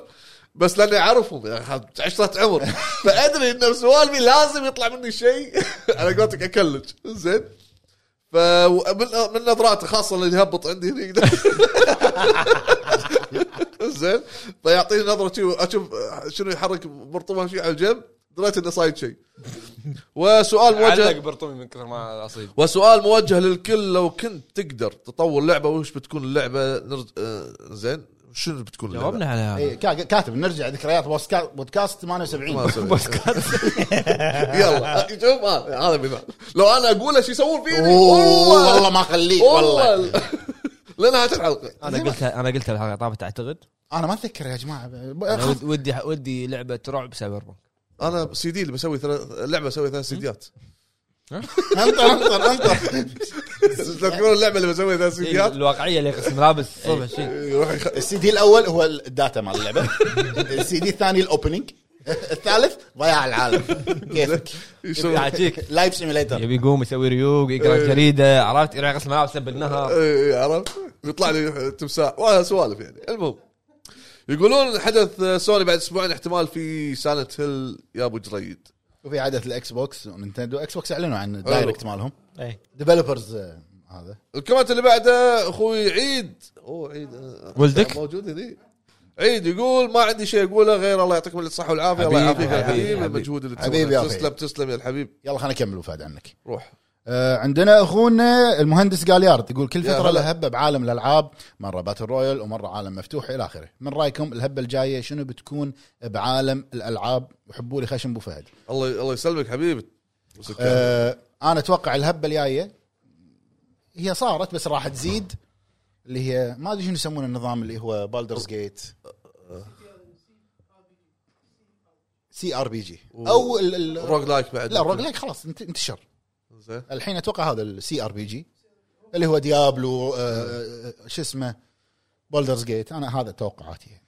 S1: بس لاني اعرفهم يعني خد- عشرة عمر فادري ان سوالفي لازم يطلع مني شيء على قولتك اكلج زين ف من من نظراته خاصه اللي يهبط عندي هني زين فيعطيني نظره شي اشوف شنو يحرك برطمان شيء على الجنب دريت انه صايد شيء وسؤال موجه
S2: علق برطمي من كثر ما اصيب
S1: وسؤال موجه للكل لو كنت تقدر تطور لعبه وش بتكون اللعبه نرج... آه زين شنو بتكون اللعبه؟
S2: جاوبنا على هذا
S3: إيه، كا- كاتب نرجع ذكريات بودكاست- بودكاست 78
S1: بودكاست يلا شوف هذا هذا مثال لو انا اقوله شو يسوون فيني
S3: أوه، والله ما خليك والله
S1: والله لانها الحلقه
S2: انا قلتها انا قلتها الحلقه طافت اعتقد
S3: انا ما اتذكر يا جماعه ب-
S2: أنا
S3: خذ-
S2: ود- ودي ودي لعبه رعب سايبر بانك
S1: انا سي دي اللي بسوي ثلاث لعبه اسوي ثلاث سيديات
S3: انطر انطر انطر
S1: تذكرون اللعبه اللي بسوي ثلاث سيديات
S2: الواقعيه إيه، اللي يقص ملابس الصبح
S3: إيه.
S2: شيء
S1: يروح يخ-
S3: السي دي الاول هو الداتا مال اللعبه السي دي الثاني الاوبننج الثالث ضياع العالم كيفك
S1: يسوي-
S3: إيه،
S2: يعطيك
S3: لايف سيميليتر
S2: يبي يقوم يسوي ريوق
S3: إيه.
S2: يقرا جريده عرفت يروح يغسل ملابسه بالنهر
S1: إيه، عرفت يطلع لي تمساح وسوالف يعني المهم يقولون حدث سوني بعد اسبوعين احتمال في سالنت هيل يا ابو جريد
S3: وفي عاده الاكس بوكس ونينتندو اكس بوكس اعلنوا عن الدايركت مالهم
S4: اي
S3: ديفلوبرز هذا
S1: الكومنت اللي بعده اخوي عيد اوه عيد آه،
S2: ولدك؟
S1: موجود هني عيد يقول ما عندي شيء اقوله غير الله يعطيكم الصحه والعافيه الله
S2: حبيبي،
S1: يعافيك يا
S2: حبيبي،
S1: حبيبي
S2: حبيبي.
S1: المجهود اللي
S3: حبيبي يا
S1: تسويه
S3: أخي.
S1: تسلم تسلم يا الحبيب
S3: يلا خلينا نكمل وفاد عنك
S1: روح
S3: آه، عندنا اخونا المهندس قاليارد يقول كل
S1: يا
S3: فتره
S1: هلا.
S3: له هبه بعالم الالعاب مره باتل رويال ومره عالم مفتوح الى اخره من رايكم الهبه الجايه شنو بتكون بعالم الالعاب وحبوا لي خشم ابو فهد
S1: الله الله يسلمك حبيبي مسكين.
S3: آه، انا اتوقع الهبه الجايه هي صارت بس راح تزيد اللي هي ما ادري شنو يسمونه النظام اللي هو بالدرز جيت سي ار بي جي او ال- ال-
S1: روج لايك بعد
S3: لا الروج لايك خلاص انت- انتشر
S1: زين.
S3: الحين اتوقع هذا السي ار بي جي اللي هو ديابلو آه، آه، آه، شو اسمه بولدرز جيت انا هذا توقعاتي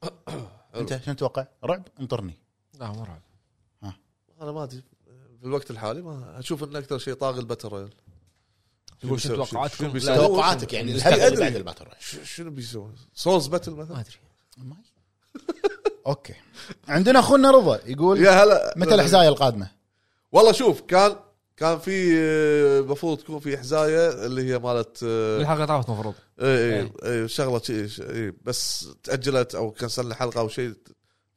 S3: انت شنو تتوقع؟ رعب انطرني
S2: لا مو رعب
S1: انا ما ادري في الوقت الحالي ما اشوف ان اكثر شيء طاغي الباتل رويال
S2: يقول شو
S1: بيسوي-
S2: توقعاتكم؟
S1: شو بيسوي؟
S2: لا،
S3: توقعاتك يعني الهبه اللي
S1: أدري.
S3: بعد الباتل رويال.
S1: ش- شنو بيسوون؟ سولز باتل
S2: ما
S1: مثلا
S2: ادري
S3: ماي. اوكي عندنا اخونا رضا يقول
S1: يا هلا
S3: متى الحزايه القادمه؟
S1: والله شوف كان كان في آه، المفروض تكون في حزايه اللي هي مالت آه، إيه،
S2: الحلقه طافت المفروض
S1: اي اي
S4: إيه.
S1: اي شغله شي شي- اي بس تاجلت او كنسلنا حلقه او شيء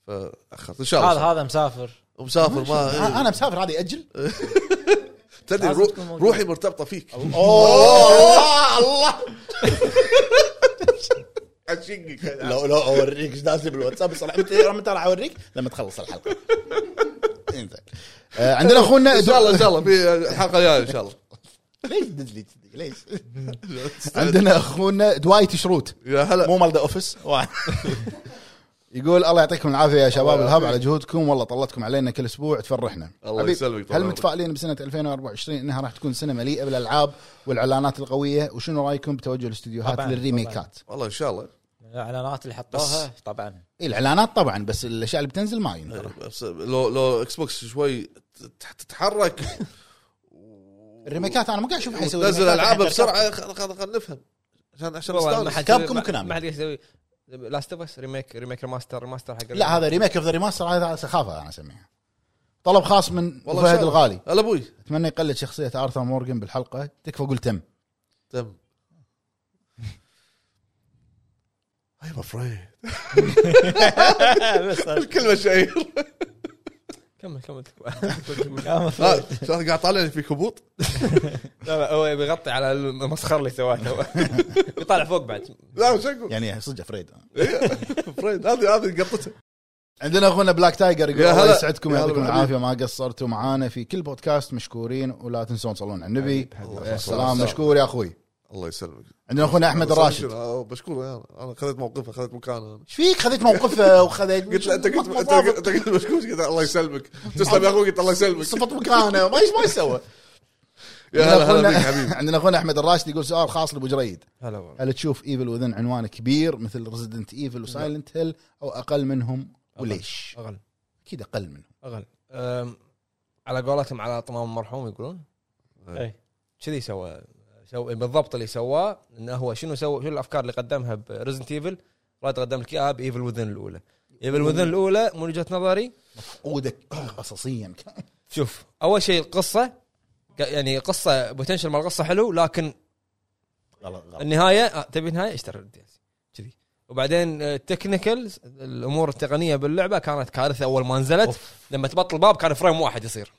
S1: فاخرت ان شاء
S4: هذا
S1: الله
S4: هذا مسافر
S1: ومسافر ما إيه،
S3: انا مسافر هذا ياجل
S1: تدري
S4: لازم
S1: رو
S4: تكون موجود.
S1: روحي مرتبطه فيك
S3: اوه الله الله
S1: حشقك أنا.
S3: لو لو اوريك ايش داز بالواتساب بس راح متى متى راح اوريك لما تخلص الحلقه انزين آه، عندنا اخونا
S1: ان شاء الله ان شاء الله في الحلقه الجايه ان شاء الله
S3: ليش تدز لي كذي؟ ليش؟ عندنا اخونا دوايت شروت
S1: يا هلا
S3: مو مال ذا اوفيس يقول الله يعطيكم العافيه يا شباب
S1: الله
S3: الهب
S1: يعافيك.
S3: على جهودكم والله طلتكم علينا كل اسبوع تفرحنا
S1: الله
S3: حبيب،
S1: يسلمك طال
S3: هل
S1: عمرك.
S3: متفائلين بسنه 2024 انها راح تكون سنه مليئه بالالعاب والاعلانات القويه وشنو رايكم بتوجه الاستديوهات
S4: طبعاً،
S3: للريميكات؟
S1: والله ان شاء الله
S4: الاعلانات اللي حطوها طبعا
S3: إيه، الاعلانات طبعا بس الاشياء اللي بتنزل ما ينتظر.
S1: بس لو لو اكس بوكس شوي تت- تتحرك
S3: الريميكات انا ما قاعد اشوف حد يسوي
S1: وتنزل
S3: ريميكات.
S1: العابه بسرعه خل- خل- خل نفهم عشان عشان
S2: والله ما
S1: نستانس
S2: حد
S3: كابكم
S2: يسوي- ما-
S3: وكونامي.
S2: ما حد يسوي لاست اوف اس ريميك ريميك ريماستر ريماستر حق
S3: لا هذا ريميك اوف ذا ريماستر هذا سخافه انا اسميها طلب خاص من
S1: والله
S3: فهد
S1: إن شاء الله.
S3: الغالي
S1: هلا ابوي
S3: اتمنى يقلد شخصيه ارثر مورجن بالحلقه تكفى قول تم
S1: تم I'm afraid آه، الكلمة شعير
S2: كمل كمل
S1: ها، شلون قاعد طالعني في كبوط
S2: لا لا هو بيغطي على المسخر اللي سواه تو. بيطالع فوق بعد
S1: لا شو اقول؟
S3: يعني صدق افريد
S1: فريد هذه هذه قطته
S3: عندنا اخونا بلاك تايجر يقول
S1: يا
S3: الله
S1: هلا.
S3: يسعدكم
S1: يا هلا
S3: ويعطيكم
S1: بالحبيب.
S3: العافيه ما قصرتوا معانا في كل بودكاست مشكورين ولا تنسون تصلون على النبي السلام
S1: الله.
S3: مشكور يا اخوي
S1: الله يسلمك
S3: عندنا اخونا احمد الراشد
S1: آه، بشكره انا انا خذيت موقفه خذيت مكانه انا
S3: ايش فيك خذيت موقفه وخذيت
S1: قلت له انت قلت أنت قلت- أنت قلت مشكور قلت الله يسلمك تسلم يا اخوي قلت الله يسلمك
S3: صفت مكانه ما ايش ما يسوى
S1: يا هلا هلا بك حبيبي
S3: عندنا اخونا احمد الراشد يقول سؤال خاص لابو جريد
S2: هلا والله
S3: هل تشوف ايفل وذن عنوان كبير مثل ريزدنت ايفل وسايلنت هيل او اقل منهم وليش؟
S2: اغل
S3: اكيد اقل منهم
S2: اغل أم، على قولتهم على طمام المرحوم يقولون
S4: اي
S2: كذي سوى سوى بالضبط اللي سواه انه هو شنو سوى شنو الافكار اللي قدمها بريزنت ايفل راد قدم لك اياها بايفل وذن الاولى ايفل وذن الاولى من وجهه نظري
S3: عودك قصصيا
S2: شوف اول شيء القصه ك- يعني قصه بوتنشل مال القصه حلو لكن
S3: غلط غلط
S2: النهايه آه، تبي نهايه اشتري الدي كذي وبعدين آه، التكنيكلز الامور التقنيه باللعبه كانت كارثه اول ما نزلت أوف. لما تبطل باب كان فريم واحد يصير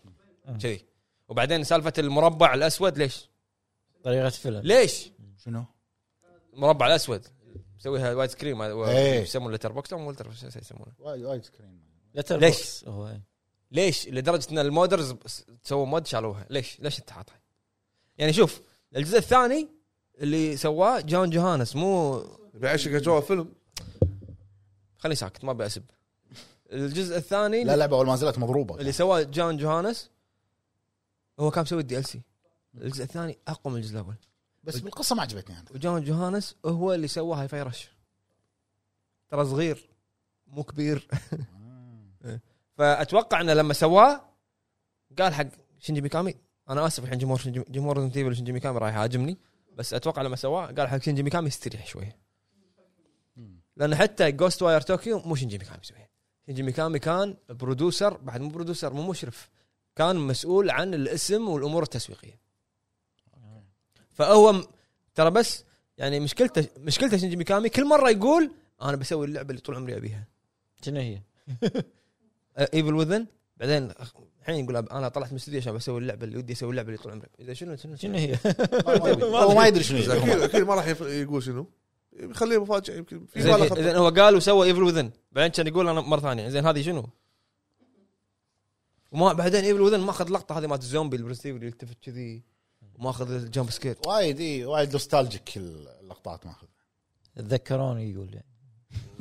S2: كذي وبعدين سالفه المربع الاسود ليش؟
S4: طريقه فيلم
S2: ليش؟
S3: شنو؟
S2: المربع الاسود مسويها وايد سكرين ما- و-
S3: إيه.
S2: يسمونه لتر بوكس او لتر شو يسمونه
S3: وايد وايد سكرين
S4: ليتر
S2: ليش؟
S4: بوكس هو إيه. إي.
S2: ليش؟ لدرجه ان المودرز بس- سووا مود شالوها ليش؟ ليش انت حاطها؟ يعني شوف الجزء الثاني اللي سواه جون جوهانس مو
S1: بعشق اجواء فيلم
S2: خليني ساكت ما ابي اسب الجزء الثاني
S3: لا لعبه اول ما نزلت مضروبه
S2: اللي سواه جان جوهانس هو كان مسوي الدي ال سي الجزء الثاني اقوى من الجزء الاول
S3: بس بالقصه ما عجبتني انا
S2: وجان جوهانس هو اللي سوى هاي فاي رش ترى صغير مو كبير فاتوقع انه لما سواه قال حق شنجي ميكامي انا اسف الحين جمهور شنجي جمهور ريزنت ايفل شنجي ميكامي راح يهاجمني بس اتوقع لما سواه قال حق شنجي ميكامي استريح شويه لان حتى جوست واير طوكيو مو شنجي ميكامي يسويها شنجي ميكامي كان برودوسر بعد مو برودوسر مو مشرف كان مسؤول عن الاسم والامور التسويقيه فهو م- ترى بس يعني مشكلته مشكلته شنجي ميكامي كل مره يقول انا بسوي اللعبه اللي طول عمري ابيها
S4: شنو هي؟
S2: ايفل وذن بعدين أخ- الحين يقول أب- انا طلعت من الاستوديو عشان بسوي اللعبه اللي ودي اسوي اللعبه اللي طول عمري اذا شنو شنو شنو
S4: شنو هي؟
S3: هو ما يدري شنو
S1: بس
S3: يسوي.
S1: اكيد اكيد ما راح يف- يقول شنو خليه مفاجاه يمكن في باله
S2: زين
S1: خطة.
S2: إذن هو قال وسوى ايفل وذن بعدين كان يقول انا مره ثانيه زين هذه شنو؟ وما بعدين ايفل وذن ماخذ لقطه هذه مالت الزومبي البرستيف اللي يلتفت كذي وماخذ الجمب سكير
S3: وايد اي وايد نوستالجيك اللقطات ماخذ
S4: تذكروني يقول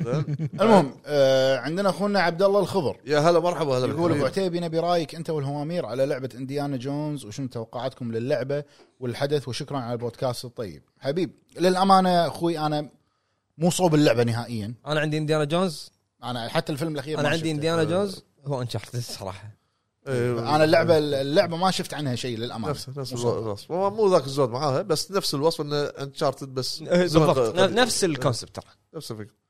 S1: زين.
S3: المهم آه عندنا اخونا عبد الله الخضر
S1: يا هلا مرحبا هلا بك
S3: يقول ابو
S1: حبيبي.
S3: عتيبي نبي رايك انت والهوامير على لعبه انديانا جونز وشنو توقعاتكم للعبه والحدث وشكرا على البودكاست الطيب حبيب للامانه اخوي انا مو صوب اللعبه نهائيا
S2: انا عندي انديانا جونز
S3: انا حتى الفيلم الاخير
S2: انا
S3: ما
S2: عندي
S3: شفته.
S2: انديانا جونز هو انشارتد الصراحه
S1: إيه،
S3: انا اللعبه اللعبه ما شفت عنها شيء للامانه
S1: نفسه نفس
S3: مو صوب.
S1: الوصف هو مو ذاك الزود معاها بس نفس الوصف انه انشارتد بس زمن
S2: بالضبط
S1: قديم.
S2: نفس الكونسبت ترى
S1: نفس الفكره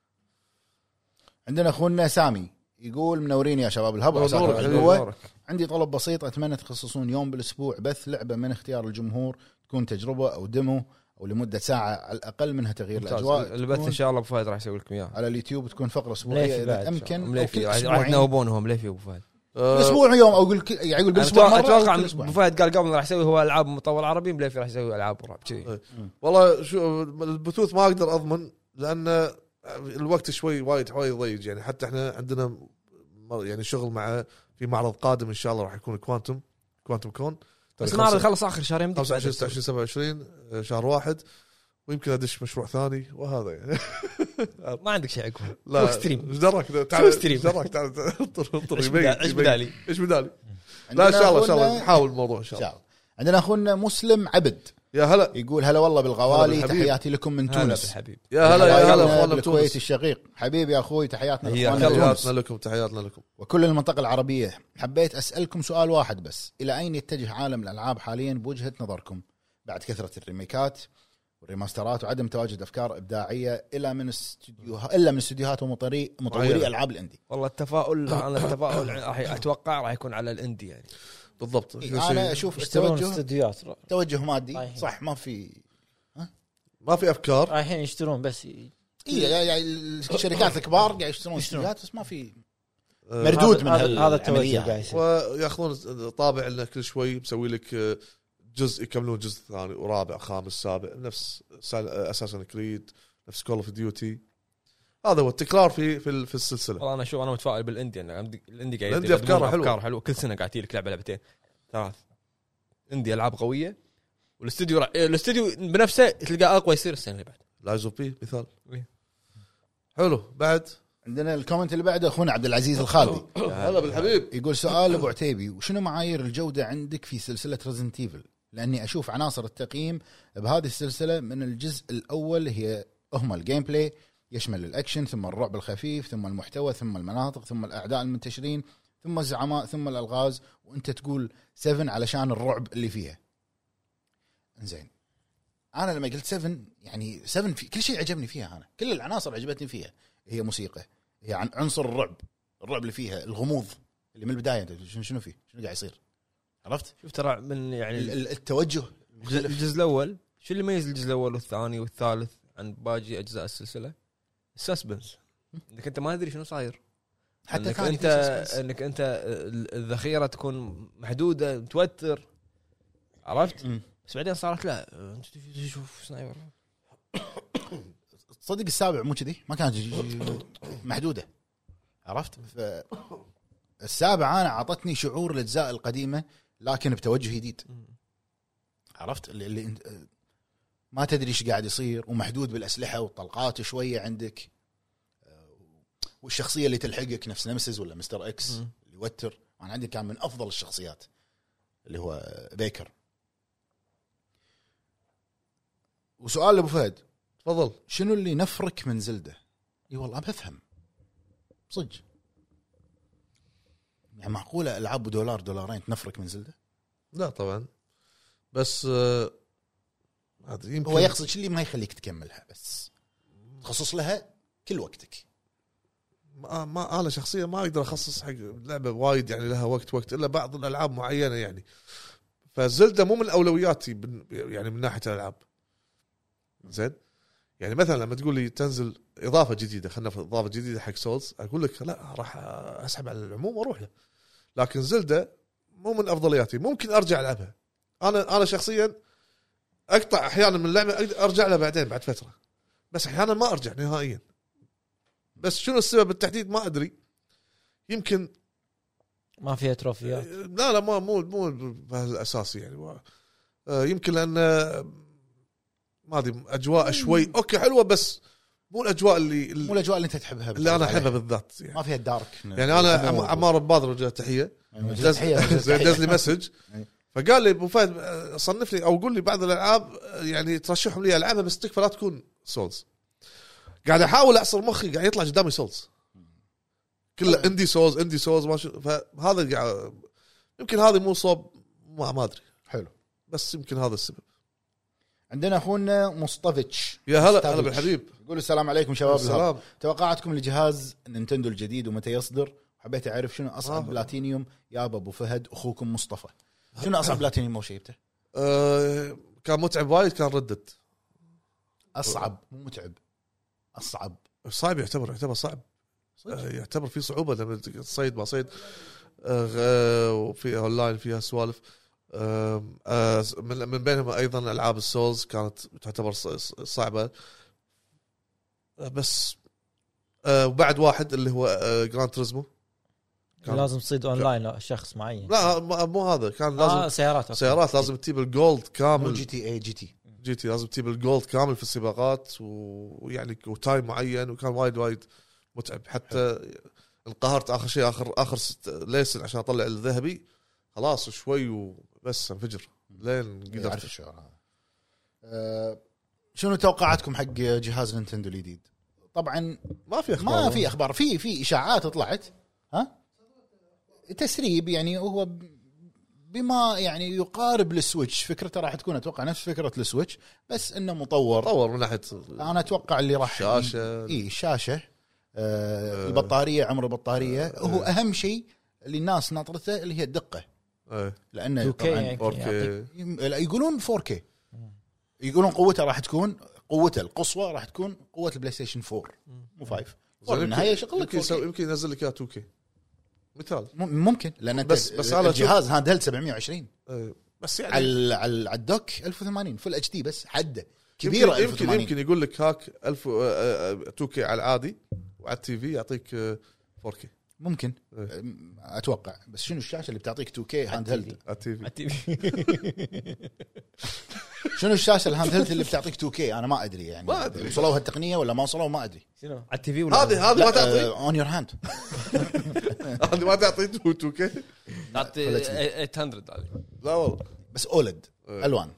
S3: عندنا اخونا سامي يقول منورين يا شباب الهب
S1: منورك
S3: وعساكم على
S1: حبيبي،
S3: القوة.
S2: منورك.
S3: عندي طلب بسيط اتمنى تخصصون يوم بالاسبوع بث لعبه من اختيار الجمهور تكون تجربه او ديمو او لمده ساعه على الاقل منها تغيير
S2: ممتاز.
S3: الاجواء
S2: البث
S3: تكون
S2: ان شاء الله ابو فهد راح يسوي لكم اياه
S3: على اليوتيوب تكون فقره
S4: مليفي
S3: اسبوعيه
S4: بعد
S3: اذا
S4: إن شاء الله.
S3: امكن او
S2: مليفي
S3: كل
S2: راح راح
S3: اسبوعين
S2: يتناوبون هم مليفي ابو فهد
S1: آه،
S3: الاسبوع يوم او كل يعني يقول
S2: أنا
S3: بالاسبوع
S2: اتوقع
S3: مرة أو
S2: اتوقع
S3: كل
S2: من-
S3: أسبوعين.
S2: ابو فهد قال قبل راح يسوي هو العاب مطور عربي
S1: آه،
S2: مليفي راح يسوي العاب رعب كذي
S1: والله شو البثوث ما اقدر اضمن لان الوقت شوي وايد وايد ضيق يعني حتى احنا عندنا مر- يعني شغل مع في معرض قادم ان شاء الله راح يكون كوانتم كوانتم كون
S2: بس ما خلص اخر شهر يمديك
S1: 25
S2: بعد.
S1: 26 27 آه، شهر واحد ويمكن ادش مشروع ثاني وهذا يعني
S2: ما عندك شيء عقب
S1: لا
S2: ستريم
S1: ايش دراك تعال
S2: سوي ستريم.
S1: ايش دراك تعال تعال، انطر انطر
S2: ايش
S1: يبين-
S2: بدا- ايش
S1: يبين.
S2: بدالي
S1: ايش بدالي لا ان شاء الله ان شاء الله نحاول الموضوع ان شاء
S3: ان
S1: الله
S3: شاء الله عندنا اخونا مسلم عبد
S1: يا هلا
S3: يقول هلا والله
S1: هلا
S3: بالغوالي
S1: بالحبيب.
S3: تحياتي لكم من
S2: هلا
S3: تونس
S2: بالحبيب
S1: يا هلا يا هلا اخواننا
S3: بالكويت
S1: بتونس
S3: الشقيق حبيبي يا اخوي تحياتنا
S2: هي
S3: لاخواننا
S2: يلا.
S3: بتونس.
S1: تحياتنا لكم تحياتنا لكم
S3: وكل المنطقة العربية حبيت أسألكم سؤال واحد بس إلى أين يتجه عالم الألعاب حاليا بوجهة نظركم بعد كثرة الريميكات والريماسترات وعدم تواجد أفكار إبداعية إلا من استديوها إلا من استديوهات ومطري
S1: معينة.
S3: مطوري ألعاب الأندي
S2: والله التفاؤل انا التفاؤل راح اتوقع راح يكون على الاندي يعني
S1: بالضبط
S3: إيه، أنا أشوف
S4: يشترون
S3: التوجه
S4: استديوهات
S3: توجه مادي
S4: صحيح.
S3: صح ما في
S1: ما في افكار
S4: رايحين يشترون بس ي-
S3: إي يعني الشركات الكبار قاعد يشترون استديوهات بس ما في
S1: آه،
S3: مردود من
S4: هذا-
S3: هال-
S4: هذا التوجه
S3: العملية.
S1: يعني
S4: قاعد يصير
S1: وياخذون طابع انه كل شوي مسوي لك آه، جزء يكملون جزء ثاني ورابع خامس سابع نفس اساسا كريد نفس كول اوف ديوتي هذا هو التكرار في في, ال- في السلسله
S2: والله انا شوف انا متفائل بالاندي انا عندي- الاندي قاعد
S1: الاندي
S2: يقدم
S1: أفكاره حلوة.
S2: افكار حلوه كل سنه قاعد تجي لك لعبه لعبتين ثلاث اندي العاب قويه والاستوديو را- الاستوديو إيه، بنفسه تلقاه اقوى يصير السنه اللي بعد
S1: لايز اوف بي مثال
S2: إيه.
S1: حلو بعد
S3: عندنا الكومنت اللي بعده أخونا عبد العزيز الخالدي
S1: هلا بالحبيب
S3: يقول سؤال ابو عتيبي وشنو معايير الجوده عندك في سلسله ريزنت ايفل؟ لاني اشوف عناصر التقييم بهذه السلسله من الجزء الاول هي هم الجيم بلاي يشمل الاكشن ثم الرعب الخفيف ثم المحتوى ثم المناطق ثم الاعداء المنتشرين ثم الزعماء ثم الالغاز وانت تقول 7 علشان الرعب اللي فيها. زين انا لما قلت 7 يعني 7 في كل شيء عجبني فيها انا، كل العناصر عجبتني فيها هي موسيقى هي عن يعني عنصر الرعب الرعب اللي فيها الغموض اللي من البدايه انت شنو شنو فيه؟ شنو قاعد يصير؟ عرفت؟
S2: شوف ترى من يعني
S3: ال- ال- التوجه
S2: الجزء الجزء الاول شو اللي يميز الجزء الاول والثاني والثالث عن باقي اجزاء السلسله؟ السسبنس انك انت ما تدري شنو صاير
S3: حتى
S2: انك
S3: كان
S2: انت
S3: انت
S2: انك انت الذخيره تكون محدوده متوتر عرفت؟ بس بعدين صارت لا انت تشوف سنايبر
S3: تصدق السابع مو كذي ما كانت ج- ج- محدوده عرفت؟ ف السابع انا اعطتني شعور الاجزاء القديمه لكن بتوجه جديد عرفت اللي, اللي انت ما تدري ايش قاعد يصير ومحدود بالاسلحه والطلقات شويه عندك آه، والشخصيه اللي تلحقك نفس نمسز ولا مستر اكس
S2: مم.
S3: اللي يوتر انا عندي كان من افضل الشخصيات اللي هو آه، بيكر وسؤال لابو فهد
S1: تفضل
S3: شنو اللي نفرك من زلده؟ اي والله بفهم صدق يعني معقوله العاب دولار دولارين تنفرك من زلده؟
S1: لا طبعا بس آه، ما أدري، يمكن
S3: هو يقصد شو اللي ما يخليك تكملها بس تخصص لها كل وقتك
S1: ما, آه، ما انا شخصيا ما اقدر اخصص حق لعبه وايد يعني لها وقت وقت الا بعض الالعاب معينه يعني فزلدة مو من اولوياتي بن- يعني من ناحيه الالعاب زين يعني مثلا لما تقول لي تنزل اضافه جديده خلينا نفرض اضافه جديده حق سولز اقول لك لا راح اسحب على العموم واروح له لكن زلدة مو من افضلياتي ممكن ارجع العبها انا انا شخصيا اقطع احيانا من اللعبه أقدر ارجع لها بعدين بعد فتره بس احيانا ما ارجع نهائيا بس شنو السبب بالتحديد ما ادري يمكن
S4: ما فيها تروفيات
S1: لا لا ما مو مو بهالاساسي يعني ما- آه، يمكن لان آه، ما ادري اجواء شوي اوكي حلوه بس مو الاجواء اللي
S3: مو
S1: اللي
S3: الاجواء اللي انت تحبها
S1: اللي انا احبها بالذات يعني,
S3: ما فيها الدارك
S1: يعني انا عم- عمار ببادر وجه تحيه دز زين دز لي مسج
S3: أي.
S1: فقال لي ابو فهد آه، صنف لي او قول لي بعض الالعاب آه، يعني ترشحهم لي العبها بس تكفى لا تكون سولز قاعد احاول اعصر مخي قاعد يطلع قدامي سولز كله اندي سولز اندي سولز ما شو- فهذا قاعد يمكن هذه مو صوب ما, ما ادري
S3: حلو
S1: بس يمكن هذا السبب
S3: عندنا اخونا مصطفيتش
S1: يا هلا هلا
S3: مستافيتش.
S1: بالحبيب
S3: يقول السلام عليكم شباب الهب.
S1: السلام
S3: توقعاتكم لجهاز نينتندو الجديد ومتى يصدر حبيت اعرف شنو اصعب
S1: آه.
S3: بلاتينيوم يا ابو فهد اخوكم مصطفى شنو اصعب بلاتينيوم وش جبته
S1: آه كان متعب وايد كان ردد
S3: اصعب مو متعب اصعب
S1: صعب يعتبر يعتبر صعب آه، يعتبر في صعوبه لما تصيد ما صيد آه، غ- وفي اونلاين فيها سوالف آم، آه، س- من من بينهم ايضا العاب السولز كانت تعتبر ص- ص- صعبه آه، بس آه، وبعد واحد اللي هو آه، جراند تريزمو كان-
S6: لازم تصيد اونلاين لا شخص معين
S1: لا ما- مو هذا كان
S4: آه
S1: لازم
S4: سيارات أوكي.
S1: سيارات لازم تجيب الجولد
S3: مو
S1: كامل
S3: جي تي اي جي تي
S1: جي تي لازم تجيب الجولد كامل في السباقات و- ويعني وتايم معين وكان وايد وايد متعب حتى انقهرت اخر شيء اخر اخر ست- ليسن عشان اطلع الذهبي خلاص شوي وبس انفجر لين
S3: يعرف
S1: قدرت
S3: الشعور هذا آه، شنو توقعاتكم حق جهاز نينتندو الجديد؟ طبعا
S1: ما في اخبار
S3: ما في اخبار في في اشاعات طلعت ها تسريب يعني هو ب- بما يعني يقارب السويتش فكرته راح تكون اتوقع نفس فكره السويتش بس انه مطور
S1: طور من ناحيه
S3: انا اتوقع اللي راح
S1: شاشة. أه.
S3: اي شاشه آه البطاريه أه، عمر البطاريه آه هو اهم شيء اللي الناس ناطرته اللي هي الدقه
S1: إيه،
S3: لانه
S4: 2K
S3: طبعا
S1: 4K
S3: لا، يقولون 4K يقولون قوته راح تكون قوته القصوى راح تكون قوه البلاي ستيشن 4 مو 5 بالنهايه شغلك
S1: يمكن
S3: 4K.
S1: يسوي- يمكن ينزل لك اياه 2K مثال
S3: مم- ممكن لان انت
S1: بس-
S3: بس
S1: بس
S3: بس
S1: على
S3: الجهاز هاند هيلد 720
S1: إيه، بس يعني
S3: على ال- على ال- على الدوك 1080 فل اتش دي بس حده
S1: يمكن-
S3: كبيره
S1: يمكن
S3: 1080
S1: يمكن يقول لك هاك 1000 2 كي على العادي وعلى التي في يعطيك آه، 4 كي
S3: ممكن
S1: إيه.
S3: أم، اتوقع بس شنو الشاشه اللي بتعطيك 2 كي هاند هيلد
S1: على التي في
S3: شنو الشاشه الهاند هيلد اللي بتعطيك 2 كي انا ما ادري يعني
S1: ما أدري.
S3: وصلوا هالتقنيه ولا ما وصلوا ما آه، ادري
S6: شنو؟ على
S2: التي في ولا
S1: هذه هذه ما تعطي
S3: اون يور هاند
S1: هذه ما تعطي 2 كي
S2: تعطي
S3: Full HD.
S2: 800 هذه.
S1: لا والله
S3: بس اولد
S1: إيه.
S3: الوان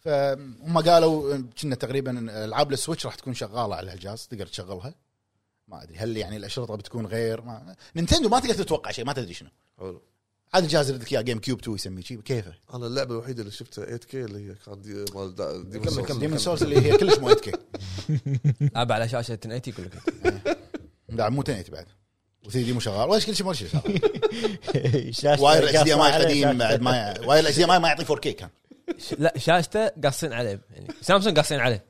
S3: فهم قالوا كنا تقريبا العاب السويتش راح تكون شغاله على الجهاز تقدر تشغلها ما ادري هل يعني الاشرطه بتكون غير ما نينتندو ما تقدر تتوقع شيء ما تدري شنو
S1: حلو
S3: هذا الجهاز اللي لك اياه جيم كيوب 2 يسميه شي كيفه
S1: انا اللعبه الوحيده اللي شفتها 8 كي اللي هي كان دي مال دا- ديمون سولز.
S3: ديمون سورس اللي هي كلش مو 8 كي
S2: العب على شاشه 1080 يقول لك
S3: لا مو 1080 بعد و3 دي مو شغال ولا كل شيء مو شغال
S6: شاشه
S3: واير اتش دي ام اي
S6: قاصة
S3: قديم
S6: عليها
S3: بعد ما واير اتش دي ام اي ما يعطي 4 كي كان
S2: لا شاشته قاصين عليه يعني سامسونج قاصين عليه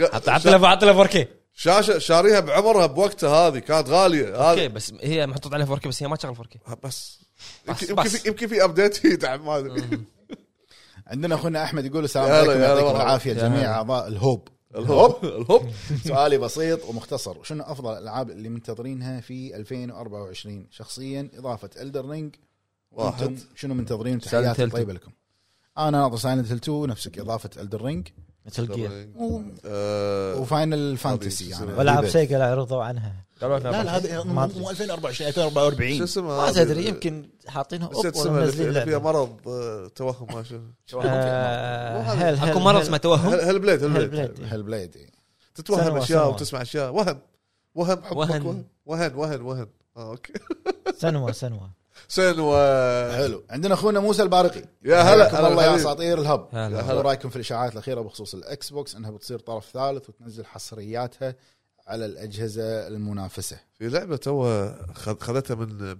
S1: قا-
S2: عطى عطى له عطى له 4K
S1: شاشه شاريها بعمرها بوقتها هذه كانت غاليه
S2: اوكي
S1: هذه
S2: بس هي محطوط عليها 4K بس هي ما تشغل 4K
S1: بس
S2: بس-
S1: يمكن- يمكن
S2: بس.
S1: في يمكن في ابديت يدعم ما ادري
S3: عندنا اخونا احمد يقول السلام
S1: يا هلا،
S3: عليكم
S1: يا هلا
S3: يعطيكم
S1: والله.
S3: العافيه
S2: يا
S3: جميع
S2: هلا.
S3: اعضاء الهوب
S1: الهوب الهوب
S3: سؤالي بسيط ومختصر شنو افضل الالعاب اللي منتظرينها في 2024 شخصيا اضافه الدر رينج
S1: واحد.
S3: واحد شنو منتظرين
S2: Silent
S3: تحياتي
S2: Hill
S3: طيبه لكم انا ناطر سايلنت هيل 2 نفسك اضافه الدر رينج
S4: مثل جير
S1: آه،
S3: وفاينل
S1: شو
S3: فانتسي
S1: اسمه؟
S3: انا
S6: والعاب
S3: بيبت.
S6: سيجا لا عرضوا عنها
S2: قالوا
S3: لا
S2: لنا
S3: لا هذا
S6: ما أدري.
S3: مو 2024
S1: شو
S3: 2044
S1: اسمها
S4: ما
S1: هذه؟
S4: تدري يمكن حاطينها
S1: نسيت
S4: اوب
S1: اسمها اللي في-
S6: منزلين
S1: اللي فيها
S6: لعبة.
S1: مرض آه، توهم ما شو
S6: آه،
S1: مو هذا.
S6: هل- هل-
S2: اكو مره
S6: هل-
S2: اسمها توهم
S1: هل هل بليد
S6: هل
S1: هل بليد
S6: بليد.
S3: هل بليد إيه.
S1: تتوهم
S6: سنوة،
S1: اشياء
S6: سنوة.
S1: وتسمع اشياء وهم وهم حبك
S2: وهن.
S1: وهن وهن وهن وهن اه اوكي
S6: سنوة سنوة
S1: سنوة
S3: حلو عندنا اخونا موسى البارقي
S1: يا هلا،
S3: حياكم
S1: هلا
S3: الله يا
S1: حبيبي.
S3: اساطير الهب
S2: هلا.
S1: يا هلا.
S3: شو رايكم في الاشاعات الاخيره بخصوص الاكس بوكس انها بتصير طرف ثالث وتنزل حصرياتها على الاجهزه المنافسه
S1: في لعبه تو خذتها من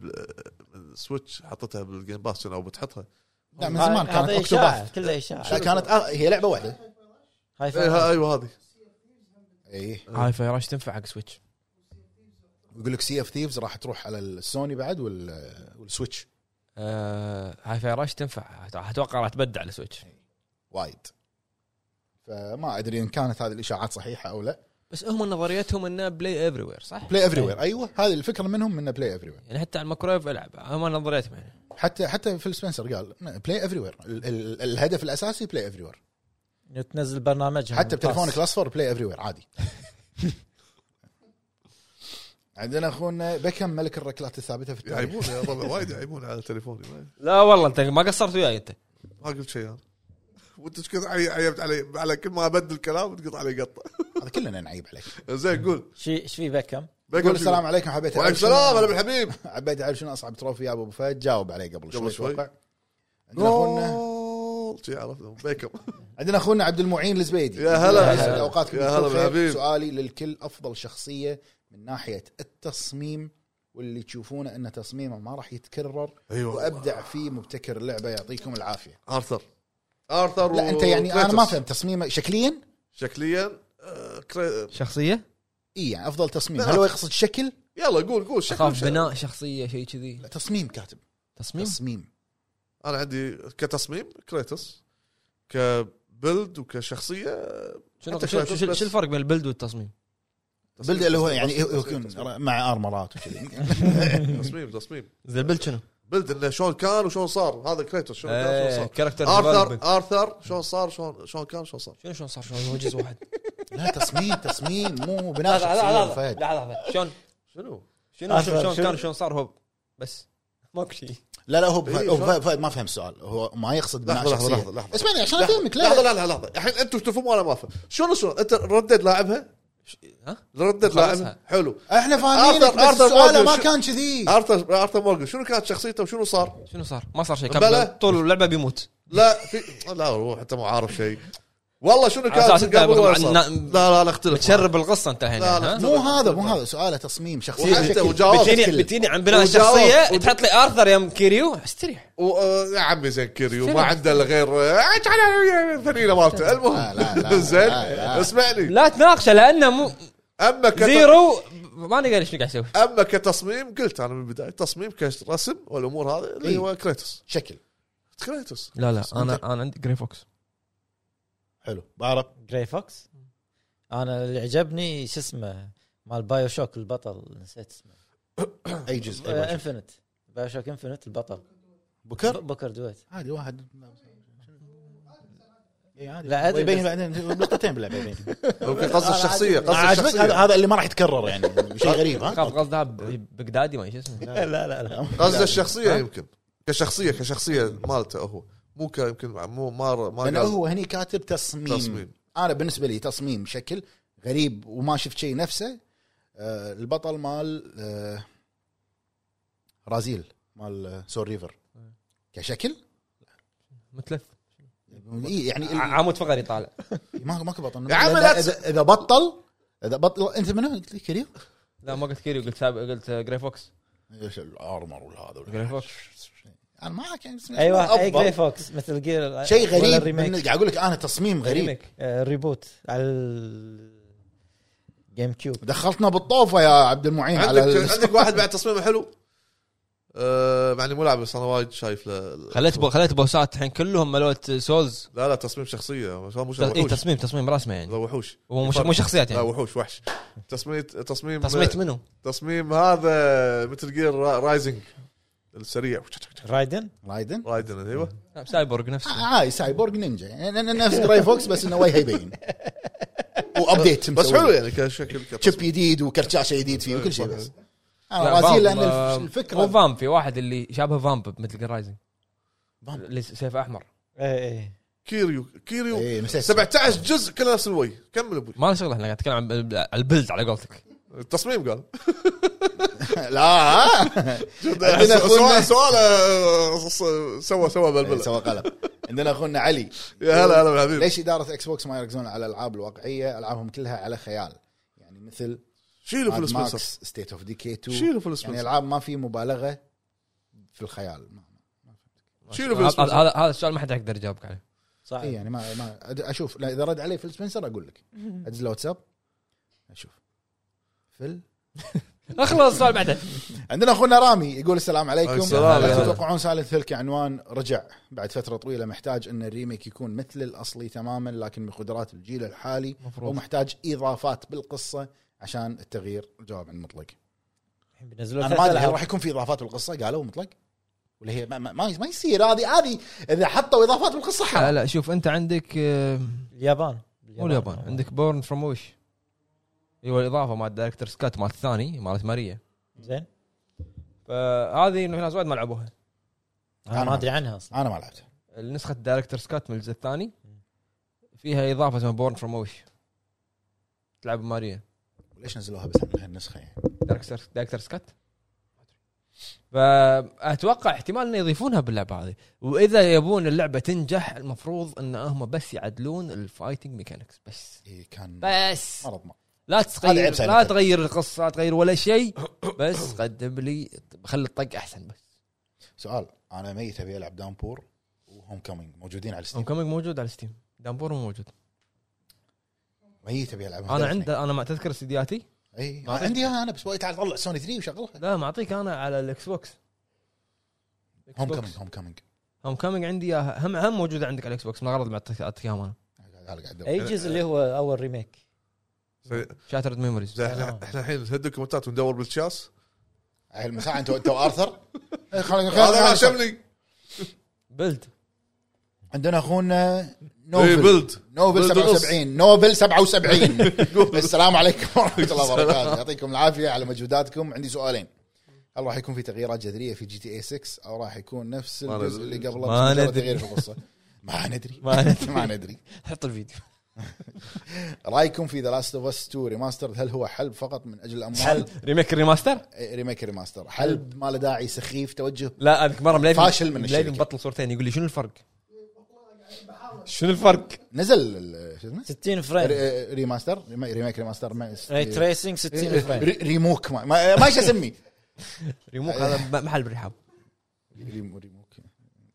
S1: من سويتش حطتها بالجيم باس او بتحطها
S3: لا من زمان كانت
S6: هذا
S3: اكتوباث
S6: إشاعة، كلها اشاعه
S3: لا كانت آه هي لعبه واحده
S6: هاي
S1: إيه،
S6: فايف.
S1: ها- ايوه هذه
S3: اي
S2: هاي فاي راش تنفع حق سويتش
S3: إيه. يقول لك سي اف ثيفز راح تروح على السوني بعد وال- والسويتش
S2: آه، هاي فاي راش تنفع اتوقع راح تبدع على سويتش
S3: وايد فما ادري ان كانت هذه الاشاعات صحيحه او لا
S2: بس هم نظريتهم انه بلاي افري وير صح؟
S3: بلاي افري وير ايوه هذه الفكره منهم انه بلاي افري وير
S2: يعني حتى على الميكرويف العب هم نظريتهم يعني
S3: حتى حتى فيل سبنسر قال بلاي افري وير الهدف الاساسي بلاي افري وير
S6: تنزل برنامجها
S3: حتى
S6: ممتاز.
S3: بتليفونك الاصفر بلاي افري وير عادي عندنا اخونا بكم ملك الركلات الثابته في التاريخ
S1: يعيبون يا طبعا وايد يعيبون على تليفوني ما-
S2: لا والله انت ما قصرت وياي انت
S1: ما قلت شيء انا وانت ايش كثر عي- عيبت علي على كل ما ابدل كلام تقطع علي قطه
S3: هذا كلنا نعيب عليك
S1: زين قول
S6: شي ايش في بكم؟
S3: يقول السلام عليكم حبيت
S1: وعليكم
S3: أعرف شنو-
S1: السلام هلا بالحبيب
S3: عبيت اعرف شنو اصعب تروفي يا ابو فهد جاوب عليه قبل شوي
S1: قبل شوي.
S3: اتوقع عندنا اخونا
S1: جول شي عرفنا بيكم
S3: عندنا اخونا عبد المعين الزبيدي
S1: يا هلا.
S3: يسعد
S1: يا هلا.
S3: اوقاتكم
S1: يا هلا
S3: بالخير.
S1: بالحبيب.
S3: سؤالي للكل افضل شخصيه من ناحيه التصميم واللي تشوفونه انه تصميمه ما راح يتكرر
S1: ايوه
S3: وابدع فيه مبتكر اللعبه يعطيكم العافيه
S1: ارثر ارثر
S3: لا
S1: و-
S3: انت يعني انا
S1: وكريتوس.
S3: ما فهمت تصميمه شكليا
S1: شكليا آه، كري-
S2: شخصيه؟
S3: اي يعني افضل تصميم
S1: لا.
S3: هل هو يقصد شكل؟
S1: يلا قول قول شكل
S2: اخاف
S1: شكل.
S2: بناء شخصيه شيء كذي
S3: لا تصميم كاتب
S2: تصميم
S3: تصميم
S1: انا عندي كتصميم كريتوس كبلد وكشخصيه
S2: شنو
S1: حتى
S2: شنو-
S1: شوي
S2: شنو
S1: بس.
S2: شنو الفرق بين البلد والتصميم؟
S3: بلد اللي هو يعني هو يكون مع ارمرات وكذي
S1: تصميم تصميم
S2: زين البلد شنو؟
S1: بلد انه شلون كان وشلون صار هذا كريتوس شلون كان
S2: ايه
S1: شلون صار
S2: كاركتر
S1: ارثر ارثر شلون صار شلون شلون كان شلون صار
S2: شنو شلون صار شلون يوجز واحد
S3: لا تصميم تصميم مو بناء
S2: لحظه
S3: شخصيه
S2: لحظه
S3: فهد
S2: لحظه شلون
S1: شنو؟
S2: آه، شنو
S6: أرثر،
S2: شلون
S6: شنو؟
S2: كان شلون صار هو بس ماكو شيء
S3: لا لا هو بف-
S1: إيه،
S3: هو
S1: شلون؟
S3: فهد- فهد ما فهم السؤال هو ما يقصد بناء
S1: لحظه لحظه لحظه
S3: شخصيه
S1: لحظه
S3: اسمعني عشان
S1: لحظة،
S3: افهمك لا
S1: لحظه لا لا لحظه الحين انتم تفهمون وانا ما افهم شنو شنو انت ردد لاعبها
S2: ها؟
S1: ردد لاعبها حلو
S3: احنا فاهمينك
S1: آرثر-
S3: بس
S1: آرثر
S3: سؤاله ما
S1: مورغان شو-
S3: كان كذي
S1: ارثر ارثر مورجن شنو كانت شخصيته وشنو صار؟
S2: شنو صار؟ ما صار شيء
S1: بلى.
S2: كان طول اللعبه بيموت
S1: لا في لا روح انت مو عارف شيء والله شنو
S2: على أساس
S1: كانت
S2: أنت
S1: قبل ولا
S2: عن-
S1: صار؟
S2: نا-
S1: لا لا لا اختلف
S2: تشرب القصه انت هنا
S1: لا، لا.
S2: ها؟
S3: مو هذا مو هذا سؤاله تصميم شخصيه
S1: وحتى
S3: شكل.
S1: وجواب
S2: بتجيني بتجيني عن بناء
S1: وجواب.
S2: الشخصيه
S1: وج-
S2: تحط لي ارثر يم كيريو استريح
S1: و- آه، يا عمي زين كيريو ما عنده الا غير آه، تعال- الفنيله مالته
S3: لا،
S1: المهم
S3: لا، لا، لا،
S1: زين
S3: لا.
S1: اسمعني
S2: لا تناقشه لانه مو
S1: اما كت-
S2: زيرو ما ادري ايش قاعد يسوي
S1: اما كتصميم قلت انا من البدايه تصميم كرسم والامور هذه اللي
S3: إيه.
S1: هو كريتوس
S3: شكل
S1: كريتوس
S2: لا لا
S3: أنت-
S2: انا انا عندي جري فوكس
S3: حلو بعرف
S6: جراي فوكس انا اللي عجبني شو اسمه مال بايو شوك البطل نسيت اسمه
S3: اي جزء
S6: آه، انفنت بايو شوك انفنت البطل
S3: بكر
S6: بكر دويت
S3: عادي واحد اي عادي
S6: لا، أدري
S3: يبين
S6: بس-
S3: بعدين نقطتين باللعبه يبين
S1: يمكن قصد الشخصيه
S3: ما
S1: قصد
S3: عجبك هذا
S1: الشخصيه
S3: هذا اللي ما راح يتكرر يعني شيء غريب ها
S2: خاف قصدها ب- بغدادي ما شو اسمه
S6: لا لا لا
S1: قصد الشخصيه يمكن كشخصيه كشخصيه مالته هو مو ك- يمكن مو ما ما
S3: لانه
S1: قال
S3: يعني هو هني كاتب تصميم.
S1: تصميم.
S3: انا بالنسبه لي تصميم شكل غريب وما شفت شيء نفسه آه البطل مال آه رازيل مال آه، سول ريفر كشكل
S2: متلف
S3: إي يعني ال-
S2: عمود فقري طالع
S3: ما ماكو بطل
S1: يا عم
S3: إذا-
S1: لا تس-
S3: اذا اذا بطل اذا بطل انت من وين قلت لي كريم؟
S2: لا ما قلت كيريو قلت سابق قلت جري فوكس
S3: ايش الارمر ولا هذا
S2: جري فوكس
S3: انا ما كان
S4: أيوة،
S6: ايوه اي
S3: أفضل.
S6: جراي فوكس مثل جير
S3: شيء
S6: ولا
S3: غريب
S6: الريميك.
S3: من- قاعد اقول لك انا تصميم غريب
S6: ريميك آه، ريبوت على الجيم كيوب
S3: دخلتنا بالطوفه يا عبد المعين على
S1: عندك
S3: ال-
S1: عندك واحد بعد تصميمه حلو آه، مع اني مو لاعب بس انا وايد شايف له
S2: خليت بو خليت بوسات الحين كلهم ملوت سولز
S1: لا لا تصميم شخصيه مش مش
S3: إيه،
S2: اي
S1: وحوش
S2: تصميم تصميم رسمه يعني
S1: لا وحوش
S2: هو مش مو شخصيات
S1: لا
S2: يعني
S1: وحوش وحش تصميم تصميم
S2: تصميت منو؟
S1: تصميم هذا مثل جير را- رايزنج السريع
S6: رايدن
S3: رايدن
S1: رايدن ايوه
S2: لا، سايبورغ نفسه
S3: آه، هاي سايبورغ نينجا يعني ن- ن- نفس جراي فوكس بس انه وجهه يبين وابديت
S1: بس حلو يعني كشكل كتصميم.
S3: شيب جديد وكرشاشه جديد فيه وكل شيء بس انا
S2: لا،
S3: رازيل
S2: فامب-
S3: لان
S2: آه،
S3: الف-
S2: مو
S3: الفكره
S2: فامب في واحد اللي شابه فامب مثل رايزنج
S3: فامب.
S2: اللي سيف احمر
S6: اي اي
S1: كيريو كيريو
S3: إيه، نسيت.
S1: 17 جزء كله نفس الوي كمل ابوي
S2: ما له شغل احنا قاعد نتكلم عن ال- على البلد على قولتك
S1: التصميم قال
S3: لا إيه، عندنا
S1: سؤال
S3: اخونا
S1: سؤال آه، س- سوى سوى
S3: إيه،
S1: بلبله
S3: سوى قلب عندنا اخونا علي
S1: يا هلا هلا بالحبيب
S3: ليش اداره اكس بوكس ما يركزون على الالعاب الواقعيه العابهم كلها على خيال يعني مثل
S1: شيلوا فلوس
S3: ماد
S1: سبونسر
S3: ماكس ستيت اوف ديكي 2
S1: شيلوا فلوس
S3: يعني
S1: سبونسر
S3: العاب ما في مبالغه في الخيال ما
S1: شيلوا فلوس
S2: هذا
S1: سبونسر
S2: هذا- هذا السؤال ما حد يقدر يجاوبك عليه
S6: صح
S4: طيب.
S3: اي يعني ما ما أد- اشوف لا اذا رد علي فيل سبنسر اقول لك ادز له واتساب اشوف فيل
S2: اخلص السؤال بعدين
S3: عندنا اخونا رامي يقول السلام عليكم
S1: السلام.
S3: لا تتوقعون سالفه ثلك عنوان رجع بعد فتره طويله محتاج ان الريميك يكون مثل الاصلي تماما لكن بقدرات الجيل الحالي
S2: مفروض
S3: ومحتاج اضافات بالقصه عشان التغيير الجواب عن مطلق
S6: الحين بينزلوا
S3: انا ما ادري هل راح يكون في اضافات بالقصه قالوا مطلق ولا هي ما, ما, ما يصير هذه هذه اذا حطوا اضافات بالقصه
S2: لا
S3: حرام
S2: لا شوف انت عندك آه،
S6: اليابان
S2: مو اليابان عندك بورن فروم وش ايوه الاضافه مال دايركتر سكات مال الثاني مالت ماريا
S6: زين
S2: فهذه انه ناس وايد ما لعبوها
S6: انا ما ادري عنها اصلا
S3: انا ما لعبت
S2: نسخه دايركتر سكات من الجزء الثاني فيها اضافه اسمها بورن فروم وش تلعب ماريا
S3: ليش نزلوها بس عن هالنسخه يعني
S2: دايركتر دايركتر سكات فاتوقع احتمال انه يضيفونها باللعبه هذه واذا يبون اللعبه تنجح المفروض ان هم بس يعدلون الفايتنج ميكانكس بس
S3: إيه،
S2: طيب،
S3: كان
S2: بس
S3: مرض ما
S2: لا
S3: هذا
S2: تغير
S3: عيب
S2: لا
S3: سالفة.
S2: تغير القصه لا تغير ولا شيء بس قدم لي خلي الطق احسن بس
S3: سؤال انا ميت ابي العب دامبور وهوم كومينج موجودين على
S2: هوم
S3: ستيم
S2: كومينج موجود على ستيم دامبور مو موجود
S3: ميت ابي العبها
S2: انا عنده انا ما تذكر سيدياتي
S3: اي
S2: ما
S3: أنا عندي إياها انا بس وايد تعال طلع سوني 3 وشغلها
S2: لا معطيك انا على الاكس بوكس
S3: هوم كومينج هوم كومينج
S2: هوم كومينج عندي إياها. هم هم موجوده عندك على الاكس بوكس من غرض معطيك اعطيك اياهم انا
S3: قاعد- قاعد أدور.
S6: اي جزء اللي هو اول ريميك
S1: زين-
S2: شاترد ميموريز
S1: زين احنا احنا الحين نهد الكومنتات وندور بالشاس
S3: هاي المساحه انت انت وارثر إيه، خلينا- خلينا-
S1: هذا ما
S3: خلينا-
S1: شمني
S2: بلد
S3: عندنا اخونا
S1: إيه،
S3: نوفل
S1: بلد.
S3: نوفل
S1: بلد ونص.
S3: 77 نوفل 77 السلام عليكم ورحمه الله وبركاته يعطيكم العافيه على مجهوداتكم عندي سؤالين هل راح يكون في تغييرات جذريه في جي تي اي 6 او راح يكون نفس
S1: ما
S3: الجزء
S1: ندري.
S3: اللي قبله
S2: ما
S3: بس مجرد
S2: ندري.
S3: تغيير في القصه ما ندري
S2: ما ندري.
S3: ما ندري
S2: حط الفيديو
S3: رايكم في ذا لاست اوف اس 2 ريماسترد هل هو حلب فقط من اجل الاموال
S2: ريميك الريماستر
S3: إيه، ريميك ريماستر حلب ما له داعي سخيف توجه
S2: لا اذيك مره ملايف
S3: فاشل من
S2: ملايف
S3: الشركة.
S2: مبطل صورتين يقول لي شنو الفرق؟ شنو الفرق؟
S3: نزل ال- شو اسمه
S6: 60 فريم
S3: ري- ريماستر ريمي- ريميك ريماستر ما
S6: ري
S2: إيه،
S6: تريسنج 60 فريم
S3: إيه. ري- ريموك ما ما ما ايش اسميه
S2: ريموك هذا ب- محل بالرحاب
S3: ريمو ريموك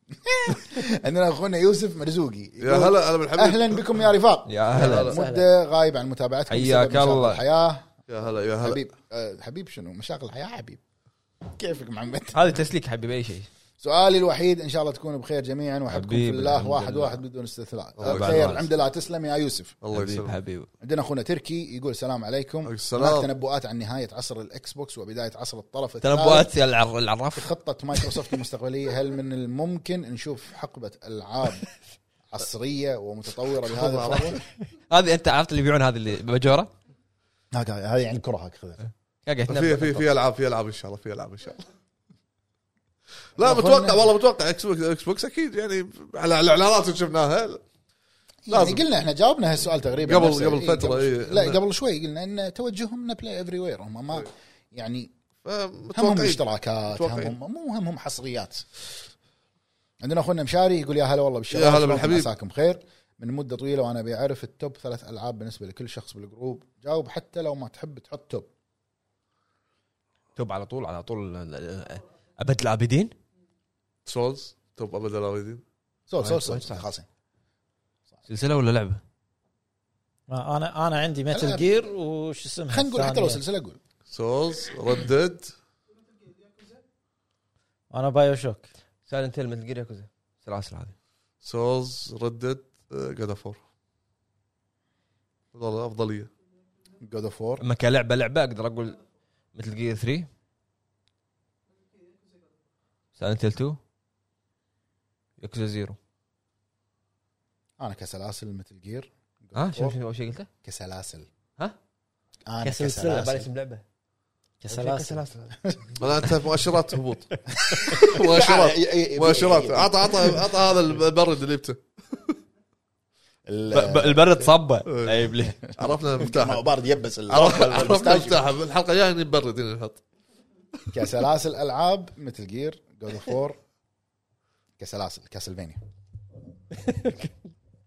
S3: عندنا اخونا يوسف مرزوقي
S1: يا هلا هلا بالحبيب
S3: اهلا بكم يا رفاق
S2: يا هلا
S1: هلا.
S3: مده غايب عن متابعتكم بسبب
S2: حياك
S3: مشاغل
S2: الله.
S3: الحياه
S1: يا هلا يا هلا
S3: حبيب آه، حبيب شنو مشاغل الحياه حبيب كيفك محمد
S2: هذا تسليك حبيبي اي شيء
S3: سؤالي الوحيد ان شاء الله تكونوا بخير جميعا واحبكم في
S2: حبيب،
S3: الله
S2: الحمد
S3: واحد
S2: لله.
S3: واحد بدون استثناء
S1: الله
S2: يبارك
S3: بخير
S2: فيك.
S3: الحمد لله تسلم يا يوسف
S1: الله
S2: حبيب
S1: يسلمك
S2: حبيب
S3: عندنا اخونا تركي يقول السلام عليكم
S1: السلام.
S3: هناك تنبؤات عن نهايه عصر الاكس بوكس وبدايه عصر الطرف الثالث.
S2: تنبؤات يا العر- العراف
S3: خطة مايكروسوفت المستقبلية هل من الممكن نشوف حقبة ألعاب عصرية ومتطورة بهذا الخطوة؟
S2: هذه انت عرفت اللي يبيعون هذه اللي بجوره؟
S3: هاك- هذه يعني كرة هاك خذها
S2: قاعد
S1: في في في العاب في العاب ان شاء الله في العاب ان شاء الله لا متوقع والله متوقع اكس بوكس اكس بوكس اكيد يعني على الاعلانات اللي شفناها
S3: يعني
S1: لازم.
S3: قلنا احنا جاوبنا هالسؤال تقريبا
S1: قبل-
S3: نفسه.
S1: قبل
S3: إيه،
S1: فترة،
S3: قبل-
S1: إيه.
S3: لا قبل شوي قلنا ان توجههم انه بلاي افري وير هم ما يعني همهم
S1: فمتوقعين
S3: اشتراكات
S1: متوقعين.
S3: همهم مو همهم حصريات عندنا اخونا مشاري يقول يا هلا والله بالشباب
S1: يا هلا
S3: شلونكم؟
S1: بالحبيب.
S3: عساكم خير من مدة طويلة وانا بعرف التوب ثلاث العاب بالنسبة لكل شخص بالجروب جاوب حتى لو ما تحب تحط توب
S2: توب على طول على طول آه، ابد العابدين
S1: سولز توب ابدا لا يريدين
S3: سول سول سول
S2: وايد
S3: سول.
S2: صعب.
S3: خلاص
S2: سلسله ولا لعبه؟
S6: ما انا انا عندي متل
S3: ألعب.
S6: جير وش اسمها
S3: خلينا نقول حتى لو
S6: الثانية.
S3: سلسله قول
S1: سولز ردد
S6: انا بايو شوك
S2: سايلنت هيل مثل جير ياكوزا سلاسل هذه
S1: سولز ردد جاد فور والله افضليه
S3: جود اوف وور
S2: اما كلعبه لعبه اقدر اقول مثل جير 3 سايلنت هيل 2 ياكوزا زيرو
S3: انا كسلاسل مثل جير
S2: ها شنو شنو اول شيء قلته؟
S3: كسلاسل
S2: ها؟
S3: انا
S6: كسلسلة،
S2: على
S3: كسلاسل
S2: اسم لعبه
S6: كسلاسل
S1: انا انت مؤشرات هبوط
S3: إيه،
S1: مؤشرات مؤشرات عطى عطى عطى هذا المبرد اللي جبته
S2: البرد صبه عيب لي
S1: عرفنا
S3: ما هو
S1: المفتاح
S3: بارد يبس ال-
S1: عرفنا عرفنا
S3: المستاشيو.
S1: المفتاح الحلقه الجايه نبرد هنا نحط
S3: كسلاسل العاب مثل جير جود اوف وور كسلاسل كاسلفينيا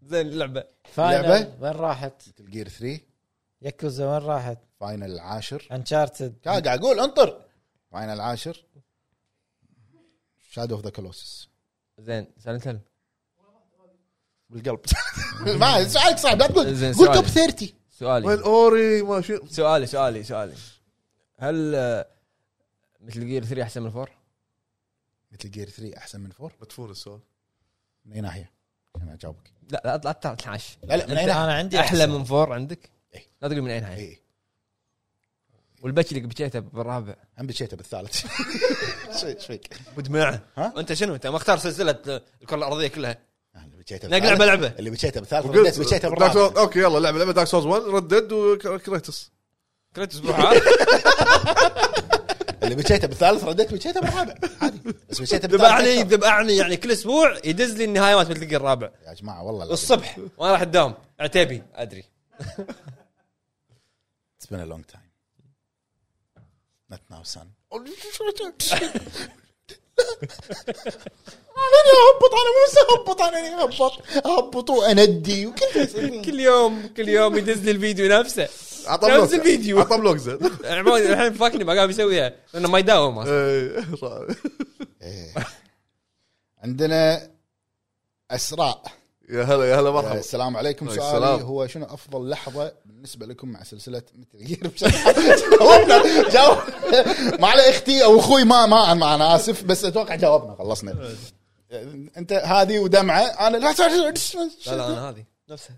S2: زين اللعبه
S6: فاينل
S3: لعبة؟
S6: وين راحت؟
S3: مثل جير 3
S6: ياكوزا وين راحت؟
S3: فاينل العاشر
S6: انشارتد
S3: كا- قاعد اقول انطر فاينل العاشر شادو اوف ذا كولوسس
S2: زين سايلنت هيل
S3: بالقلب ما سؤالك صعب لا تقول
S2: زين،
S3: قول توب
S2: سؤالي.
S3: 30
S1: وين
S2: سؤالي
S1: اوري ما شو
S2: سؤالي سؤالي سؤالي هل آه، مثل جير 3 احسن من 4
S3: مثل جير 3 احسن من 4
S1: مدفون السؤال
S3: من اي ناحيه؟ عشان اجاوبك
S2: لا لا لا تنعش
S3: لا لا من اي ناحيه؟
S6: انا عندي
S2: احلى من 4 عندك
S3: إيه.
S2: لا تقول من اي ناحيه
S3: اي
S2: والبكي اللي بكيته بالرابع
S3: هم بشيته بالثالث شوي ايش فيك؟
S2: مدمعه
S3: ها؟
S2: وانت شنو انت مختار سلسله آه، الكره الارضيه كلها
S3: أنا اللي بشيته
S2: نقلع
S3: بالثالث.
S2: بلعبه.
S3: اللي بشيته بالثالث
S1: وقلت
S3: رديت بشيته
S1: دارك
S3: بالرابع
S1: سولز- اوكي يلا لعبه لعبه دارك سولز 1 ردد وكريتس
S2: كريتوس بروحه
S3: اللي بشيته بالثالث رديت بشيته بالرابع عادي بس بشيته
S2: ذبعني
S3: بالثالث
S2: ذبعني يعني كل اسبوع يدز لي النهايه مالت مثل جير الرابع
S3: يا جماعه والله العظيم.
S2: الصبح وانا راح الدوام عتيبي ادري
S3: It's been a long time. Not now, son. انا اهبط انا مو بس اهبط انا اهبط اهبط واندي وكل شيء.
S2: كل يوم كل يوم يدز لي الفيديو نفسه
S1: عطى
S2: نفس
S1: بلوك
S2: الفيديو.
S1: عطى بلوك زين
S2: عمود الحين فاكني ما قام يسويها لانه ما يداوم أصلاً.
S1: إيه، را-
S3: إيه. عندنا اسراء
S1: يا هلا يا هلا
S2: طيب.
S1: مرحبا
S3: السلام عليكم
S1: عليكم
S3: سؤالي
S1: السلام.
S3: هو شنو افضل لحظه بالنسبه لكم مع سلسله مثل جير جاوبنا جاوب ما على اختي او اخوي ما ما ما انا اسف بس اتوقع جاوبنا خلصنا انت هذه ودمعه انا لا
S2: لا لا انا هذه نفسها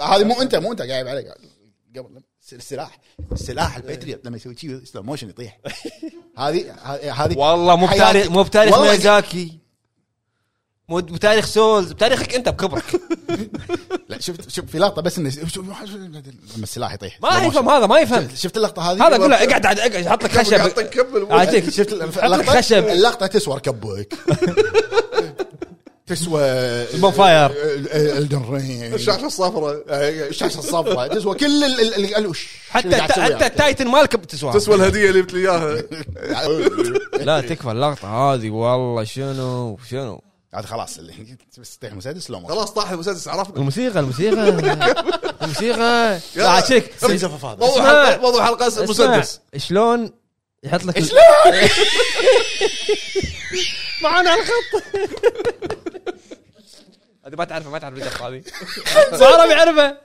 S3: هذه مو انت مو انت قاعد عليك قبل س- السلاح السلاح الباتريوت لما يسوي شيء سلو موشن يطيح هذه ه- هذه
S2: والله مو
S3: حياتي.
S2: بتاريخ مو بتاريخ
S3: والله
S2: ميازاكي مو بتاريخ سولز بتاريخك انت بكبرك
S3: لا شفت شوف في لقطه بس انه شوف- شوف- لما السلاح يطيح
S2: ما
S3: slow motion.
S2: يفهم هذا ما يفهم
S3: شفت اللقطه هذه
S2: هذا اقول له اقعد عاد اقعد حط لك خشب آه،
S1: كمل
S2: اعطيك
S3: شفت
S2: حط لك
S3: اللقطه
S2: خشب
S3: اللقطه تسوى ركبك تسوى
S2: Bonfire.
S3: الدن رينج
S1: الشعشة الصفراء
S3: الشاشه الصفراء تسوى كل ال- ال- ال- الوش
S2: حتى
S3: اللي قاعد تسويه.
S2: حتى التايتن مالك بتسوى
S1: تسوى الهدية اللي جبت لي اياها
S3: يعني
S2: لا تكفى اللقطه هذه والله شنو شنو
S3: عاد خلاص اللي- بس تطيح مسدس لو
S1: خلاص طاح المسدس عرفنا
S2: الموسيقى الموسيقى الموسيقى لا عشيك
S1: موضوع
S2: اسمع.
S1: حلقة موضوع حلقة المسدس
S2: اسمع، شلون يحط لك شلون معانا على الخط هذه ما تعرفه ما تعرف القط هذه صار بيعرفها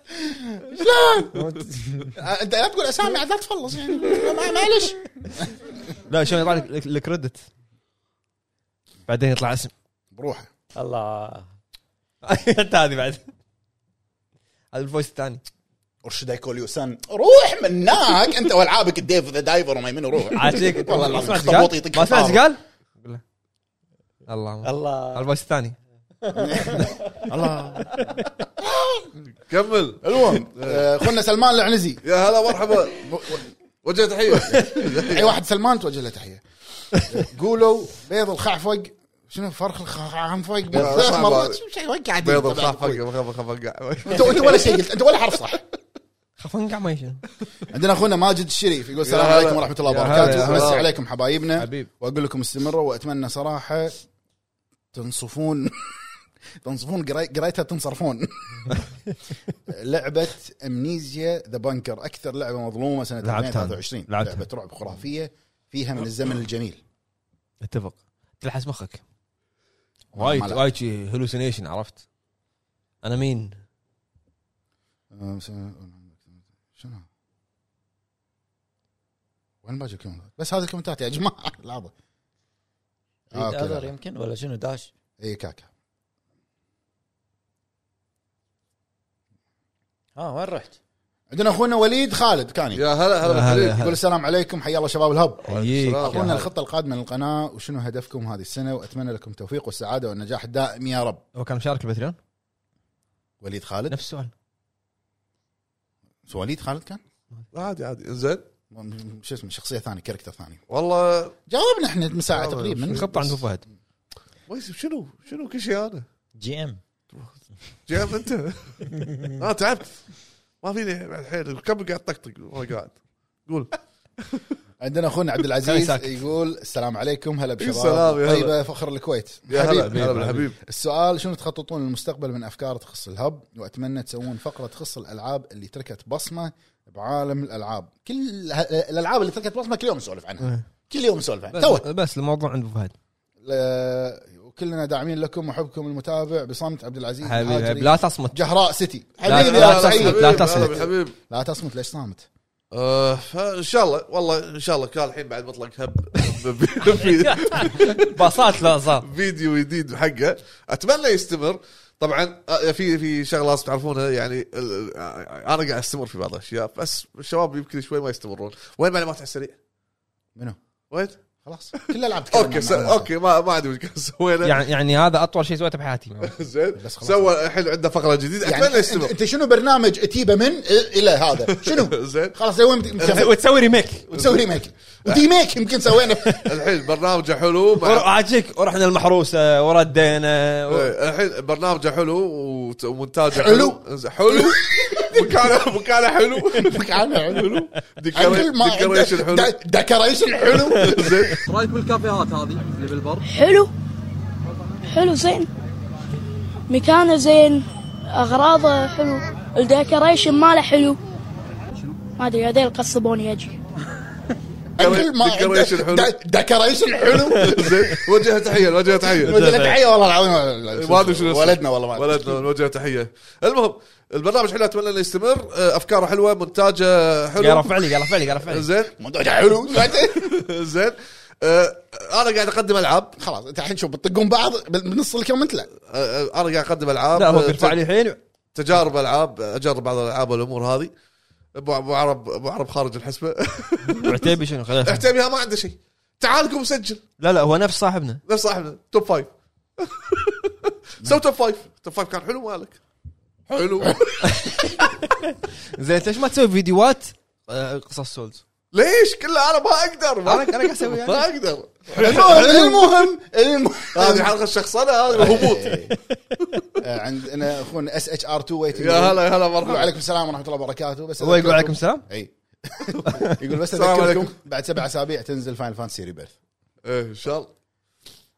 S3: انت لا تقول اسامي عاد لا تخلص يعني ما- معلش
S2: لا شلون يطلع لك لك- الكريدت بعدين يطلع اسم
S3: بروحه
S6: الله
S2: انت هذه بعد هذا الفويس الثاني
S3: ارشد يقول سان روح مناك انت والعابك الديف ذا دايفر وما يمين روح
S2: عاشيك
S3: والله
S2: ما
S3: العظيم
S2: سمعت
S3: خبوط
S2: قال؟
S3: يطق
S2: ما سمعت
S3: حمار.
S2: قال؟ قول له. الله
S6: الله
S2: الفويس الثاني
S3: الله
S1: كمل
S3: المهم آه، اخونا سلمان العنزي
S1: يا هلا مرحبا وجه تحية
S3: اي واحد سلمان توجه له تحيه قولوا بيض الخعفق شنو فرخ الخعفق ثلاث
S1: صعب
S3: مرات
S1: هذا.
S3: شو شيء وقع عدل.
S1: بيض الخفق خفق خفق
S3: انت انت ولا شيء قلت انت ولا حرف صح
S2: خاف انقع ما يشوف
S3: عندنا اخونا ماجد الشريف يقول السلام
S1: هلا.
S3: عليكم ورحمه الله
S2: يا هلا،
S3: وبركاته
S2: يا هلا.
S3: امسي عليكم حبايبنا
S2: حبيب.
S3: واقول لكم استمروا واتمنى صراحه تنصفون تنصفون قري- قريتها تنصرفون لعبه امنيزيا ذا بانكر اكثر لعبه مظلومه سنه
S2: لعبتها.
S3: 2023
S2: لعبتها.
S3: لعبه رعب خرافيه فيها من الزمن الجميل
S2: اتفق تلحس مخك
S3: ما
S2: وايد
S3: لا.
S2: وايد شي هلوسينيشن عرفت انا مين
S3: أم، س- شنو وين باجي الكومنتات بس هذه الكومنتات يا جماعه لحظه آه،
S6: ريد
S3: أوكي،
S6: اذر
S3: لا.
S6: يمكن ولا شنو داش
S3: اي كاكا
S6: ها وين رحت؟
S3: عندنا اخونا وليد خالد كاني
S1: يا هلا
S2: يا
S1: هلا
S2: هلا.
S1: بالحبيب.
S3: يقول السلام عليكم حيا الله شباب الهب
S2: حييك
S1: السلام.
S3: اعطونا الخطه القادمه للقناه وشنو هدفكم هذه السنه واتمنى لكم التوفيق والسعاده والنجاح الدائم يا رب
S2: هو كان مشارك الباتريون
S3: وليد خالد
S2: نفس السؤال
S3: سو وليد خالد كان
S1: عادي عادي زين
S3: م- م- شو اسمه شخصيه ثانيه كاركتر ثاني
S1: والله
S3: جاوبنا احنا من ساعه
S1: آه،
S3: تقريبا
S2: الخطه عند أبو فهد
S1: ما يصير. شنو شنو كل شيء انا
S6: جي ام
S1: جايب انت انا تعبت ما فيني بعد حيل كم قاعد طقطق وانا قاعد قول
S3: عندنا اخونا عبد
S2: كان
S3: العزيز
S2: ساكت.
S3: يقول السلام عليكم هلا
S1: السلام،
S3: بشباب
S1: يا هلا.
S3: طيبه فخر الكويت
S1: يا هلا
S3: حبيب.
S1: هلا بالحبيب
S3: السؤال شنو تخططون للمستقبل من افكار تخص الهب واتمنى تسوون فقره تخص الالعاب اللي تركت بصمه بعالم الالعاب كل ه- الالعاب اللي تركت بصمه كل يوم نسولف
S2: إيه.
S3: عنها كل يوم نسولف عنها توك
S2: بس, بس الموضوع عند ابو فهد
S3: لا- وكلنا داعمين لكم وحبكم المتابع بصمت عبد العزيز
S2: حبيبي
S3: الحاجري،
S2: حبيبي لا تصمت
S3: جهراء سيتي
S2: لا-
S3: حبيبي
S2: لا
S3: يا
S2: تصمت.
S3: سعيد
S2: لا
S1: هلا
S2: تصمت.
S1: بالحبيب
S3: لا تصمت ليش صامت؟
S1: آه، فان شاء الله والله ان شاء الله كان الحين بعد مطلق هب في- في-
S2: باصات لا صار
S1: فيديو جديد حقه اتمنى يستمر طبعا آه، في في شغله لازم تعرفونها يعني ال- آه، انا قاعد استمر في بعض الاشياء بس الشباب يمكن شوي ما يستمرون وين معلومات على السريع؟
S3: منو؟
S1: وين؟
S3: خلاص كل الالعاب تكلمنا
S1: اوكي س-
S3: عنها.
S1: اوكي ما ما عندي مشكله سوينا
S2: يعني يعني هذا اطول شيء سويته بحياتي
S1: زين
S3: بس خلاص.
S1: سوى الحين عندنا فقره جديده
S3: يعني
S1: اتمنى
S3: انت,
S1: يستمر
S3: انت شنو برنامج اتيبه من إ- الى هذا؟ شنو؟
S1: زين
S3: خلاص لوين بت- بتسوي-
S2: وتسوي ريميك
S3: بتسوي ريميك وديميك يمكن سوينا
S1: الحين برنامجه حلو مع-
S2: عاجيك ورحنا المحروسه وردينا و-
S1: إيه، الحين برنامجه حلو وت- ومونتاجه
S3: حلو.
S1: حلو حلو مكانه مكانه حلو
S3: مكانه حلو
S1: ديكوري- ديكوريشن حلو
S3: ديكوريشن حلو
S1: زين
S7: رايك بالكافيهات هذه اللي بالبر؟
S8: حلو حلو زين مكانه زين اغراضه حلو الديكوريشن ماله حلو ما ادري هذيل قصبوني اجي
S3: كل ما
S1: ديكوريشن حلو.
S3: ديكوريشن حلو
S1: زين وجهه تحيه وجهه تحيه
S3: ولد تحيه والله العظيم
S1: ما ادري شنو اسمه.
S3: ولدنا والله ما أدري.
S1: ولدنا نوجه تحيه المهم البرنامج حلو اتمنى انه يستمر آه، افكاره حلوه مونتاجه
S2: قال
S1: حلو
S2: رفع لي قال رفع لي قال رفع لي
S1: زين
S3: موضوع حلو
S1: زين آه، انا قاعد اقدم العاب
S3: خلاص انت الحين شوف بتطقون بعض بال- بنص الكومنت لا
S1: آه، آه، انا قاعد اقدم العاب
S2: لا هو
S1: آه،
S2: بيرفع لي الحين
S1: تجارب العاب اجرب بعض الالعاب والامور هذه ابو ابو عرب ابو عرب خارج الحسبه
S2: عتيبي شنو خلاص
S1: عتيبيها ما عنده شيء تعالكم سجل
S2: لا لا هو نفس صاحبنا
S1: نفس صاحبنا توب فايف سو توب فايف توب فايف كان حلو مالك حلو
S2: زين انت ليش ما تسوي فيديوهات آه، قصص سولز
S1: ليش كله انا ما اقدر ما
S2: انا قاعد اسوي يعني.
S1: ما اقدر
S3: المهم إيه، المهم
S1: آه، إيه. هذه حلقه الشخصنه هذا الهبوط
S3: آه، عندنا اخونا اس اتش ار 2 ويتنج
S1: يا هلا يا هلا مرحبا
S3: وعليكم السلام ورحمه الله وبركاته بس
S2: هو يقول
S3: أذكركم-
S2: عليكم السلام
S3: اي يقول بس
S1: السلام
S3: اذكركم
S1: عليكم.
S3: بعد سبع اسابيع تنزل فاين فانسي ريبيرث
S1: إيه، ان شاء الله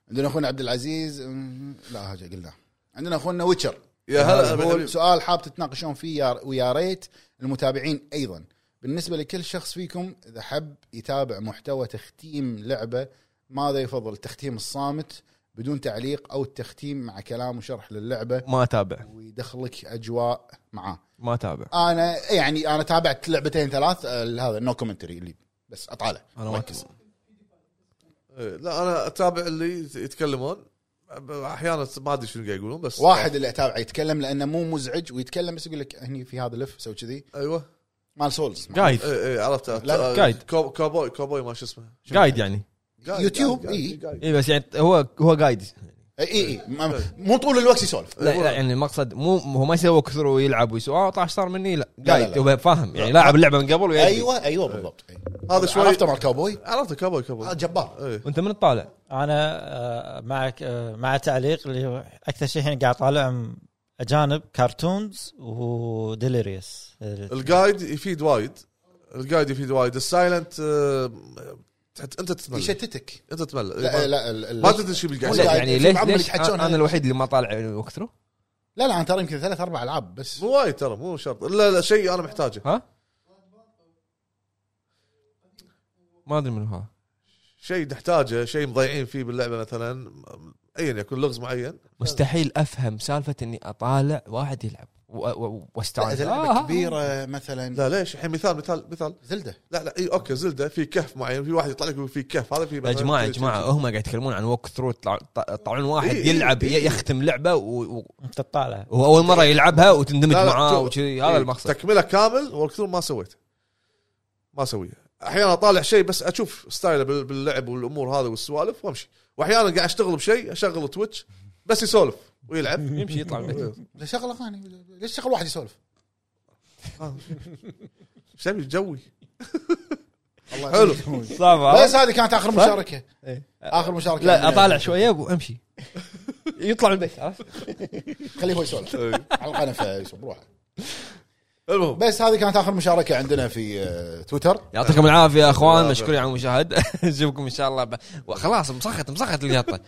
S3: عندنا اخونا عبد العزيز أم، لا هذا قلنا عندنا اخونا ويتشر
S1: يا هلا
S3: يقول
S1: بالحبيب.
S3: سؤال حاب تتناقشون فيه يا- ويا ريت المتابعين ايضا بالنسبه لكل شخص فيكم اذا حب يتابع محتوى تختيم لعبه ماذا يفضل التختيم الصامت بدون تعليق او التختيم مع كلام وشرح للعبه
S2: ما اتابع
S3: ويدخلك اجواء معاه
S2: ما اتابع
S3: انا يعني انا تابعت لعبتين ثلاث آه، هذا نو كومنتري اللي بس اطالع
S2: انا ما أتابع.
S1: إيه، لا انا اتابع اللي يتكلمون احيانا ما ادري شنو قاعد يقولون بس
S3: واحد اللي اتابعه يتكلم لانه مو مزعج ويتكلم بس يقول لك هني في هذا لف سوي كذي
S1: ايوه
S3: مال سولز
S2: قايد
S1: اي اي إيه، عرفت عرفت.
S3: لا،
S1: آه،
S2: قايد.
S1: كو- كوبوي كوبوي ما شو اسمه
S2: قايد يعني
S1: قايد،
S3: يوتيوب، إيه.
S1: قايد،
S3: إي.
S1: قايد.
S2: اي بس يعني هو هو قايد
S3: اي اي
S1: إيه.
S3: ما- مو طول الوقت يسولف
S2: لا, لا يعني المقصد مو هو ما يسوي كثر ويلعب ويسوي اه طاح صار مني لا أيوة.
S3: لا،
S2: قايد
S3: لا.
S2: هو فاهم يعني لاعب اللعبه من قبل ويدري.
S3: ايوه ايوه بالضبط إي.
S1: إيه. هذا شوي إيه.
S3: عرفته مال كاوبوي
S1: عرفت كابوي كابوي
S3: آه، جبار
S1: إيه.
S2: وانت من تطالع
S6: انا آه، معك آه، مع تعليق اللي هو اكثر شيء الحين قاعد طالعهم اجانب كرتونز وديليريس
S1: القايد يفيد وايد القايد يفيد وايد السايلنت آه، تحت- انت تتمل
S3: يشتتك
S1: انت تتمل
S3: لا
S1: إيه، ما-
S3: لا ال- ال-
S1: ما تدري شو بالقاعد
S3: ولا-
S1: يسوي.
S3: قاعد
S2: يعني
S3: في
S2: ليش
S3: معمل
S2: ليش
S3: يتحجون
S2: انا
S3: هذا.
S2: الوحيد اللي ما طالع وكثره
S3: لا لا انا ترى يمكن ثلاث اربع العاب بس
S1: مو وايد ترى مو شرط لا لا شيء انا محتاجه
S2: ها ما ادري من هو هذا.
S1: شيء نحتاجه شيء مضيعين فيه باللعبه مثلا ايا يكون لغز معين
S2: مستحيل افهم سالفه اني اطالع واحد يلعب و- و- واستعان
S3: اذا
S2: آه،
S3: لعبه
S2: آه.
S3: كبيره مثلا
S1: لا ليش الحين مثال مثال مثال
S3: زلده
S1: لا لا اي اوكي زلده في كهف معين في واحد يطلع لك يقول في كهف هذا في
S2: يا جماعه يا جماعه هم قاعد يتكلمون عن ووك ثرو يطلعون واحد
S1: إي- إي-
S2: يلعب
S1: إي.
S2: يختم لعبه و- و-
S6: انت تطالع
S2: وهو اول مره يلعبها وتندمج
S1: لا، لا،
S2: معاه
S1: تو-
S2: وكذي
S1: إيه،
S2: هذا المقصد
S1: تكمله كامل والكثر ما سويته ما اسويه احيانا اطالع شيء بس اشوف ستايله بال- باللعب والامور هذه والسوالف وامشي واحيانا قاعد اشتغل بشيء اشغل تويتش بس يسولف ويلعب
S2: يمشي يطلع من البيت
S3: ليش شغله ثانيه ليش شغل واحد يسولف
S1: ايش تبي جوي
S3: الله
S1: حلو. إيه.
S3: يسلمك.
S2: صعب
S3: بس هذه كانت اخر مشاركه اخر مشاركه
S2: لا اطالع شويه وامشي يطلع من البيت عرفت؟
S3: خليه هو يسولف
S1: إيه.
S3: على القنفه يسولف روحه
S1: المهم
S3: بس هذه كانت اخر مشاركه عندنا في آه، تويتر
S2: يعطيكم العافيه يا اخوان
S1: العافية.
S2: مشكورين على المشاهده نشوفكم ان شاء الله ب... خلاص مسخت مسخت القطه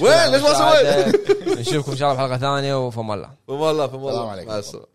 S1: وين؟ ليش ما سويت؟
S2: نشوفكم ان شاء الله بحلقه ثانيه وفما الله
S1: فما الله فما
S3: السلام
S1: الله
S3: عليكم.
S1: مع السلامه